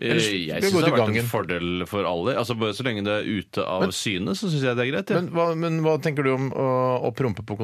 [SPEAKER 4] Eh,
[SPEAKER 2] Ellers
[SPEAKER 4] Jeg
[SPEAKER 2] skal
[SPEAKER 4] syns det
[SPEAKER 2] vi gå
[SPEAKER 4] har
[SPEAKER 2] til
[SPEAKER 4] vært
[SPEAKER 2] gangen.
[SPEAKER 4] en fordel for alle. Altså, bare Så lenge det er ute av syne, så syns jeg det er greit. Ja.
[SPEAKER 2] Men hva, men hva tenker du om å, å prompe på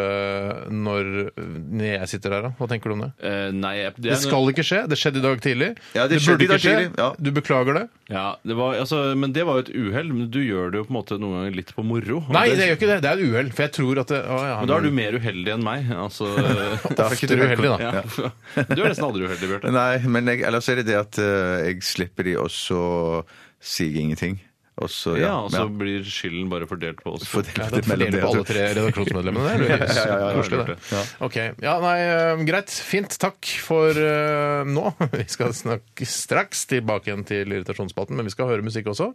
[SPEAKER 2] kontoret når, når jeg sitter her, da? Hva tenker du om det?
[SPEAKER 4] Eh, nei, jeg-
[SPEAKER 2] Det
[SPEAKER 4] er noe-
[SPEAKER 2] skal ikke skje. Det skjedde i dag tidlig.
[SPEAKER 3] Ja, det skjedde
[SPEAKER 2] burde
[SPEAKER 3] i dag
[SPEAKER 2] ikke skje.
[SPEAKER 3] tidlig, ja.
[SPEAKER 2] Du beklager det?
[SPEAKER 4] Ja, det var, altså, men det var jo et uhell. Men du gjør det jo på en måte noen ganger litt på moro. Og
[SPEAKER 2] Nei, det gjør ikke det. Det er et uhell. For jeg tror at det å, ja,
[SPEAKER 4] Men da er du mer uheldig enn meg. Altså,
[SPEAKER 3] Da er ikke
[SPEAKER 2] oftere
[SPEAKER 3] du-
[SPEAKER 2] uheldig, da.
[SPEAKER 4] ja. Du er nesten aldri uheldig, Bjarte.
[SPEAKER 3] Nei, men jeg, ellers er det det at eh, jeg slipper de, og så sier jeg ingenting. Og så, ja.
[SPEAKER 4] Ja, og så
[SPEAKER 3] ja.
[SPEAKER 4] blir skylden bare fordelt på oss.
[SPEAKER 3] Fordelt
[SPEAKER 2] Ja,
[SPEAKER 3] litt
[SPEAKER 2] det
[SPEAKER 3] mellom altså. dere.
[SPEAKER 2] fordeler på alle tre redaksjonsmedlemmene. Det er jo
[SPEAKER 3] Ja, ja, ja, ja,
[SPEAKER 2] koselig, det.
[SPEAKER 3] ja.
[SPEAKER 2] Ok. Ja, nei, eh, greit. Fint. Takk for eh, nå. Vi skal snakke straks tilbake igjen til irritasjonsspalten, men vi skal høre musikk også.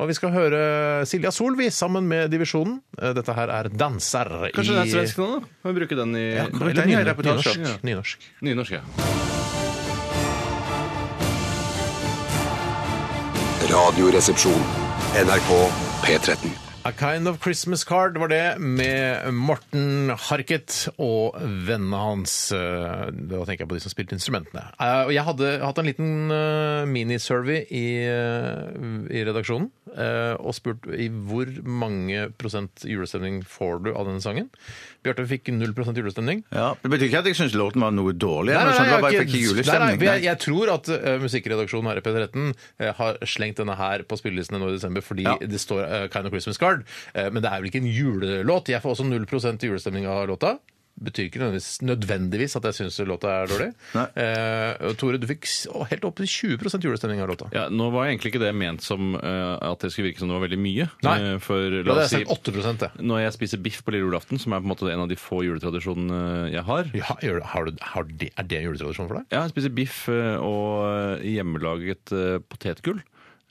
[SPEAKER 2] Og vi skal høre Silja Solvi sammen med Divisjonen. Eh, Dette her er 'Danser'
[SPEAKER 4] Kanskje den
[SPEAKER 2] i
[SPEAKER 4] er svensk nå, da? Kan vi bruke den i
[SPEAKER 2] Ja,
[SPEAKER 3] bruk
[SPEAKER 2] eller
[SPEAKER 3] den i
[SPEAKER 2] nynorsk.
[SPEAKER 3] reportasjen.
[SPEAKER 2] Nynorsk.
[SPEAKER 4] nynorsk?
[SPEAKER 2] Nynorsk.
[SPEAKER 4] Ja.
[SPEAKER 7] Radioresepsjon. NRK P13.
[SPEAKER 2] A Kind of Christmas Card var det, med Morten Harket og vennene hans. Eh, Da tenker jeg på de som spilte instrumentene. Eh, og Jeg hadde hatt en liten eh, minisurvey i, eh, i redaksjonen eh, og spurt i hvor mange prosent julestemning får du av denne sangen. Bjarte fikk 0 julestemning.
[SPEAKER 3] Ja, Det betyr ikke at jeg syns låten var noe dårlig. eller noe sånt, det
[SPEAKER 2] jeg
[SPEAKER 3] var bare
[SPEAKER 2] har
[SPEAKER 3] jeg fikk ikke
[SPEAKER 2] nei, nei,
[SPEAKER 3] julestemning.
[SPEAKER 2] for jeg, jeg tror at eh, musikkredaksjonen her i P13 eh, har slengt denne her på spillelistene nå i desember fordi
[SPEAKER 3] Ja.
[SPEAKER 2] det står eh, Kind of Christmas Card. Eh, men det er vel ikke en julelåt. Jeg får også 0 julestemning av låta. Betyr ikke nødvendigvis, nødvendigvis at jeg syns låta er dårlig.
[SPEAKER 3] Nei.
[SPEAKER 2] Eh, og Tore, du fikk s- å, helt opp til 20 julestemning av låta.
[SPEAKER 4] ja. Nå var egentlig ikke det ment som eh, at det skulle virke som det var veldig mye.
[SPEAKER 2] Nei.
[SPEAKER 4] Eh, For
[SPEAKER 2] Da
[SPEAKER 4] la
[SPEAKER 2] hadde
[SPEAKER 4] oss si
[SPEAKER 2] jeg sagt 8 det.
[SPEAKER 4] når jeg spiser biff på lille julaften, som er på en måte en av de få juletradisjonene jeg har
[SPEAKER 2] Ja, gjør du- har du, har det, er det en juletradisjon for deg?
[SPEAKER 4] Ja, jeg spiser biff eh, og hjemmelaget eh, potetgull.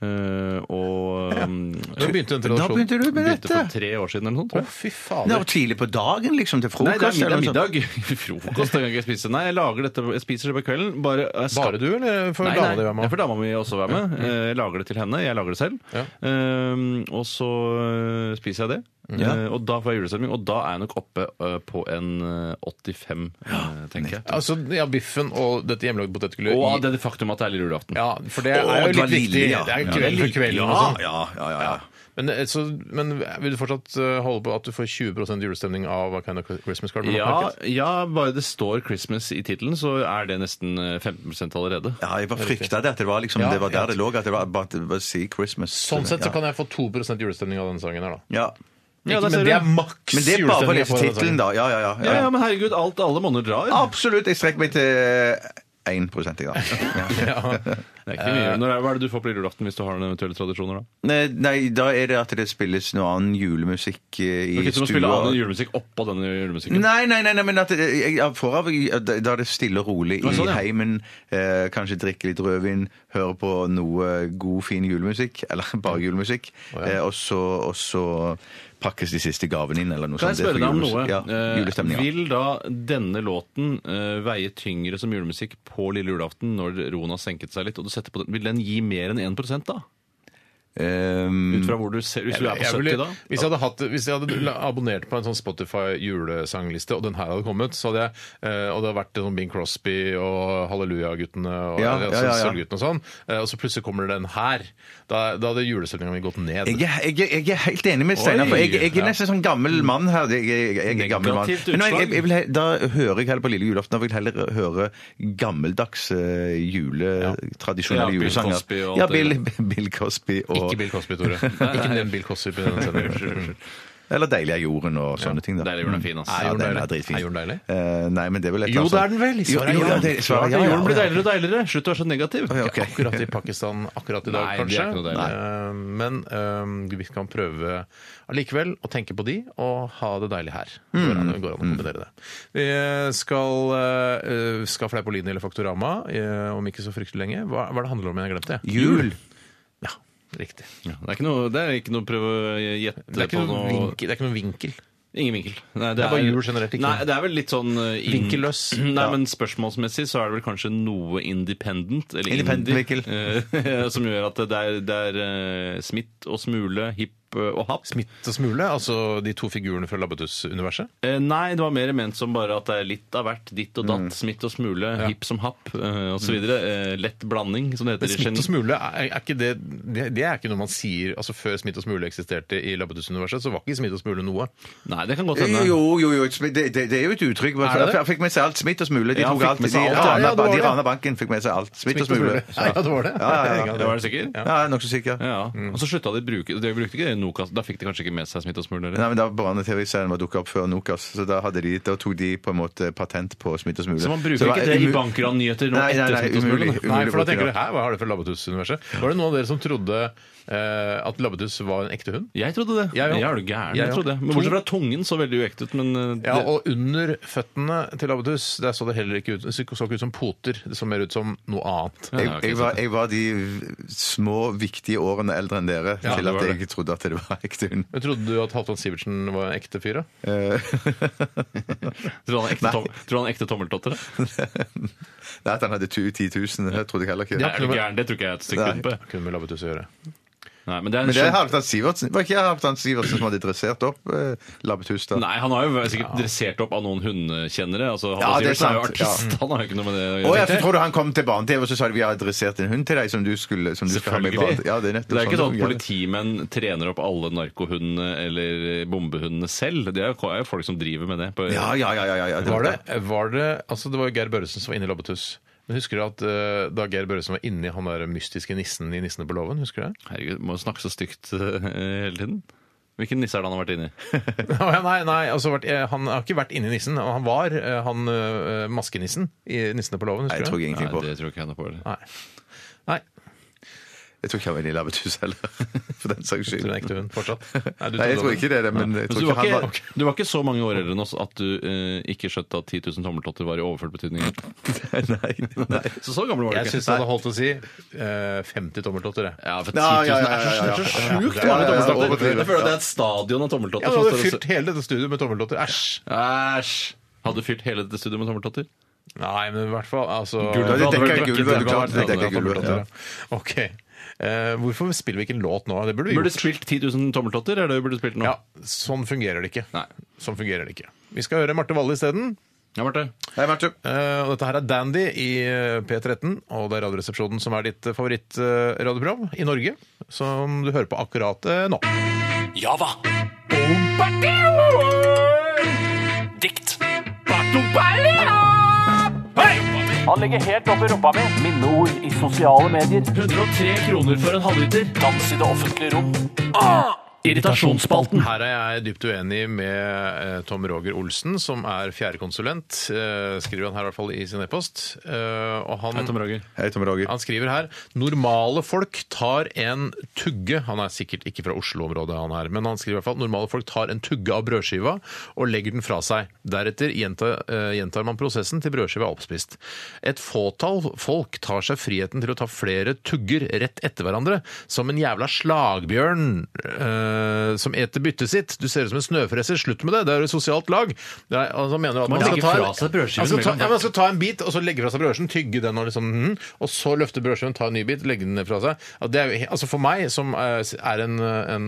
[SPEAKER 4] eh, Og um,
[SPEAKER 2] Nå begynte den
[SPEAKER 3] Da
[SPEAKER 2] tradisjonen.
[SPEAKER 3] begynte du med
[SPEAKER 4] begynte
[SPEAKER 3] dette!
[SPEAKER 4] for tre år siden eller noe sånt. tror
[SPEAKER 2] Å,
[SPEAKER 4] jeg.
[SPEAKER 2] fy
[SPEAKER 3] Nei,
[SPEAKER 2] fader.
[SPEAKER 3] og tidlig på dagen, liksom,
[SPEAKER 4] Nei,
[SPEAKER 3] til
[SPEAKER 4] det
[SPEAKER 3] frokost?
[SPEAKER 4] er middag.
[SPEAKER 3] eller noe sånt.
[SPEAKER 4] middag. Frokost kan jeg ikke spise. Nei, jeg lager dette, jeg spiser det på kvelden. Bare, jeg skal-
[SPEAKER 2] Bare du, eller får
[SPEAKER 4] Nei,
[SPEAKER 2] dama di
[SPEAKER 4] nei,
[SPEAKER 2] være med?
[SPEAKER 4] jeg får dama mi også være med. Eh, Jeg lager det til henne. Jeg lager det selv.
[SPEAKER 2] Ja.
[SPEAKER 4] Ehm, og så eh, spiser jeg det. Eh, og da får jeg julestemning, og da er jeg nok oppe eh, på en eh, 85, eh, tenker jeg.
[SPEAKER 2] Altså, ja, biffen og dette hjemmelagde potetgullet
[SPEAKER 4] Og
[SPEAKER 2] i-
[SPEAKER 4] av det faktum at det er lille julaften.
[SPEAKER 2] Ja, for det er
[SPEAKER 3] Å,
[SPEAKER 2] jo
[SPEAKER 3] det var
[SPEAKER 2] litt
[SPEAKER 3] lille,
[SPEAKER 2] viktig.
[SPEAKER 3] ja.
[SPEAKER 2] Det er
[SPEAKER 3] Ja,
[SPEAKER 2] kveld for kvelden og sånn.
[SPEAKER 3] Ja, ja, ja, ja.
[SPEAKER 2] Men, eh, så, men vil du fortsatt eh, holde på at du får 20 julestemning av A Kind of Christmas Card? med Mark
[SPEAKER 4] Ja,
[SPEAKER 2] Market?
[SPEAKER 4] ja, bare det står 'Christmas' i tittelen, så er det nesten eh, 15 allerede.
[SPEAKER 3] Ja, jeg bare frykta det, at det var liksom,
[SPEAKER 2] Ja,
[SPEAKER 3] det var der
[SPEAKER 2] ja.
[SPEAKER 3] det lå, at det var bare at det var si Christmas.
[SPEAKER 2] Sånn sett så
[SPEAKER 3] Ja.
[SPEAKER 2] kan jeg få 2 julestemning av denne sangen her, da.
[SPEAKER 3] Ja.
[SPEAKER 4] Ja,
[SPEAKER 2] Ikke-
[SPEAKER 4] der ser
[SPEAKER 2] men det er
[SPEAKER 4] du.
[SPEAKER 2] maks
[SPEAKER 3] Men det er bare for å
[SPEAKER 2] julestemning jeg
[SPEAKER 3] lese
[SPEAKER 2] får av denne
[SPEAKER 3] tittelen,
[SPEAKER 2] sangen.
[SPEAKER 3] da. Ja, ja, ja.
[SPEAKER 4] Ja, ja, men herregud, alt alle monner drar.
[SPEAKER 3] Absolutt. Jeg strekker meg til eh, 1 jeg, da. Ja.
[SPEAKER 2] Ja.
[SPEAKER 4] Det er ikke mye. Når er, hva er det du får på lille julaften hvis du har noen eventuelle tradisjoner, da?
[SPEAKER 3] Nei, Nei, da er det at det spilles noe annen julemusikk eh, i
[SPEAKER 4] Okay, så må du
[SPEAKER 3] stua.
[SPEAKER 4] spille annen julemusikk oppå denne julemusikken.
[SPEAKER 3] Nei, nei, nei, nei, men at det- jeg, jeg får av da da er det stille og rolig i
[SPEAKER 4] Ja, sånn, ja.
[SPEAKER 3] heimen. Eh, kanskje drikke litt rødvin, høre på noe god, fin julemusikk. Eller bare julemusikk. eh, og, så, og så pakkes de siste gavene inn, eller noe
[SPEAKER 4] Kan
[SPEAKER 3] sånt.
[SPEAKER 4] jeg spørre deg
[SPEAKER 3] Det er
[SPEAKER 4] om
[SPEAKER 3] for
[SPEAKER 4] noe?
[SPEAKER 3] julemusikk. Ja, julestemning,
[SPEAKER 4] Eh,
[SPEAKER 3] ja.
[SPEAKER 4] Vil da denne låten eh, veie tyngre som julemusikk på lille julaften når roen har senket seg litt? og du setter på den? Vil den gi mer enn 1 da?
[SPEAKER 3] Ehm,
[SPEAKER 4] Ut
[SPEAKER 3] Mm.
[SPEAKER 4] fra hvor du ser, Hvis du er på
[SPEAKER 2] Jeg
[SPEAKER 4] 70
[SPEAKER 2] ville,
[SPEAKER 4] da?
[SPEAKER 2] hvis, jeg hadde hatt, hvis jeg hadde la- abonnert på en sånn Spotify julesangliste, og den her hadde kommet, så hadde jeg, eh, og det hadde vært sånn Bing Crosby og Halleluja-guttene og
[SPEAKER 3] Ja, ja,
[SPEAKER 2] altså,
[SPEAKER 3] ja, ja.
[SPEAKER 2] Sølvguttene og sånn, eh, og så plutselig kommer den her, da, da hadde julestemninga mi gått ned.
[SPEAKER 3] Jeg er, jeg, er- jeg er helt enig med Steinar, for jeg, jeg er nesten sånn gammel mann her. Jeg, jeg, jeg er gammel mann.
[SPEAKER 4] Negativt
[SPEAKER 3] Men nå, jeg,
[SPEAKER 4] utslag.
[SPEAKER 3] jeg vil, he- da hører jeg heller på lille julaften. Da vil jeg heller høre gammeldags eh, jule,
[SPEAKER 4] Ja,
[SPEAKER 3] tradisjonelle
[SPEAKER 4] Bill
[SPEAKER 3] julesanger.
[SPEAKER 4] Cosby og alt
[SPEAKER 3] ja,
[SPEAKER 4] det
[SPEAKER 3] Bill, Bill Cosby og
[SPEAKER 2] Ikke Bill Cosby, Tore. Ikke nevn Bill Cosby på denne sendingen.
[SPEAKER 3] Eller Deilig er jorden og sånne ting. da. Mm.
[SPEAKER 4] Deilig er jorden er fin, ass.
[SPEAKER 3] Ja,
[SPEAKER 4] Er
[SPEAKER 2] jorden
[SPEAKER 3] den er
[SPEAKER 2] deilig?
[SPEAKER 3] dritfin.
[SPEAKER 2] Er jorden deilig?
[SPEAKER 3] Eh, nei, men det er vel et
[SPEAKER 2] Jo,
[SPEAKER 3] eller
[SPEAKER 2] det er
[SPEAKER 3] annet
[SPEAKER 2] den vel!
[SPEAKER 3] Jo,
[SPEAKER 2] Svaret er
[SPEAKER 3] jo,
[SPEAKER 2] ja.
[SPEAKER 3] det- svaret er ja,
[SPEAKER 4] Jorden blir
[SPEAKER 3] ja, ja.
[SPEAKER 4] deiligere og deiligere. Slutt å være så negativ.
[SPEAKER 3] Ja, ok.
[SPEAKER 2] Ikke akkurat i Pakistan akkurat i dag,
[SPEAKER 4] Nei, det
[SPEAKER 2] kanskje.
[SPEAKER 4] er ikke noe deilig.
[SPEAKER 2] Eh, Men eh, vi kan prøve allikevel å tenke på de og ha det deilig her. Det Går an, det går an å kombinere det. Vi skal, eh, skal Fleipolini eller Faktorama eh, om ikke så fryktelig lenge. Hva, hva er det handler om igjen? Jeg glemte det.
[SPEAKER 3] Jul!
[SPEAKER 2] Ja, riktig.
[SPEAKER 4] Ja, Det er ikke noe, det er ikke noe prøve å gjette
[SPEAKER 2] Det er ikke
[SPEAKER 4] på
[SPEAKER 2] noen
[SPEAKER 4] noe
[SPEAKER 2] vinkel. Det er ikke noen vinkel.
[SPEAKER 4] Ingen vinkel. Nei,
[SPEAKER 2] Det er bare jul generelt, ikke
[SPEAKER 4] Nei,
[SPEAKER 2] sant?
[SPEAKER 4] det er vel litt sånn eh, inn-
[SPEAKER 2] Vinkelløs.
[SPEAKER 4] Nei,
[SPEAKER 2] Ja.
[SPEAKER 4] men spørsmålsmessig så er det vel kanskje noe independent, eller
[SPEAKER 3] Independent
[SPEAKER 4] indie, eh, som gjør at det er, det er eh, smitt og smule, hipt Snopp og Happ.
[SPEAKER 2] Smitt og Smule, altså de to figurene fra Labbetuss-universet.
[SPEAKER 4] Eh, nei, det var mer ment som bare at det er litt av hvert. Ditt og
[SPEAKER 2] Mm.
[SPEAKER 4] datt, smitt og smule, hipp som happ eh, osv. Eh, lett blanding, som det
[SPEAKER 2] Men
[SPEAKER 4] heter. i
[SPEAKER 2] Smitt og
[SPEAKER 4] geni-
[SPEAKER 2] Smule, Mm. er, er ikke det, det det er ikke noe man sier altså Før Smitt og Smule eksisterte i Labbetuss-universet, så var ikke Smitt og Smule noe.
[SPEAKER 4] Nei, det kan godt hende.
[SPEAKER 3] Jo, jo, jo. Det, det, det er jo et uttrykk.
[SPEAKER 2] Er det det?
[SPEAKER 3] Jeg fikk med seg alt. Smitt og smule. De
[SPEAKER 4] Ja,
[SPEAKER 3] tok
[SPEAKER 4] fikk
[SPEAKER 3] alt.
[SPEAKER 4] med
[SPEAKER 3] De,
[SPEAKER 4] seg alt.
[SPEAKER 2] Ja, ja,
[SPEAKER 3] rana,
[SPEAKER 2] det var
[SPEAKER 3] de
[SPEAKER 2] det.
[SPEAKER 3] rana banken fikk med seg alt. Smitt og smule.
[SPEAKER 2] Ja, ja, det var det.
[SPEAKER 3] Ja, ja, ja.
[SPEAKER 4] Det var du sikker?
[SPEAKER 2] Ja.
[SPEAKER 3] Ja, jeg er nokså sikker.
[SPEAKER 4] Ja.
[SPEAKER 2] Mm.
[SPEAKER 4] Og så slutta de å bruke De brukte ikke det i Nokas. Da fikk de kanskje ikke med seg smitt og smule?
[SPEAKER 3] Nei,
[SPEAKER 4] Eller?
[SPEAKER 3] men da Barne-TV-serien var dukka opp før Nokas, så da, hadde de, da tok de på en måte patent på Smitt og Smule.
[SPEAKER 4] Så man bruker
[SPEAKER 3] var
[SPEAKER 4] ikke det i
[SPEAKER 3] umu-
[SPEAKER 4] bankrannyheter nå
[SPEAKER 3] Nei, nei,
[SPEAKER 4] etter
[SPEAKER 3] nei,
[SPEAKER 4] Smitt og Smule, da?
[SPEAKER 3] umulig, umulig
[SPEAKER 2] Nei, for
[SPEAKER 3] å
[SPEAKER 2] da
[SPEAKER 3] bruke
[SPEAKER 2] tenker
[SPEAKER 3] det.
[SPEAKER 2] du, hæ, hva har det for Labbetuss-universet? Var det noen av dere som trodde eh, at Labbetuss var en ekte hund?
[SPEAKER 4] Jeg trodde det.
[SPEAKER 2] Jeg òg.
[SPEAKER 4] er du gæren.
[SPEAKER 2] Jeg
[SPEAKER 4] Jeg trodde det. Men
[SPEAKER 2] òg.
[SPEAKER 4] Bortsett fra tungen så veldig uekte ut, men eh,
[SPEAKER 2] Ja,
[SPEAKER 4] det-
[SPEAKER 2] og under føttene til Labbetuss der så det heller ikke ut, så ikke ut som poter. Det så mer ut som noe annet.
[SPEAKER 4] Ja,
[SPEAKER 3] Jeg,
[SPEAKER 4] ok,
[SPEAKER 3] jeg,
[SPEAKER 4] så-
[SPEAKER 3] var, jeg var de små, viktige årene eldre enn dere
[SPEAKER 2] Ja,
[SPEAKER 3] til at
[SPEAKER 2] det var det.
[SPEAKER 3] jeg trodde at det var ekte hund.
[SPEAKER 2] Men Trodde du at Halvdan Sivertsen var en ekte fyr? da?
[SPEAKER 3] Eh,
[SPEAKER 4] Tror du han er ekte,
[SPEAKER 3] Nei.
[SPEAKER 4] tom, tror du han er ekte tommeltotter? da?
[SPEAKER 3] Nei, at han hadde 10 000, det trodde jeg heller ikke.
[SPEAKER 4] Nei, Er du gæren? Det tror ikke jeg er et stykke
[SPEAKER 3] Nei.
[SPEAKER 4] unna. på.
[SPEAKER 2] Kunne med Labbetuss å gjøre.
[SPEAKER 4] Nei, men det er en
[SPEAKER 3] Men det er
[SPEAKER 4] skjønn-
[SPEAKER 3] Halvdan Sivertsen. Var ikke Halvdan Sivertsen som hadde dressert opp eh, Labbetuss? da?
[SPEAKER 4] Nei, han har jo sikkert dressert opp av noen hundekjennere. Altså, han
[SPEAKER 3] Ja, det
[SPEAKER 4] Sivertsen
[SPEAKER 3] er
[SPEAKER 4] jo
[SPEAKER 3] sant, ja.
[SPEAKER 4] artist. Han har jo ikke noe med det å
[SPEAKER 3] Å,
[SPEAKER 4] gjøre.
[SPEAKER 3] jeg tror du han kom til barne-TV og så sa de, vi har dressert en hund til deg som du, skulle, som du skal ha med i barne
[SPEAKER 4] Selvfølgelig.
[SPEAKER 3] Ja, det er, nettopp
[SPEAKER 4] det er ikke sånn at
[SPEAKER 3] fungerer.
[SPEAKER 4] politimenn trener opp alle narkohundene eller bombehundene selv. Det er jo er jo folk som driver med det. På,
[SPEAKER 3] Ja, ja, ja, ja, ja, ja.
[SPEAKER 2] Var det, var det, altså det var jo Geir Børresen som var inne i Labbetuss. Men Husker du at eh, da Geir Børresen var inni han der mystiske nissen i 'Nissene på låven'? Husker du det?
[SPEAKER 4] Herregud, må jo snakke så stygt eh, hele tiden. Hvilken nisse er det han har vært inni?
[SPEAKER 2] Å, ja, nei, nei altså, vært, eh, han har ikke vært inni nissen. Han var eh, han eh, maskenissen i 'Nissene på låven'.
[SPEAKER 3] Nei, jeg
[SPEAKER 2] Husker
[SPEAKER 3] tror
[SPEAKER 2] du det?
[SPEAKER 4] Nei,
[SPEAKER 3] jeg ingenting på.
[SPEAKER 4] det tror jeg ikke han er på. eller?
[SPEAKER 2] Nei. Nei,
[SPEAKER 3] Jeg tror ikke han var inne i Labbetuss heller, for den saks
[SPEAKER 2] tror du det er en
[SPEAKER 3] skyld.
[SPEAKER 2] ekte hund fortsatt? du
[SPEAKER 3] Nei, jeg
[SPEAKER 2] trodde
[SPEAKER 3] tror
[SPEAKER 2] det.
[SPEAKER 3] ikke det, er det, men
[SPEAKER 4] Men
[SPEAKER 3] jeg tror
[SPEAKER 4] du,
[SPEAKER 3] ikke
[SPEAKER 4] var
[SPEAKER 3] han var
[SPEAKER 4] ikke, du var ikke så mange år eldre enn oss at du eh, ikke skjøtta 10 000 tommeltotter var i overført betydning.
[SPEAKER 3] Nei, nei.
[SPEAKER 4] Så så gammel var du ikke.
[SPEAKER 2] Jeg syns det hadde holdt å si eh, 50 tommeltotter. jeg.
[SPEAKER 4] Ja, for 10
[SPEAKER 3] Ja,
[SPEAKER 4] 000
[SPEAKER 3] ja,
[SPEAKER 4] er så- det
[SPEAKER 3] ja, ja, ja,
[SPEAKER 4] er så
[SPEAKER 3] ja.
[SPEAKER 4] sjukt
[SPEAKER 3] Ja, ja,
[SPEAKER 4] mange
[SPEAKER 3] ja,
[SPEAKER 4] tommeltotter.
[SPEAKER 3] overdrivet,
[SPEAKER 4] Jeg føler at det
[SPEAKER 3] ja.
[SPEAKER 4] er et stadion av tommeltotter.
[SPEAKER 2] Ja, Du
[SPEAKER 4] som
[SPEAKER 2] hadde
[SPEAKER 4] står og-
[SPEAKER 2] fylt hele dette studioet med tommeltotter. Æsj!
[SPEAKER 4] Æsj! Hadde du fylt hele dette studioet med tommeltotter?
[SPEAKER 2] Nei, men i hvert fall altså,
[SPEAKER 4] Gulvet
[SPEAKER 3] Det
[SPEAKER 4] hadde vært
[SPEAKER 3] dekker gulvet,
[SPEAKER 4] brakket,
[SPEAKER 3] det klart, det
[SPEAKER 4] hadde
[SPEAKER 3] dekker
[SPEAKER 4] vært
[SPEAKER 3] gulvet,
[SPEAKER 4] tommeltotter.
[SPEAKER 3] ja.
[SPEAKER 2] OK. Eh, hvorfor spiller vi ikke en låt nå? Det burde vi
[SPEAKER 4] Burde
[SPEAKER 2] gjort.
[SPEAKER 4] spilt 10 000 tommeltotter, er det du burde spilt nå?
[SPEAKER 2] Ja, sånn fungerer det ikke.
[SPEAKER 4] Nei.
[SPEAKER 2] Sånn fungerer det ikke. Vi skal høre Marte Valle isteden.
[SPEAKER 4] Ja, Marte.
[SPEAKER 3] Hei, Marte.
[SPEAKER 2] Eh, og dette her er Dandy i eh, P13, og det er Radioresepsjonen som er ditt eh, favoritt-radioprogram eh, i Norge, som du hører på akkurat eh, nå.
[SPEAKER 8] Java. Bombardeo! Dikt. Batobalia! Hei! Han legger helt opp i rumpa mi. Minneord i sosiale medier. 103 kroner for en halvliter. Dans i det offentlige rom. Ah! Irritasjonsspalten.
[SPEAKER 2] Her er jeg dypt uenig med eh, Tom Roger Olsen, som er fjerdekonsulent, eh, skriver han her i hvert fall i sin e-post. Eh, og han,
[SPEAKER 4] Hei, Tom Roger.
[SPEAKER 3] Hei, Tom Roger.
[SPEAKER 2] han skriver her normale folk tar en tugge Han er sikkert ikke fra Oslo-området, han her, men han skriver i hvert fall normale folk tar en tugge av brødskiva og legger den fra seg. Deretter gjenta- eh, gjentar man prosessen til brødskiva er oppspist. Et fåtall folk tar seg friheten til å ta flere tugger rett etter hverandre, som en jævla slagbjørn eh, som eter byttet sitt. Du ser ut som en snøfreser. Slutt med det, det er jo et sosialt lag. Det er, altså, han mener at
[SPEAKER 4] Man
[SPEAKER 2] man, skal
[SPEAKER 4] legger
[SPEAKER 2] ta,
[SPEAKER 4] fra seg brødskiven
[SPEAKER 2] man, skal
[SPEAKER 4] mellom
[SPEAKER 2] ta, ja, man skal altså, ta en bit, og så legge fra seg brødskiven, tygge den og liksom mm, Og så løfte brødskiven, ta en ny bit, legge den ned fra seg. Ja, det er, jo he- altså for meg, som eh, er en, en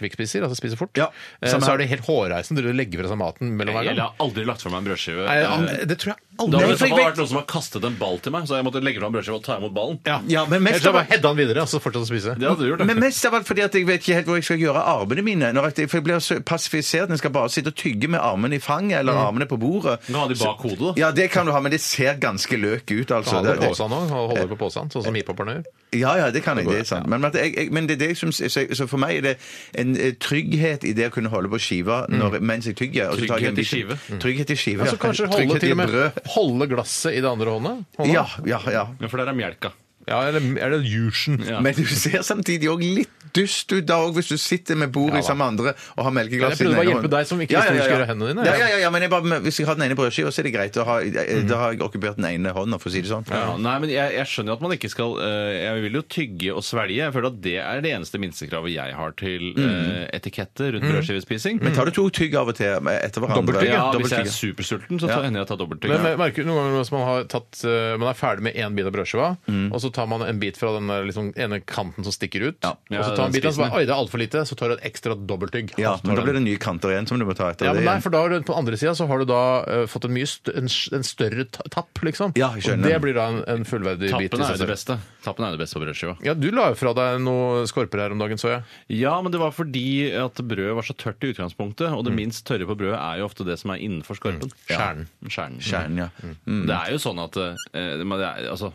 [SPEAKER 2] kvikkspiser, altså spiser fort,
[SPEAKER 3] Ja,
[SPEAKER 2] eh,
[SPEAKER 3] samme
[SPEAKER 2] så
[SPEAKER 3] her.
[SPEAKER 2] er det helt hårreisende å legge fra seg maten mellom hver
[SPEAKER 4] Jeg
[SPEAKER 2] gang.
[SPEAKER 4] har aldri lagt fra meg en brødskive.
[SPEAKER 2] Nei,
[SPEAKER 4] Eh,
[SPEAKER 2] an- det tror jeg
[SPEAKER 4] Det
[SPEAKER 2] aldri
[SPEAKER 4] har i
[SPEAKER 2] jeg
[SPEAKER 4] så fall
[SPEAKER 2] har
[SPEAKER 4] vært noen som har kastet en ball til meg, så jeg måtte legge fra meg brødskiva og ta imot ballen.
[SPEAKER 2] Ja.
[SPEAKER 3] Ja, men mest
[SPEAKER 2] Ellers har jeg
[SPEAKER 3] av-
[SPEAKER 2] bare hedda den videre, og så fortsatt å spise.
[SPEAKER 4] Det hadde du gjort.
[SPEAKER 3] Men
[SPEAKER 4] da.
[SPEAKER 3] mest av alt fordi at jeg vet ikke helt hvor jeg skal gjøre armene mine. Når jeg, for jeg blir så passifisert. Jeg skal bare sitte og tygge med armene i fanget eller armene på bordet.
[SPEAKER 4] Du kan ha de bak hodet, da.
[SPEAKER 3] Ja, det kan du ha, men det ser ganske løk ut, altså.
[SPEAKER 2] Han holder
[SPEAKER 3] Det- det-
[SPEAKER 2] på påsen òg, holder på påsen, sånn som hiphoperne gjør.
[SPEAKER 3] Ja, ja, det kan jeg. Det er sant. Men, at jeg, jeg, men det er det jeg som, så, så for meg er det en eh, trygghet i det å kunne holde på skiva når, mens jeg tygger. og så tar jeg
[SPEAKER 4] Trygghet
[SPEAKER 3] en
[SPEAKER 4] i
[SPEAKER 3] bit-
[SPEAKER 4] skive.
[SPEAKER 3] Trygghet i skive.
[SPEAKER 2] Altså
[SPEAKER 3] ja.
[SPEAKER 2] kanskje holde,
[SPEAKER 3] Trygghet i
[SPEAKER 2] til og med,
[SPEAKER 3] brød.
[SPEAKER 2] holde glasset i det andre hånda? hånda?
[SPEAKER 3] Ja, ja, ja.
[SPEAKER 4] Ja, for der er melka.
[SPEAKER 2] ja eller er det Jushen?
[SPEAKER 4] Ja.
[SPEAKER 3] Men du ser samtidig òg litt dust ut da òg, hvis du sitter med bordet
[SPEAKER 2] Ja da.
[SPEAKER 3] sammen med andre og har melkeglass
[SPEAKER 2] Jeg prøvde bare å
[SPEAKER 3] ene
[SPEAKER 2] hjelpe
[SPEAKER 3] hånden.
[SPEAKER 2] deg som ikke visste hvor du skulle gjøre hendene dine.
[SPEAKER 3] Ja, ja, ja, ja, men jeg bare, Hvis jeg har den ene brødskiva, så er det greit. å ha- eh, Da har jeg okkupert den ene hånda, for å si det sånn.
[SPEAKER 4] Ja, nei, men jeg, jeg skjønner at man ikke skal eh, Jeg vil jo tygge og svelge. Jeg føler at det er det eneste minstekravet jeg har til eh, etikette rundt brødskivespising.
[SPEAKER 3] Men tar du to tygg av og til eh, etter hverandre?
[SPEAKER 2] Dobbelttygg,
[SPEAKER 4] Ja,
[SPEAKER 3] Dobbelttygg,
[SPEAKER 4] hvis jeg er
[SPEAKER 3] ja.
[SPEAKER 4] supersulten, så tar- hender jeg at jeg tar dobbelttygg.
[SPEAKER 2] Men men merker du noen ganger hvis man, har tatt, eh, man er ferdig med én bit av brødskiva, og så tar man en bit fra den der, liksom, ene kanten som stikker ut.
[SPEAKER 4] Mm. Ja.
[SPEAKER 2] og så
[SPEAKER 4] Ja,
[SPEAKER 2] tar man
[SPEAKER 4] den
[SPEAKER 2] biten, og så
[SPEAKER 4] spissen,
[SPEAKER 2] bare, oi, det er altfor lite, så tar du et ekstra dobbeltygg.
[SPEAKER 3] Ja,
[SPEAKER 2] Så tar
[SPEAKER 3] men da
[SPEAKER 2] du
[SPEAKER 3] blir det nye kanter igjen som du må ta etter.
[SPEAKER 2] Ja,
[SPEAKER 3] det
[SPEAKER 2] men
[SPEAKER 3] igjen.
[SPEAKER 2] nei, for da har du, På den andre sida så har du da eh, fått en mye st en, s- en større ta- tapp, liksom.
[SPEAKER 3] Ja, jeg
[SPEAKER 2] og
[SPEAKER 3] skjønner.
[SPEAKER 2] det blir da en, en fullverdig bit. i
[SPEAKER 4] Tappen er
[SPEAKER 2] seg
[SPEAKER 4] jo det
[SPEAKER 2] selv.
[SPEAKER 4] beste. Tappen er jo det beste på brødskiva.
[SPEAKER 2] Ja, Du la jo fra deg noen skorper her om dagen, så jeg.
[SPEAKER 4] Ja, men det var fordi at brødet var så tørt i utgangspunktet, og det minst tørre på brødet er jo ofte det som er innenfor skorpen.
[SPEAKER 2] Skjernen.
[SPEAKER 4] Ja. Mm. Skjernen.
[SPEAKER 3] Kjernen, ja.
[SPEAKER 4] Mm. Det er jo sånn at eh, men det, er, altså,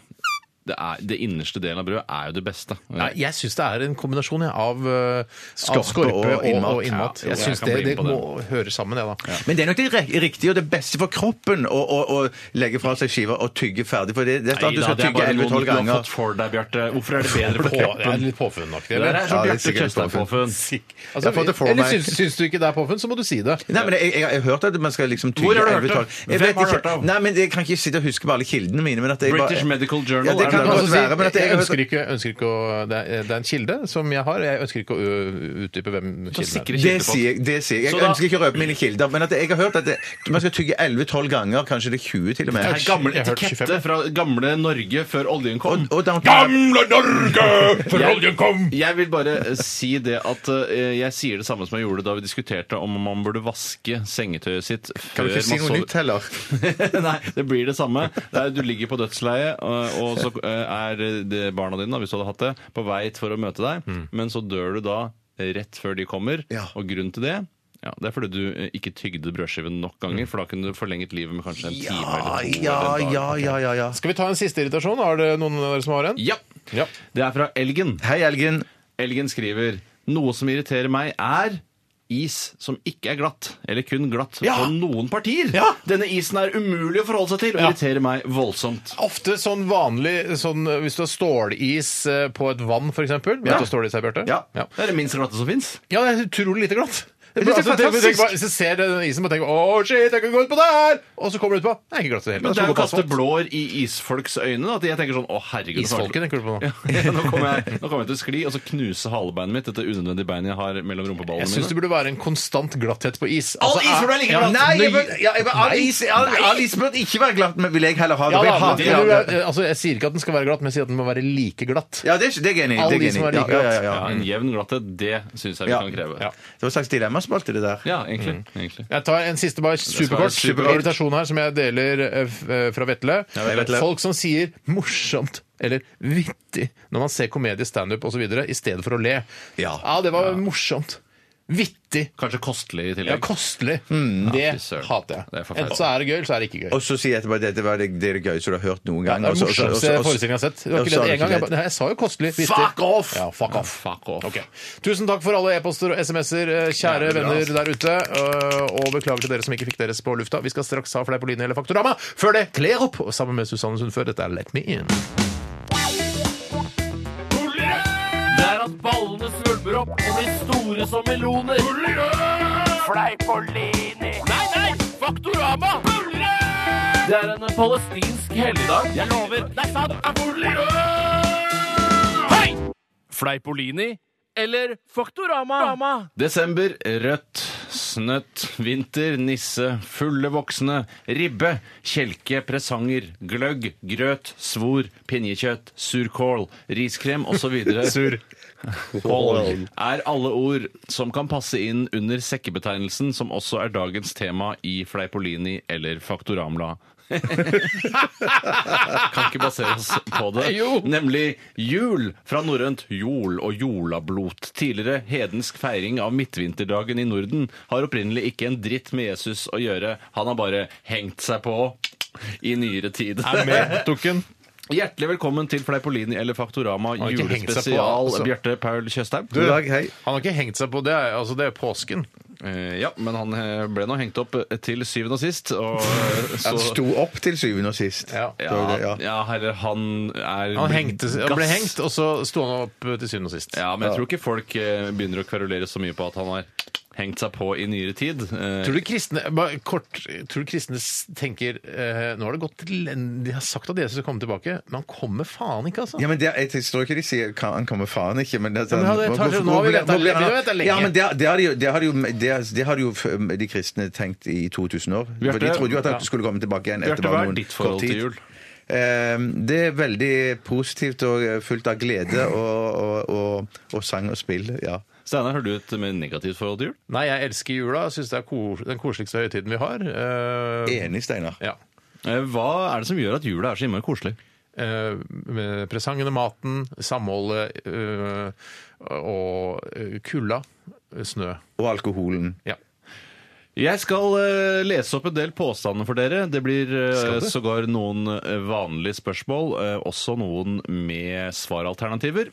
[SPEAKER 4] det, er, det innerste delen av brødet er jo det beste.
[SPEAKER 2] Nei, jeg syns det er en kombinasjon jeg, av, eh,
[SPEAKER 3] Skorpe
[SPEAKER 2] av skorpe og,
[SPEAKER 3] og
[SPEAKER 2] og innmat.
[SPEAKER 3] innmat.
[SPEAKER 4] Ja,
[SPEAKER 2] jeg
[SPEAKER 4] jeg
[SPEAKER 2] syns
[SPEAKER 4] kan
[SPEAKER 2] det,
[SPEAKER 4] bli med
[SPEAKER 2] det
[SPEAKER 4] på
[SPEAKER 2] må høre sammen, jeg, da.
[SPEAKER 3] Men det er nok det re- riktige og det beste for kroppen å, å, å legge fra seg skiva og tygge ferdig. For det, det er
[SPEAKER 4] Nei
[SPEAKER 3] at du
[SPEAKER 4] da,
[SPEAKER 3] skal
[SPEAKER 4] det er
[SPEAKER 3] tygge
[SPEAKER 4] bare noe
[SPEAKER 3] 11-12
[SPEAKER 4] du har
[SPEAKER 3] ganger.
[SPEAKER 4] fått for deg, Bjarte. Hvorfor er det bedre for
[SPEAKER 2] På, det er
[SPEAKER 4] kroppen?
[SPEAKER 2] litt påfunnaktig,
[SPEAKER 4] Det der
[SPEAKER 2] eller?
[SPEAKER 4] er sånn
[SPEAKER 3] Ja, det er
[SPEAKER 4] Bjarte
[SPEAKER 3] sikkert
[SPEAKER 4] Tjøstheim-påfunn.
[SPEAKER 2] Altså,
[SPEAKER 3] Jeg har fått det for
[SPEAKER 2] eller
[SPEAKER 3] meg.
[SPEAKER 2] syns, syns du ikke det er påfunn, så må du si det.
[SPEAKER 3] Nei, men jeg, jeg, jeg har hørt at man skal liksom tygge
[SPEAKER 4] Hvor har du hørt det?
[SPEAKER 3] 11-12.
[SPEAKER 4] Hvem
[SPEAKER 3] Jeg vet
[SPEAKER 4] har du
[SPEAKER 3] ikke-
[SPEAKER 4] hørt av?
[SPEAKER 3] Nei, men Jeg kan ikke sitte og huske på alle kildene mine. Men at jeg
[SPEAKER 4] British Medical Journal, er
[SPEAKER 3] Ja, det
[SPEAKER 4] det
[SPEAKER 3] kan
[SPEAKER 2] Altså,
[SPEAKER 3] godt
[SPEAKER 2] si,
[SPEAKER 3] være, men at jeg,
[SPEAKER 2] jeg ønsker ikke, ønsker ikke å, det, er, det er en kilde som jeg har. og Jeg ønsker ikke å ø, utdype hvem kilden er.
[SPEAKER 4] sikre
[SPEAKER 3] Det
[SPEAKER 4] kilder på.
[SPEAKER 3] sier jeg. det sier Jeg Jeg
[SPEAKER 4] Så da-
[SPEAKER 3] ønsker ikke å røpe mine kilder, men at jeg har hørt at det, man skal tygge 11-12 ganger, kanskje det er 20 til og
[SPEAKER 4] Det
[SPEAKER 3] med.
[SPEAKER 4] er gammel
[SPEAKER 2] Jeg har hørt
[SPEAKER 4] etikette
[SPEAKER 2] 25.
[SPEAKER 4] fra gamle Norge før oljen kom.
[SPEAKER 3] Og da-
[SPEAKER 4] Jeg vil bare eh, si det at eh, jeg sier det samme som jeg gjorde da vi diskuterte om man burde vaske sengetøyet sitt
[SPEAKER 3] kan
[SPEAKER 4] før
[SPEAKER 3] du ikke
[SPEAKER 4] man
[SPEAKER 3] si noe
[SPEAKER 4] sover.
[SPEAKER 3] nytt heller?
[SPEAKER 4] Nei, det blir det samme. Det er, du ligger på dødsleiet, og, og så eh, er det barna dine, da, hvis du hadde hatt det, på vei for å møte deg, men så dør du da rett før de kommer,
[SPEAKER 3] Mm. Ja.
[SPEAKER 4] og grunnen til det ja, Det er fordi du eh, ikke tygde brødskiven nok ganger, for da kunne du forlenget livet med kanskje en time
[SPEAKER 3] Mm. Ja,
[SPEAKER 4] eller to.
[SPEAKER 3] ja,
[SPEAKER 4] eller en dag.
[SPEAKER 3] ja, ja, ja, ja.
[SPEAKER 2] Skal vi ta en siste irritasjon? Har det noen av dere som har en?
[SPEAKER 4] Ja.
[SPEAKER 2] Ja.
[SPEAKER 4] Det er fra Elgen.
[SPEAKER 3] Hei, Elgen.
[SPEAKER 4] Elgen skriver Noe som irriterer meg er Is som ikke er glatt, eller kun glatt på noen partier.
[SPEAKER 2] Ja.
[SPEAKER 4] Denne isen er umulig å forholde seg til og
[SPEAKER 2] Ja.
[SPEAKER 4] irriterer meg voldsomt.
[SPEAKER 2] Ofte sånn vanlig sånn, Hvis du har stålis eh, på et vann, f.eks. Vet du
[SPEAKER 4] Ja.
[SPEAKER 2] hva stålis er, Bjarte?
[SPEAKER 4] Ja.
[SPEAKER 2] Ja.
[SPEAKER 4] Det er det minst glatte som fins.
[SPEAKER 2] Ja, det er utrolig lite glatt. Det
[SPEAKER 4] Men det er
[SPEAKER 2] altså, tenk-
[SPEAKER 4] fantastisk.
[SPEAKER 2] tenk bare- Hvis du ser den isen og tenker 'Å, shit, jeg kan gå ut på der!' Og så kommer du ut på Det er ikke glatt i det hele
[SPEAKER 4] Men
[SPEAKER 2] tatt.
[SPEAKER 4] det er jo å
[SPEAKER 2] Så
[SPEAKER 4] kaste
[SPEAKER 2] går på asfalt.
[SPEAKER 4] blår i isfolks øyne. da, At jeg tenker sånn Å, herregud. så er
[SPEAKER 2] Isfolken
[SPEAKER 4] det-
[SPEAKER 2] tenker du på nå.
[SPEAKER 4] Ja, nå kommer jeg, nå kommer jeg til å skli, og så knuse halebeinet mitt, dette unødvendige beinet jeg har mellom rumpeballene
[SPEAKER 2] Jeg syns det
[SPEAKER 4] mine.
[SPEAKER 2] burde være en konstant glatthet på is.
[SPEAKER 4] All
[SPEAKER 2] Altså,
[SPEAKER 4] is burde
[SPEAKER 2] er-
[SPEAKER 4] være like
[SPEAKER 2] Ja,
[SPEAKER 4] glatt.
[SPEAKER 3] Nei, jeg
[SPEAKER 2] nøy-
[SPEAKER 3] bør, ja, jeg bør, all, is, all, all is bør ikke være glatt, men vil jeg heller ha det.
[SPEAKER 2] Ja,
[SPEAKER 3] for jeg
[SPEAKER 2] da, men
[SPEAKER 3] hater
[SPEAKER 2] det
[SPEAKER 3] det.
[SPEAKER 2] burde være- altså, jeg sier ikke at den skal være glatt, men jeg sier at den må være like glatt.
[SPEAKER 3] Ja, det er, det er jeg enig i.
[SPEAKER 2] All
[SPEAKER 3] det er jeg
[SPEAKER 2] is
[SPEAKER 3] enig i.
[SPEAKER 2] må være
[SPEAKER 3] Ja,
[SPEAKER 2] like
[SPEAKER 3] ja, ja,
[SPEAKER 4] Ja,
[SPEAKER 3] ja.
[SPEAKER 4] en jevn glatthet, det syns jeg vi
[SPEAKER 3] Ja.
[SPEAKER 4] kan kreve. Ja,
[SPEAKER 2] Ja.
[SPEAKER 4] Mm.
[SPEAKER 3] Det var en slags dilemmaspalte, det der.
[SPEAKER 4] egentlig. egentlig.
[SPEAKER 2] Jeg tar en siste bare superkort,
[SPEAKER 4] skal være superkort.
[SPEAKER 2] irritasjon her som jeg deler eh, f- eh, fra Vetle.
[SPEAKER 3] hei, Vetle.
[SPEAKER 2] Folk som sier 'morsomt' eller 'vittig' når man ser komedie, standup osv., i stedet for å le.
[SPEAKER 3] Ja.
[SPEAKER 2] det var morsomt. Vittig.
[SPEAKER 4] Kanskje kostelig i tillegg.
[SPEAKER 2] Ja, kostelig.
[SPEAKER 3] Hmm.
[SPEAKER 2] Det
[SPEAKER 4] fy søren.
[SPEAKER 2] hater jeg.
[SPEAKER 4] Det er forferdelig.
[SPEAKER 2] Enten så er det gøy, eller så er det ikke gøy.
[SPEAKER 3] Og så sier jeg etterpå at dette var det, det er det gøyeste du har hørt noen
[SPEAKER 2] Ja,
[SPEAKER 3] gang.
[SPEAKER 2] det er
[SPEAKER 3] og så-
[SPEAKER 2] den
[SPEAKER 3] og så- og så-
[SPEAKER 2] morsomste
[SPEAKER 3] og så-
[SPEAKER 2] forestillingen jeg har sett. Det var
[SPEAKER 3] og
[SPEAKER 2] ikke
[SPEAKER 3] så er
[SPEAKER 2] det en gang. Jeg,
[SPEAKER 3] det.
[SPEAKER 2] bare, nei, jeg sa jo kostelig. vittig.
[SPEAKER 4] Fuck off!
[SPEAKER 2] Ja, fuck off.
[SPEAKER 4] Fuck off.
[SPEAKER 2] Ok. Tusen takk for alle e-poster og SMS-er, eh, kjære venner der ute. eh, Og beklager til dere som ikke fikk deres på lufta. Vi skal straks ha Fleipolini eller Faktorama. Før det, kler opp! Og Sammen med Susanne Sundfør, dette er Let Me In.
[SPEAKER 8] Det er at ballene svulmer opp og blir store som meloner. Fleipolini. Nei, nei! Faktorama! Det er en palestinsk helligdag. Jeg lover. Det er sant. Hei! Fleipolini eller Faktorama?
[SPEAKER 4] Desember, rødt, snøtt, vinter, nisse, fulle voksne, ribbe, kjelke, presanger, gløgg, grøt, svor, pinjekjøtt, surkål, riskrem osv. Sur. Kål er alle ord som kan passe inn under sekkebetegnelsen, som også er dagens tema i Fleipolini eller Faktoramla. kan ikke basere oss på det.
[SPEAKER 2] Jo.
[SPEAKER 4] Nemlig jul fra norrønt jol og jolablot. Tidligere hedensk feiring av midtvinterdagen i Norden har opprinnelig ikke en dritt med Jesus å gjøre. Han har bare hengt seg på i nyere tid.
[SPEAKER 2] Dukken.
[SPEAKER 4] Hjertelig velkommen til Fleipolini eller Faktorama
[SPEAKER 2] har ikke hengt seg på,
[SPEAKER 4] julespesial,
[SPEAKER 2] altså.
[SPEAKER 4] Bjarte Paul Tjøstheim.
[SPEAKER 3] God dag, hei.
[SPEAKER 2] Han har ikke hengt seg på det. er- Altså, det er påsken.
[SPEAKER 4] Eh, ja, men han eh, ble nå hengt opp eh, til syvende og sist, og eh, så
[SPEAKER 3] Han sto opp til syvende og sist.
[SPEAKER 2] Ja.
[SPEAKER 3] Det var det,
[SPEAKER 4] Ja, ja, eller han er
[SPEAKER 2] Han, hengte, han ble
[SPEAKER 4] gass.
[SPEAKER 2] hengt, og så sto han opp eh, til syvende og sist.
[SPEAKER 4] Ja, men jeg tror ikke folk eh, begynner å kverulere så mye på at han har hengt seg på i nyere tid. Eh,
[SPEAKER 2] Tror du kristne bare kort, tror du kristne s- tenker eh, Nå har det gått til De har sagt at Jesus skal komme tilbake, men han kommer faen ikke, altså.
[SPEAKER 3] Ja, men det, er- jeg tror ikke de sier kan, han kommer faen ikke, men det, sånn,
[SPEAKER 2] Ja, men det- tar- nå har vi ventet- vi har ventet lenge.
[SPEAKER 3] Ja, men det, det har de jo, det har de jo, det, har- det har de jo f- de kristne tenkt i 2000 år. For
[SPEAKER 4] Bjarte,
[SPEAKER 3] de trodde jo at han
[SPEAKER 4] ja.
[SPEAKER 3] skulle komme tilbake igjen etter
[SPEAKER 4] Bjarte,
[SPEAKER 3] bare
[SPEAKER 4] hva er
[SPEAKER 3] noen
[SPEAKER 4] ditt
[SPEAKER 3] kort
[SPEAKER 4] forhold til
[SPEAKER 3] tid.
[SPEAKER 4] jul?
[SPEAKER 3] Eh, Det er veldig positivt og eh, fullt av glede og, og, og, og sang og spill. ja.
[SPEAKER 4] Steinar, har du et mer negativt forhold til jul?
[SPEAKER 2] Nei, jeg elsker jula. Jeg syns det er kos den koseligste høytiden vi har. Eh,
[SPEAKER 3] Enig, Steinar.
[SPEAKER 2] ja.
[SPEAKER 4] Eh, Hva er det som gjør at jula er så innmari koselig?
[SPEAKER 2] Eh, med presangene, maten, samholdet eh, og eh, kulda. Snø.
[SPEAKER 3] Og alkoholen.
[SPEAKER 2] Ja.
[SPEAKER 4] Jeg skal eh, lese opp en del påstander for dere. Det blir eh, sågar noen eh, vanlige spørsmål, eh, også noen med svaralternativer.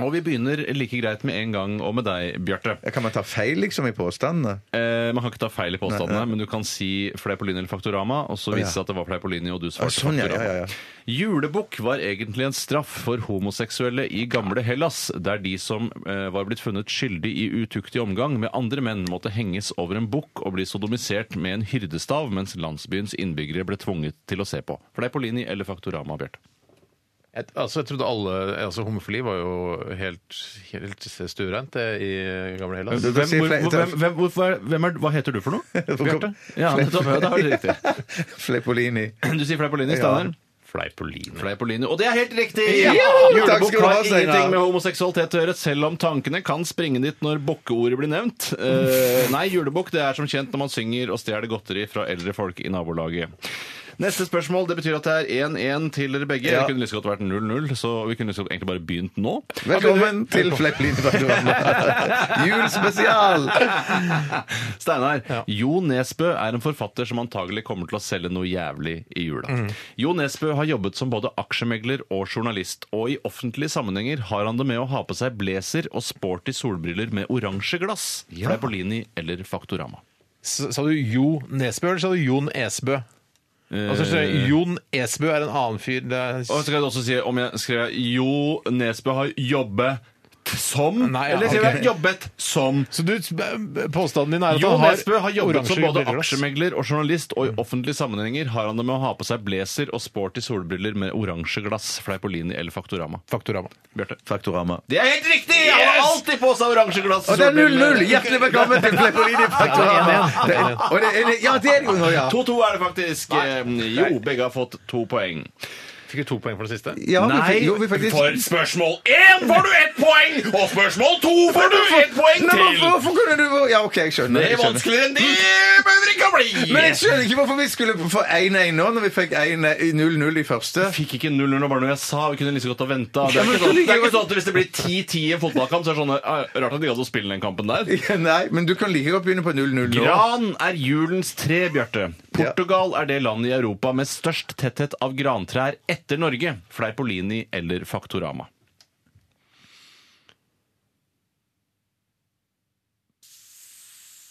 [SPEAKER 4] Og vi begynner like greit med en gang, og med deg, Bjarte.
[SPEAKER 3] Kan man ta feil liksom i påstandene?
[SPEAKER 4] Eh, man kan ikke ta feil i påstandene, men du kan si Fleipolini eller Faktorama, og så
[SPEAKER 3] Å, ja.
[SPEAKER 4] vise det seg at det var Fleipolini, og du
[SPEAKER 3] Å,
[SPEAKER 4] svarte
[SPEAKER 3] sånn, ja,
[SPEAKER 4] Faktorama.
[SPEAKER 3] ja, ja, ja.
[SPEAKER 4] Julebukk var egentlig en straff for homoseksuelle i gamle Hellas, der de som eh, var blitt funnet skyldig i utuktig omgang med andre menn, måtte henges over en bukk og bli sodomisert med en hyrdestav, mens landsbyens innbyggere ble tvunget til å se på. Fleipolini eller Faktorama, Bjarte?
[SPEAKER 2] Jeg, altså, jeg trodde alle altså Homofili var jo helt, helt stuereint det, i gamle Hellas.
[SPEAKER 3] Du kan si
[SPEAKER 4] Hvem, hvor,
[SPEAKER 3] Flei-
[SPEAKER 4] hvor- hvem, hvem, hvorfor er- hvem er, hva heter du for noe? Bjarte? Ja, nettopp, ja, det var riktig.
[SPEAKER 3] Fleipolini.
[SPEAKER 4] Du sier Fleipolini, Steinar? Fleipolini. Og det er helt riktig!
[SPEAKER 3] Ja! Takk
[SPEAKER 4] Julebukk
[SPEAKER 3] skal du ha,
[SPEAKER 4] har
[SPEAKER 3] Steinar.
[SPEAKER 4] ingenting med homoseksualitet å gjøre, selv om tankene kan springe dit når bukkeordet blir nevnt. Eh, nei, julebukk det er som kjent når man synger og stjeler godteri fra eldre folk i nabolaget. Neste spørsmål, Det betyr at det er 1-1 til dere begge.
[SPEAKER 3] Ja.
[SPEAKER 4] Det kunne lyst til godt vært 0-0, så vi kunne lyst til godt egentlig bare begynt nå.
[SPEAKER 3] Velkommen til Fleipolini. Julespesial!
[SPEAKER 4] Steinar, Jo Nesbø er en forfatter som antagelig kommer til å selge noe jævlig i jula.
[SPEAKER 2] Mm.
[SPEAKER 4] Jo Nesbø har jobbet som både aksjemegler og journalist, og i offentlige sammenhenger har han det med å ha på seg blazer og sporty solbriller med oransje glass. Fleipolini eller Faktorama.
[SPEAKER 2] S- Sa du Jo Nesbø, eller sa du Jon Esbø? Altså, så, Jon Esbø er en annen fyr. Det er,
[SPEAKER 4] Og så kan jeg også si om jeg skrev Jo Nesbø har jobbet som,
[SPEAKER 2] Nei, ja,
[SPEAKER 4] eller skrev jeg
[SPEAKER 2] ok.
[SPEAKER 4] jobbet som.
[SPEAKER 2] så du, påstanden din er at
[SPEAKER 4] Jo
[SPEAKER 2] han har
[SPEAKER 4] Nesbø har jobbet som
[SPEAKER 2] oransje
[SPEAKER 4] både
[SPEAKER 2] briller, Mm. ass.
[SPEAKER 4] aksjemegler og journalist, og i offentlige sammenhenger har han det med å ha på seg blazer og sporty solbriller med oransje glass, Fleipolini eller Faktorama.
[SPEAKER 2] Faktorama.
[SPEAKER 4] Bjarte.
[SPEAKER 3] Faktorama.
[SPEAKER 4] Det er helt riktig! Han har alltid på seg oransje glass
[SPEAKER 3] Og det er 0-0! Hjertelig velkommen til Fleipolini. Faktorama. Det er- og det er- Ja, det er det jo nå, ja.
[SPEAKER 4] 2-2 er det faktisk. Eh, Jo, begge har fått to poeng.
[SPEAKER 2] Fikk du to poeng for det siste?
[SPEAKER 3] Ja, vi fikk- jo, vi faktisk-
[SPEAKER 4] for spørsmål én får du ett poeng, og spørsmål to får du ett poeng
[SPEAKER 3] Nei,
[SPEAKER 4] til!
[SPEAKER 3] hvorfor, hvorfor kunne du Ja, OK, jeg skjønner.
[SPEAKER 4] Det er
[SPEAKER 3] jeg skjønner.
[SPEAKER 4] vanskeligere enn det behøver ikke å
[SPEAKER 3] Men jeg
[SPEAKER 4] bli!
[SPEAKER 3] skjønner ikke hvorfor vi skulle få 1-1 nå, når vi fikk 1-0-0 i første.
[SPEAKER 4] Jeg fikk ikke 0-0 bare når jeg sa vi kunne like så godt ha venta. Det
[SPEAKER 3] Ja,
[SPEAKER 4] er
[SPEAKER 3] men
[SPEAKER 4] ikke sånn
[SPEAKER 3] så ligger
[SPEAKER 4] det er ikke
[SPEAKER 3] jo-
[SPEAKER 4] sånn at hvis det blir 10-10 i en fotballkamp, så er det sånn eh, rart at de gadd å spille den kampen der.
[SPEAKER 3] Ja, Nei, men du kan like godt begynne på 0-0 nå.
[SPEAKER 4] Gran er julens tre, Bjarte. Portugal er det landet i Europa med størst tetthet av grantrær etter Norge. Fleipolini eller Faktorama.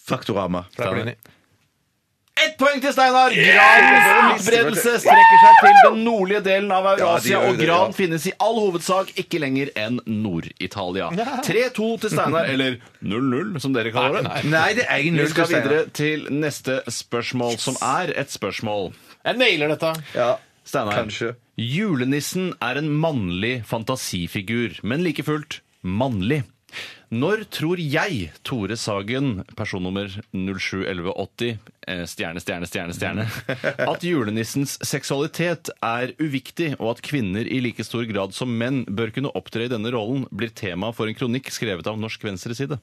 [SPEAKER 3] Faktorama.
[SPEAKER 2] Fleipolini.
[SPEAKER 4] Ett poeng til Steinar! Grans utbredelse strekker seg til den nordlige delen av Eurasia,
[SPEAKER 3] Ja, de gjør jo
[SPEAKER 4] og
[SPEAKER 3] det,
[SPEAKER 4] gran
[SPEAKER 3] ja.
[SPEAKER 4] finnes i all hovedsak ikke lenger enn Nord-Italia. 3-2 til Steinar, eller 0-0, som dere kaller det.
[SPEAKER 3] Nei, det er 1-0
[SPEAKER 4] Vi
[SPEAKER 3] til
[SPEAKER 4] skal
[SPEAKER 3] Steinar.
[SPEAKER 4] videre til neste spørsmål, som er et spørsmål
[SPEAKER 2] Jeg nailer dette.
[SPEAKER 3] Ja.
[SPEAKER 4] Steinar.
[SPEAKER 3] Kanskje.
[SPEAKER 4] Julenissen er en mannlig fantasifigur, men like fullt mannlig. Når tror jeg Tore Sagen, personnummer 071180, eh, stjerne, stjerne, stjerne, stjerne, at julenissens seksualitet er uviktig, og at kvinner i like stor grad som menn bør kunne opptre i denne rollen, blir tema for en kronikk skrevet av Norsk Venstreside?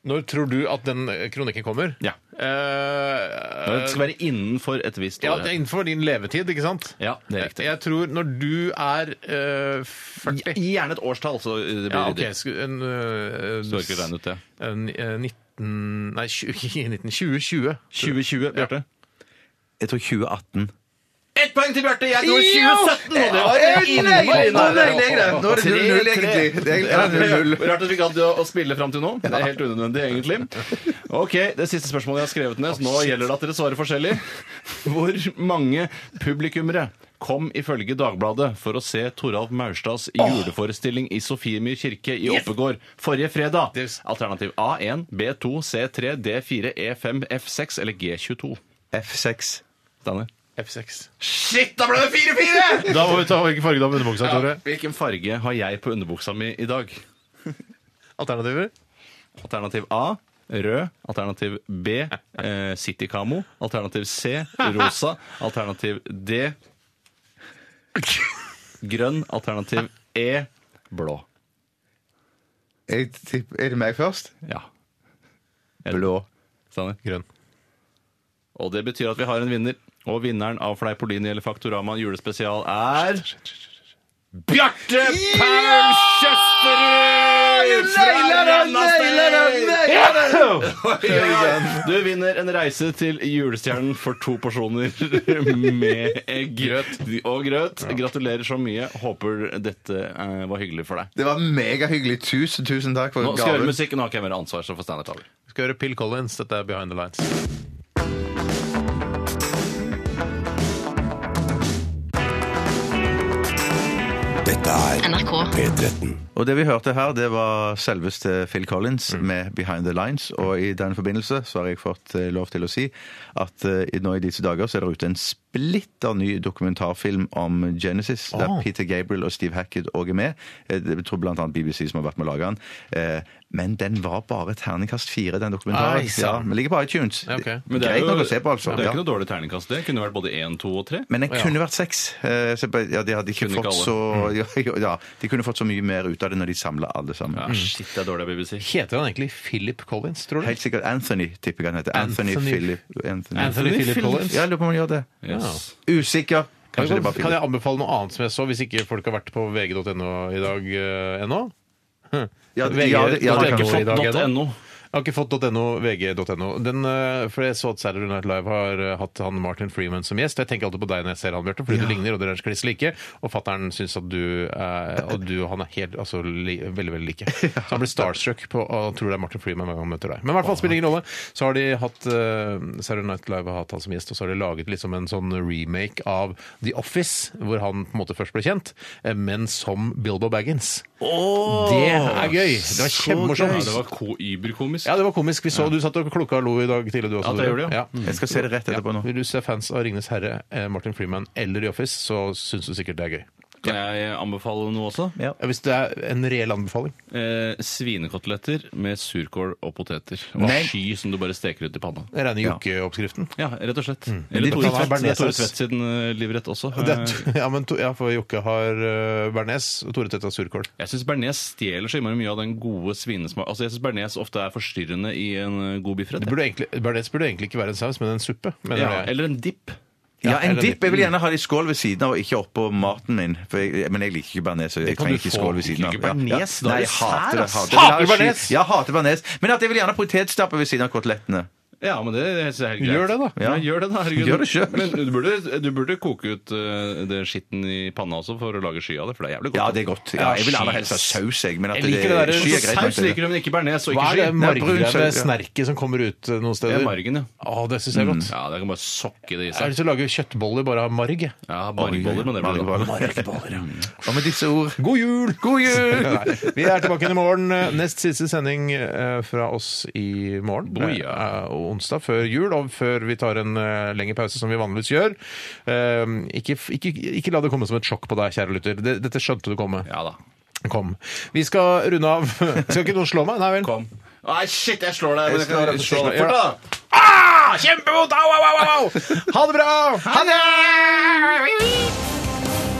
[SPEAKER 2] Når tror du at den kronikken kommer?
[SPEAKER 4] Ja.
[SPEAKER 2] Eh,
[SPEAKER 4] Det skal være innenfor et visst
[SPEAKER 2] ja,
[SPEAKER 4] år.
[SPEAKER 2] det er innenfor din levetid, ikke sant?
[SPEAKER 4] Ja, det er riktig.
[SPEAKER 2] Jeg tror når du er eh, 40
[SPEAKER 4] Gjerne et årstall, så eh, det blir
[SPEAKER 2] Ja, ok.
[SPEAKER 4] ryddig.
[SPEAKER 2] sku- En, eh,
[SPEAKER 4] Så du har ikke regnet ut det.
[SPEAKER 2] en, eh, 19... Nei, 20, 19, 2020.
[SPEAKER 4] 2020, Bjarte.
[SPEAKER 3] Jeg tror 2018.
[SPEAKER 4] Ett poeng til Bjarte! Jeg tror
[SPEAKER 3] Jo!
[SPEAKER 4] 2017! Og det var
[SPEAKER 3] Nei, nei, nei,
[SPEAKER 4] innmari
[SPEAKER 3] nei,
[SPEAKER 4] nære.
[SPEAKER 3] nei, nei. Nå er det 0-0, egentlig. Det er- ja, 0-0.
[SPEAKER 4] Rart at vi ikke hadde å spille fram til nå. Det er helt unødvendig, egentlig. Ok, Det siste spørsmålet jeg har skrevet ned, så nå gjelder det at dere svarer forskjellig. Hvor mange publikummere kom ifølge Dagbladet for å se Toralf Maurstads juleforestilling i Sofiemyr kirke i Oppegård forrige fredag?
[SPEAKER 2] Yes.
[SPEAKER 4] Alternativ A1, B2, C3, D4, E5, F6 eller G22?
[SPEAKER 3] F6.
[SPEAKER 4] Steinar?
[SPEAKER 2] F6.
[SPEAKER 4] Shit, da ble det 4-4!
[SPEAKER 2] Da må vi ta hvilken farge du har på underbuksa,
[SPEAKER 4] Ja,
[SPEAKER 2] Tore.
[SPEAKER 4] hvilken farge har jeg på underbuksa mi i dag?
[SPEAKER 2] Alternativer?
[SPEAKER 4] Alternativ A rød. Alternativ B eh, Citykamo. Alternativ C rosa. Alternativ D Grønn. Alternativ E. Blå.
[SPEAKER 3] Jeg tipp- er det meg først?
[SPEAKER 4] Ja.
[SPEAKER 3] Blå.
[SPEAKER 4] Sanner.
[SPEAKER 2] Grønn.
[SPEAKER 4] Og det betyr at vi har en vinner. Og vinneren av Fleipolini eller Faktorama julespesial er Bjarte Paul Kjøsterud! fra Rennastad! Du vinner en reise til julestjernen for to porsjoner med egg og grøt. Gratulerer så mye. Håper dette eh, var hyggelig for deg.
[SPEAKER 3] Det var megahyggelig. Tusen, tusen takk for
[SPEAKER 4] Nå skal jeg høre
[SPEAKER 3] gaven.
[SPEAKER 4] musikk. Nå har ikke jeg mer ansvar, så får Steinar ta over.
[SPEAKER 2] Vi skal høre Pill Collins. Dette er Behind the Lines.
[SPEAKER 7] Dette er
[SPEAKER 9] NRK.
[SPEAKER 7] P13.
[SPEAKER 3] Og det vi hørte her, det var selveste Phil Collins
[SPEAKER 4] Mm.
[SPEAKER 3] med 'Behind the Lines'. Og i den forbindelse så har jeg fått eh, lov til å si at eh, nå i disse dager så er det ute en splitter ny dokumentarfilm om Genesis, der Peter Gabriel og Steve Hackett òg er med. Eh, Jeg tror blant annet BBC som har vært med å lage den. Eh, Men den var bare terningkast fire, den dokumentaren.
[SPEAKER 2] Ei,
[SPEAKER 3] Ja,
[SPEAKER 2] sann.
[SPEAKER 3] men ligger på iTunes.
[SPEAKER 2] Ja, ok.
[SPEAKER 4] Men det er
[SPEAKER 3] Greit
[SPEAKER 4] jo-
[SPEAKER 3] nok å se på, altså.
[SPEAKER 4] Det er
[SPEAKER 3] Ja.
[SPEAKER 4] ikke noe dårlig terningkast. Det kunne vært både én, to og tre.
[SPEAKER 3] Men den kunne vært seks. Eh, så bare- Ja, de hadde ikke
[SPEAKER 4] Kunne ikke
[SPEAKER 3] fått
[SPEAKER 4] alle. Mm.
[SPEAKER 3] så ja, jo, ja, De kunne fått så mye mer ut av det når de samla alle sammen.
[SPEAKER 4] Ja, shit, det er dårlig av BBC.
[SPEAKER 2] Heter han egentlig Philip Collins, tror du?
[SPEAKER 3] Helt sikkert Anthony, tipper jeg han heter. Anthony,
[SPEAKER 2] Anthony.
[SPEAKER 3] Philip Anthony.
[SPEAKER 2] Anthony Philip Collins.
[SPEAKER 3] Ja, jeg lurer på om han gjør det.
[SPEAKER 4] Yes.
[SPEAKER 3] Usikker. Kanskje
[SPEAKER 2] Kan
[SPEAKER 3] det er
[SPEAKER 2] jeg,
[SPEAKER 3] bare
[SPEAKER 2] kan jeg
[SPEAKER 3] Philip.
[SPEAKER 2] anbefale noe annet som jeg så, hvis ikke folk har vært på vg.no i dag eh, ennå?
[SPEAKER 3] Ja,
[SPEAKER 2] VG,
[SPEAKER 3] ja, det- ja, det
[SPEAKER 2] VG
[SPEAKER 3] kan
[SPEAKER 2] får i dag
[SPEAKER 4] Dot
[SPEAKER 2] ennå?
[SPEAKER 4] .no.
[SPEAKER 2] Jeg har ikke fått .no, vg.no. Den, eh, For jeg så at Saturday Night Live har eh, hatt han Martin Freeman som gjest. Jeg tenker alltid på deg når jeg ser han, Bjarte, fordi du ligner, og dere er kliss like. Og fattern syns at du eh, og du og han er helt, altså, li, veldig, veldig like. Så han blir starstruck på og tror det er Martin Freeman hver gang han møter deg. Men i hvert fall spiller ingen rolle. Så har de hatt eh, Saturday Night Live har hatt han som gjest, og så har de laget liksom en sånn remake av The Office, hvor han på en måte først ble kjent, eh, men som Bilbo Baggins. det er gøy! Det var
[SPEAKER 4] Ja,
[SPEAKER 2] kjempemorsomt.
[SPEAKER 4] det var ko- überkomisk.
[SPEAKER 2] Ja, det var komisk. Vi så Du satt og klokka og lo i dag tidlig, du også.
[SPEAKER 4] Ja, det
[SPEAKER 2] Tore.
[SPEAKER 4] gjorde jeg.
[SPEAKER 2] Ja.
[SPEAKER 3] Jeg skal se det rett etterpå nå.
[SPEAKER 2] Vil du se fans av Ringenes herre, eh, Martin Freeman eller The Office, så syns du sikkert det er gøy.
[SPEAKER 4] Kan jeg anbefale noe også?
[SPEAKER 3] Ja.
[SPEAKER 2] Ja, Hvis det er en reell anbefaling.
[SPEAKER 4] Eh, svinekoteletter med surkål og poteter. Og
[SPEAKER 3] Nei.
[SPEAKER 4] sky som du bare steker ut i panna.
[SPEAKER 2] Jeg regner jokkeoppskriften.
[SPEAKER 4] Ja, rett og slett.
[SPEAKER 2] Mm.
[SPEAKER 3] de
[SPEAKER 4] Eller Tore
[SPEAKER 2] kan ha
[SPEAKER 4] Tvedt. Det er Tore
[SPEAKER 2] bearnéssaus.
[SPEAKER 4] Tvedt sin eh, livrett også.
[SPEAKER 2] Det
[SPEAKER 4] Eh.
[SPEAKER 2] er- Ja, men to, ja, for Jokke har uh, bearnés, og Tore Tvedt har surkål.
[SPEAKER 4] Jeg syns bearnés stjeler så innmari mye av den gode svinesmak... Altså, jeg syns bearnés ofte er forstyrrende i en eh, god biffrett.
[SPEAKER 2] Det burde egentlig- Bearnés burde egentlig ikke være en saus, men en suppe. mener
[SPEAKER 4] Ja,
[SPEAKER 2] jeg.
[SPEAKER 4] eller en dipp.
[SPEAKER 3] Ja,
[SPEAKER 2] Ja,
[SPEAKER 3] en
[SPEAKER 2] eller
[SPEAKER 3] dipp. Jeg vil gjerne ha det i skål ved siden av, og ikke oppå maten min. For jeg, men jeg liker ikke bearnés, så jeg
[SPEAKER 2] kan
[SPEAKER 3] trenger
[SPEAKER 2] du
[SPEAKER 3] ikke
[SPEAKER 2] få.
[SPEAKER 3] skål ved siden av.
[SPEAKER 4] Ikke bearnés, da er
[SPEAKER 3] Nei,
[SPEAKER 4] det
[SPEAKER 3] jeg hater
[SPEAKER 4] sær,
[SPEAKER 3] det.
[SPEAKER 4] ass.
[SPEAKER 3] Hater, jeg vil ha
[SPEAKER 2] Hater
[SPEAKER 3] sky-
[SPEAKER 2] bearnés?
[SPEAKER 3] Ja, hater bearnés. Men at jeg vil gjerne ha potetstappe ved siden av kotelettene.
[SPEAKER 4] Ja, men det jeg synes jeg er helt greit.
[SPEAKER 2] Gjør det, da.
[SPEAKER 4] Ja. gjør det, da. herregud.
[SPEAKER 3] Gjør det selv.
[SPEAKER 4] Men du burde, du burde koke ut eh, det skitten i panna også for å lage sky av det, for det er jævlig godt.
[SPEAKER 3] Ja, det er godt. Ja, jeg vil gjerne helst ha saus, jeg. Men at
[SPEAKER 2] Jeg liker det der-
[SPEAKER 3] sky er greit. nok,
[SPEAKER 4] Saus
[SPEAKER 3] det.
[SPEAKER 4] liker du, men ikke bearnés og ikke
[SPEAKER 2] Hva er
[SPEAKER 4] sky.
[SPEAKER 2] det
[SPEAKER 3] Nei, brun saus, ja.
[SPEAKER 2] margrede snerket som kommer ut eh, noen
[SPEAKER 4] Det
[SPEAKER 2] steder?
[SPEAKER 4] er margen, ja. Mm.
[SPEAKER 2] Å, det syns jeg er godt.
[SPEAKER 4] Ja, det kan bare sokke det i
[SPEAKER 2] Jeg har
[SPEAKER 4] seg.
[SPEAKER 2] lyst til å lage kjøttboller bare av marg. jeg.
[SPEAKER 4] Ja, Margboller, men det blir det. da.
[SPEAKER 3] Margboller. Og med disse ord
[SPEAKER 2] God jul!
[SPEAKER 3] God jul!
[SPEAKER 2] Nei, vi er tilbake igjen i morgen. Nest siste sending eh, fra oss i morgen.
[SPEAKER 3] Oh,
[SPEAKER 4] Boia.
[SPEAKER 2] Eh, og Onsdag før jul, og før vi tar en eh, lengre pause, som vi vanligvis gjør. Eh, Ikke, ikke, ikke la det komme som et sjokk på deg, kjære lytter. Det- Dette skjønte du komme.
[SPEAKER 4] Ja da.
[SPEAKER 2] Kom. Vi skal runde av. Skal ikke noen slå meg? Nei vel?
[SPEAKER 4] Kom. Nei, shit, jeg slår deg. men
[SPEAKER 3] Jeg
[SPEAKER 4] jeg kan
[SPEAKER 3] skal-
[SPEAKER 4] rett og slett slå deg.
[SPEAKER 2] Ja.
[SPEAKER 4] Fort, da!
[SPEAKER 2] Ah, kjempevondt! Au, au, au, au! au! Ha det bra! Ha det!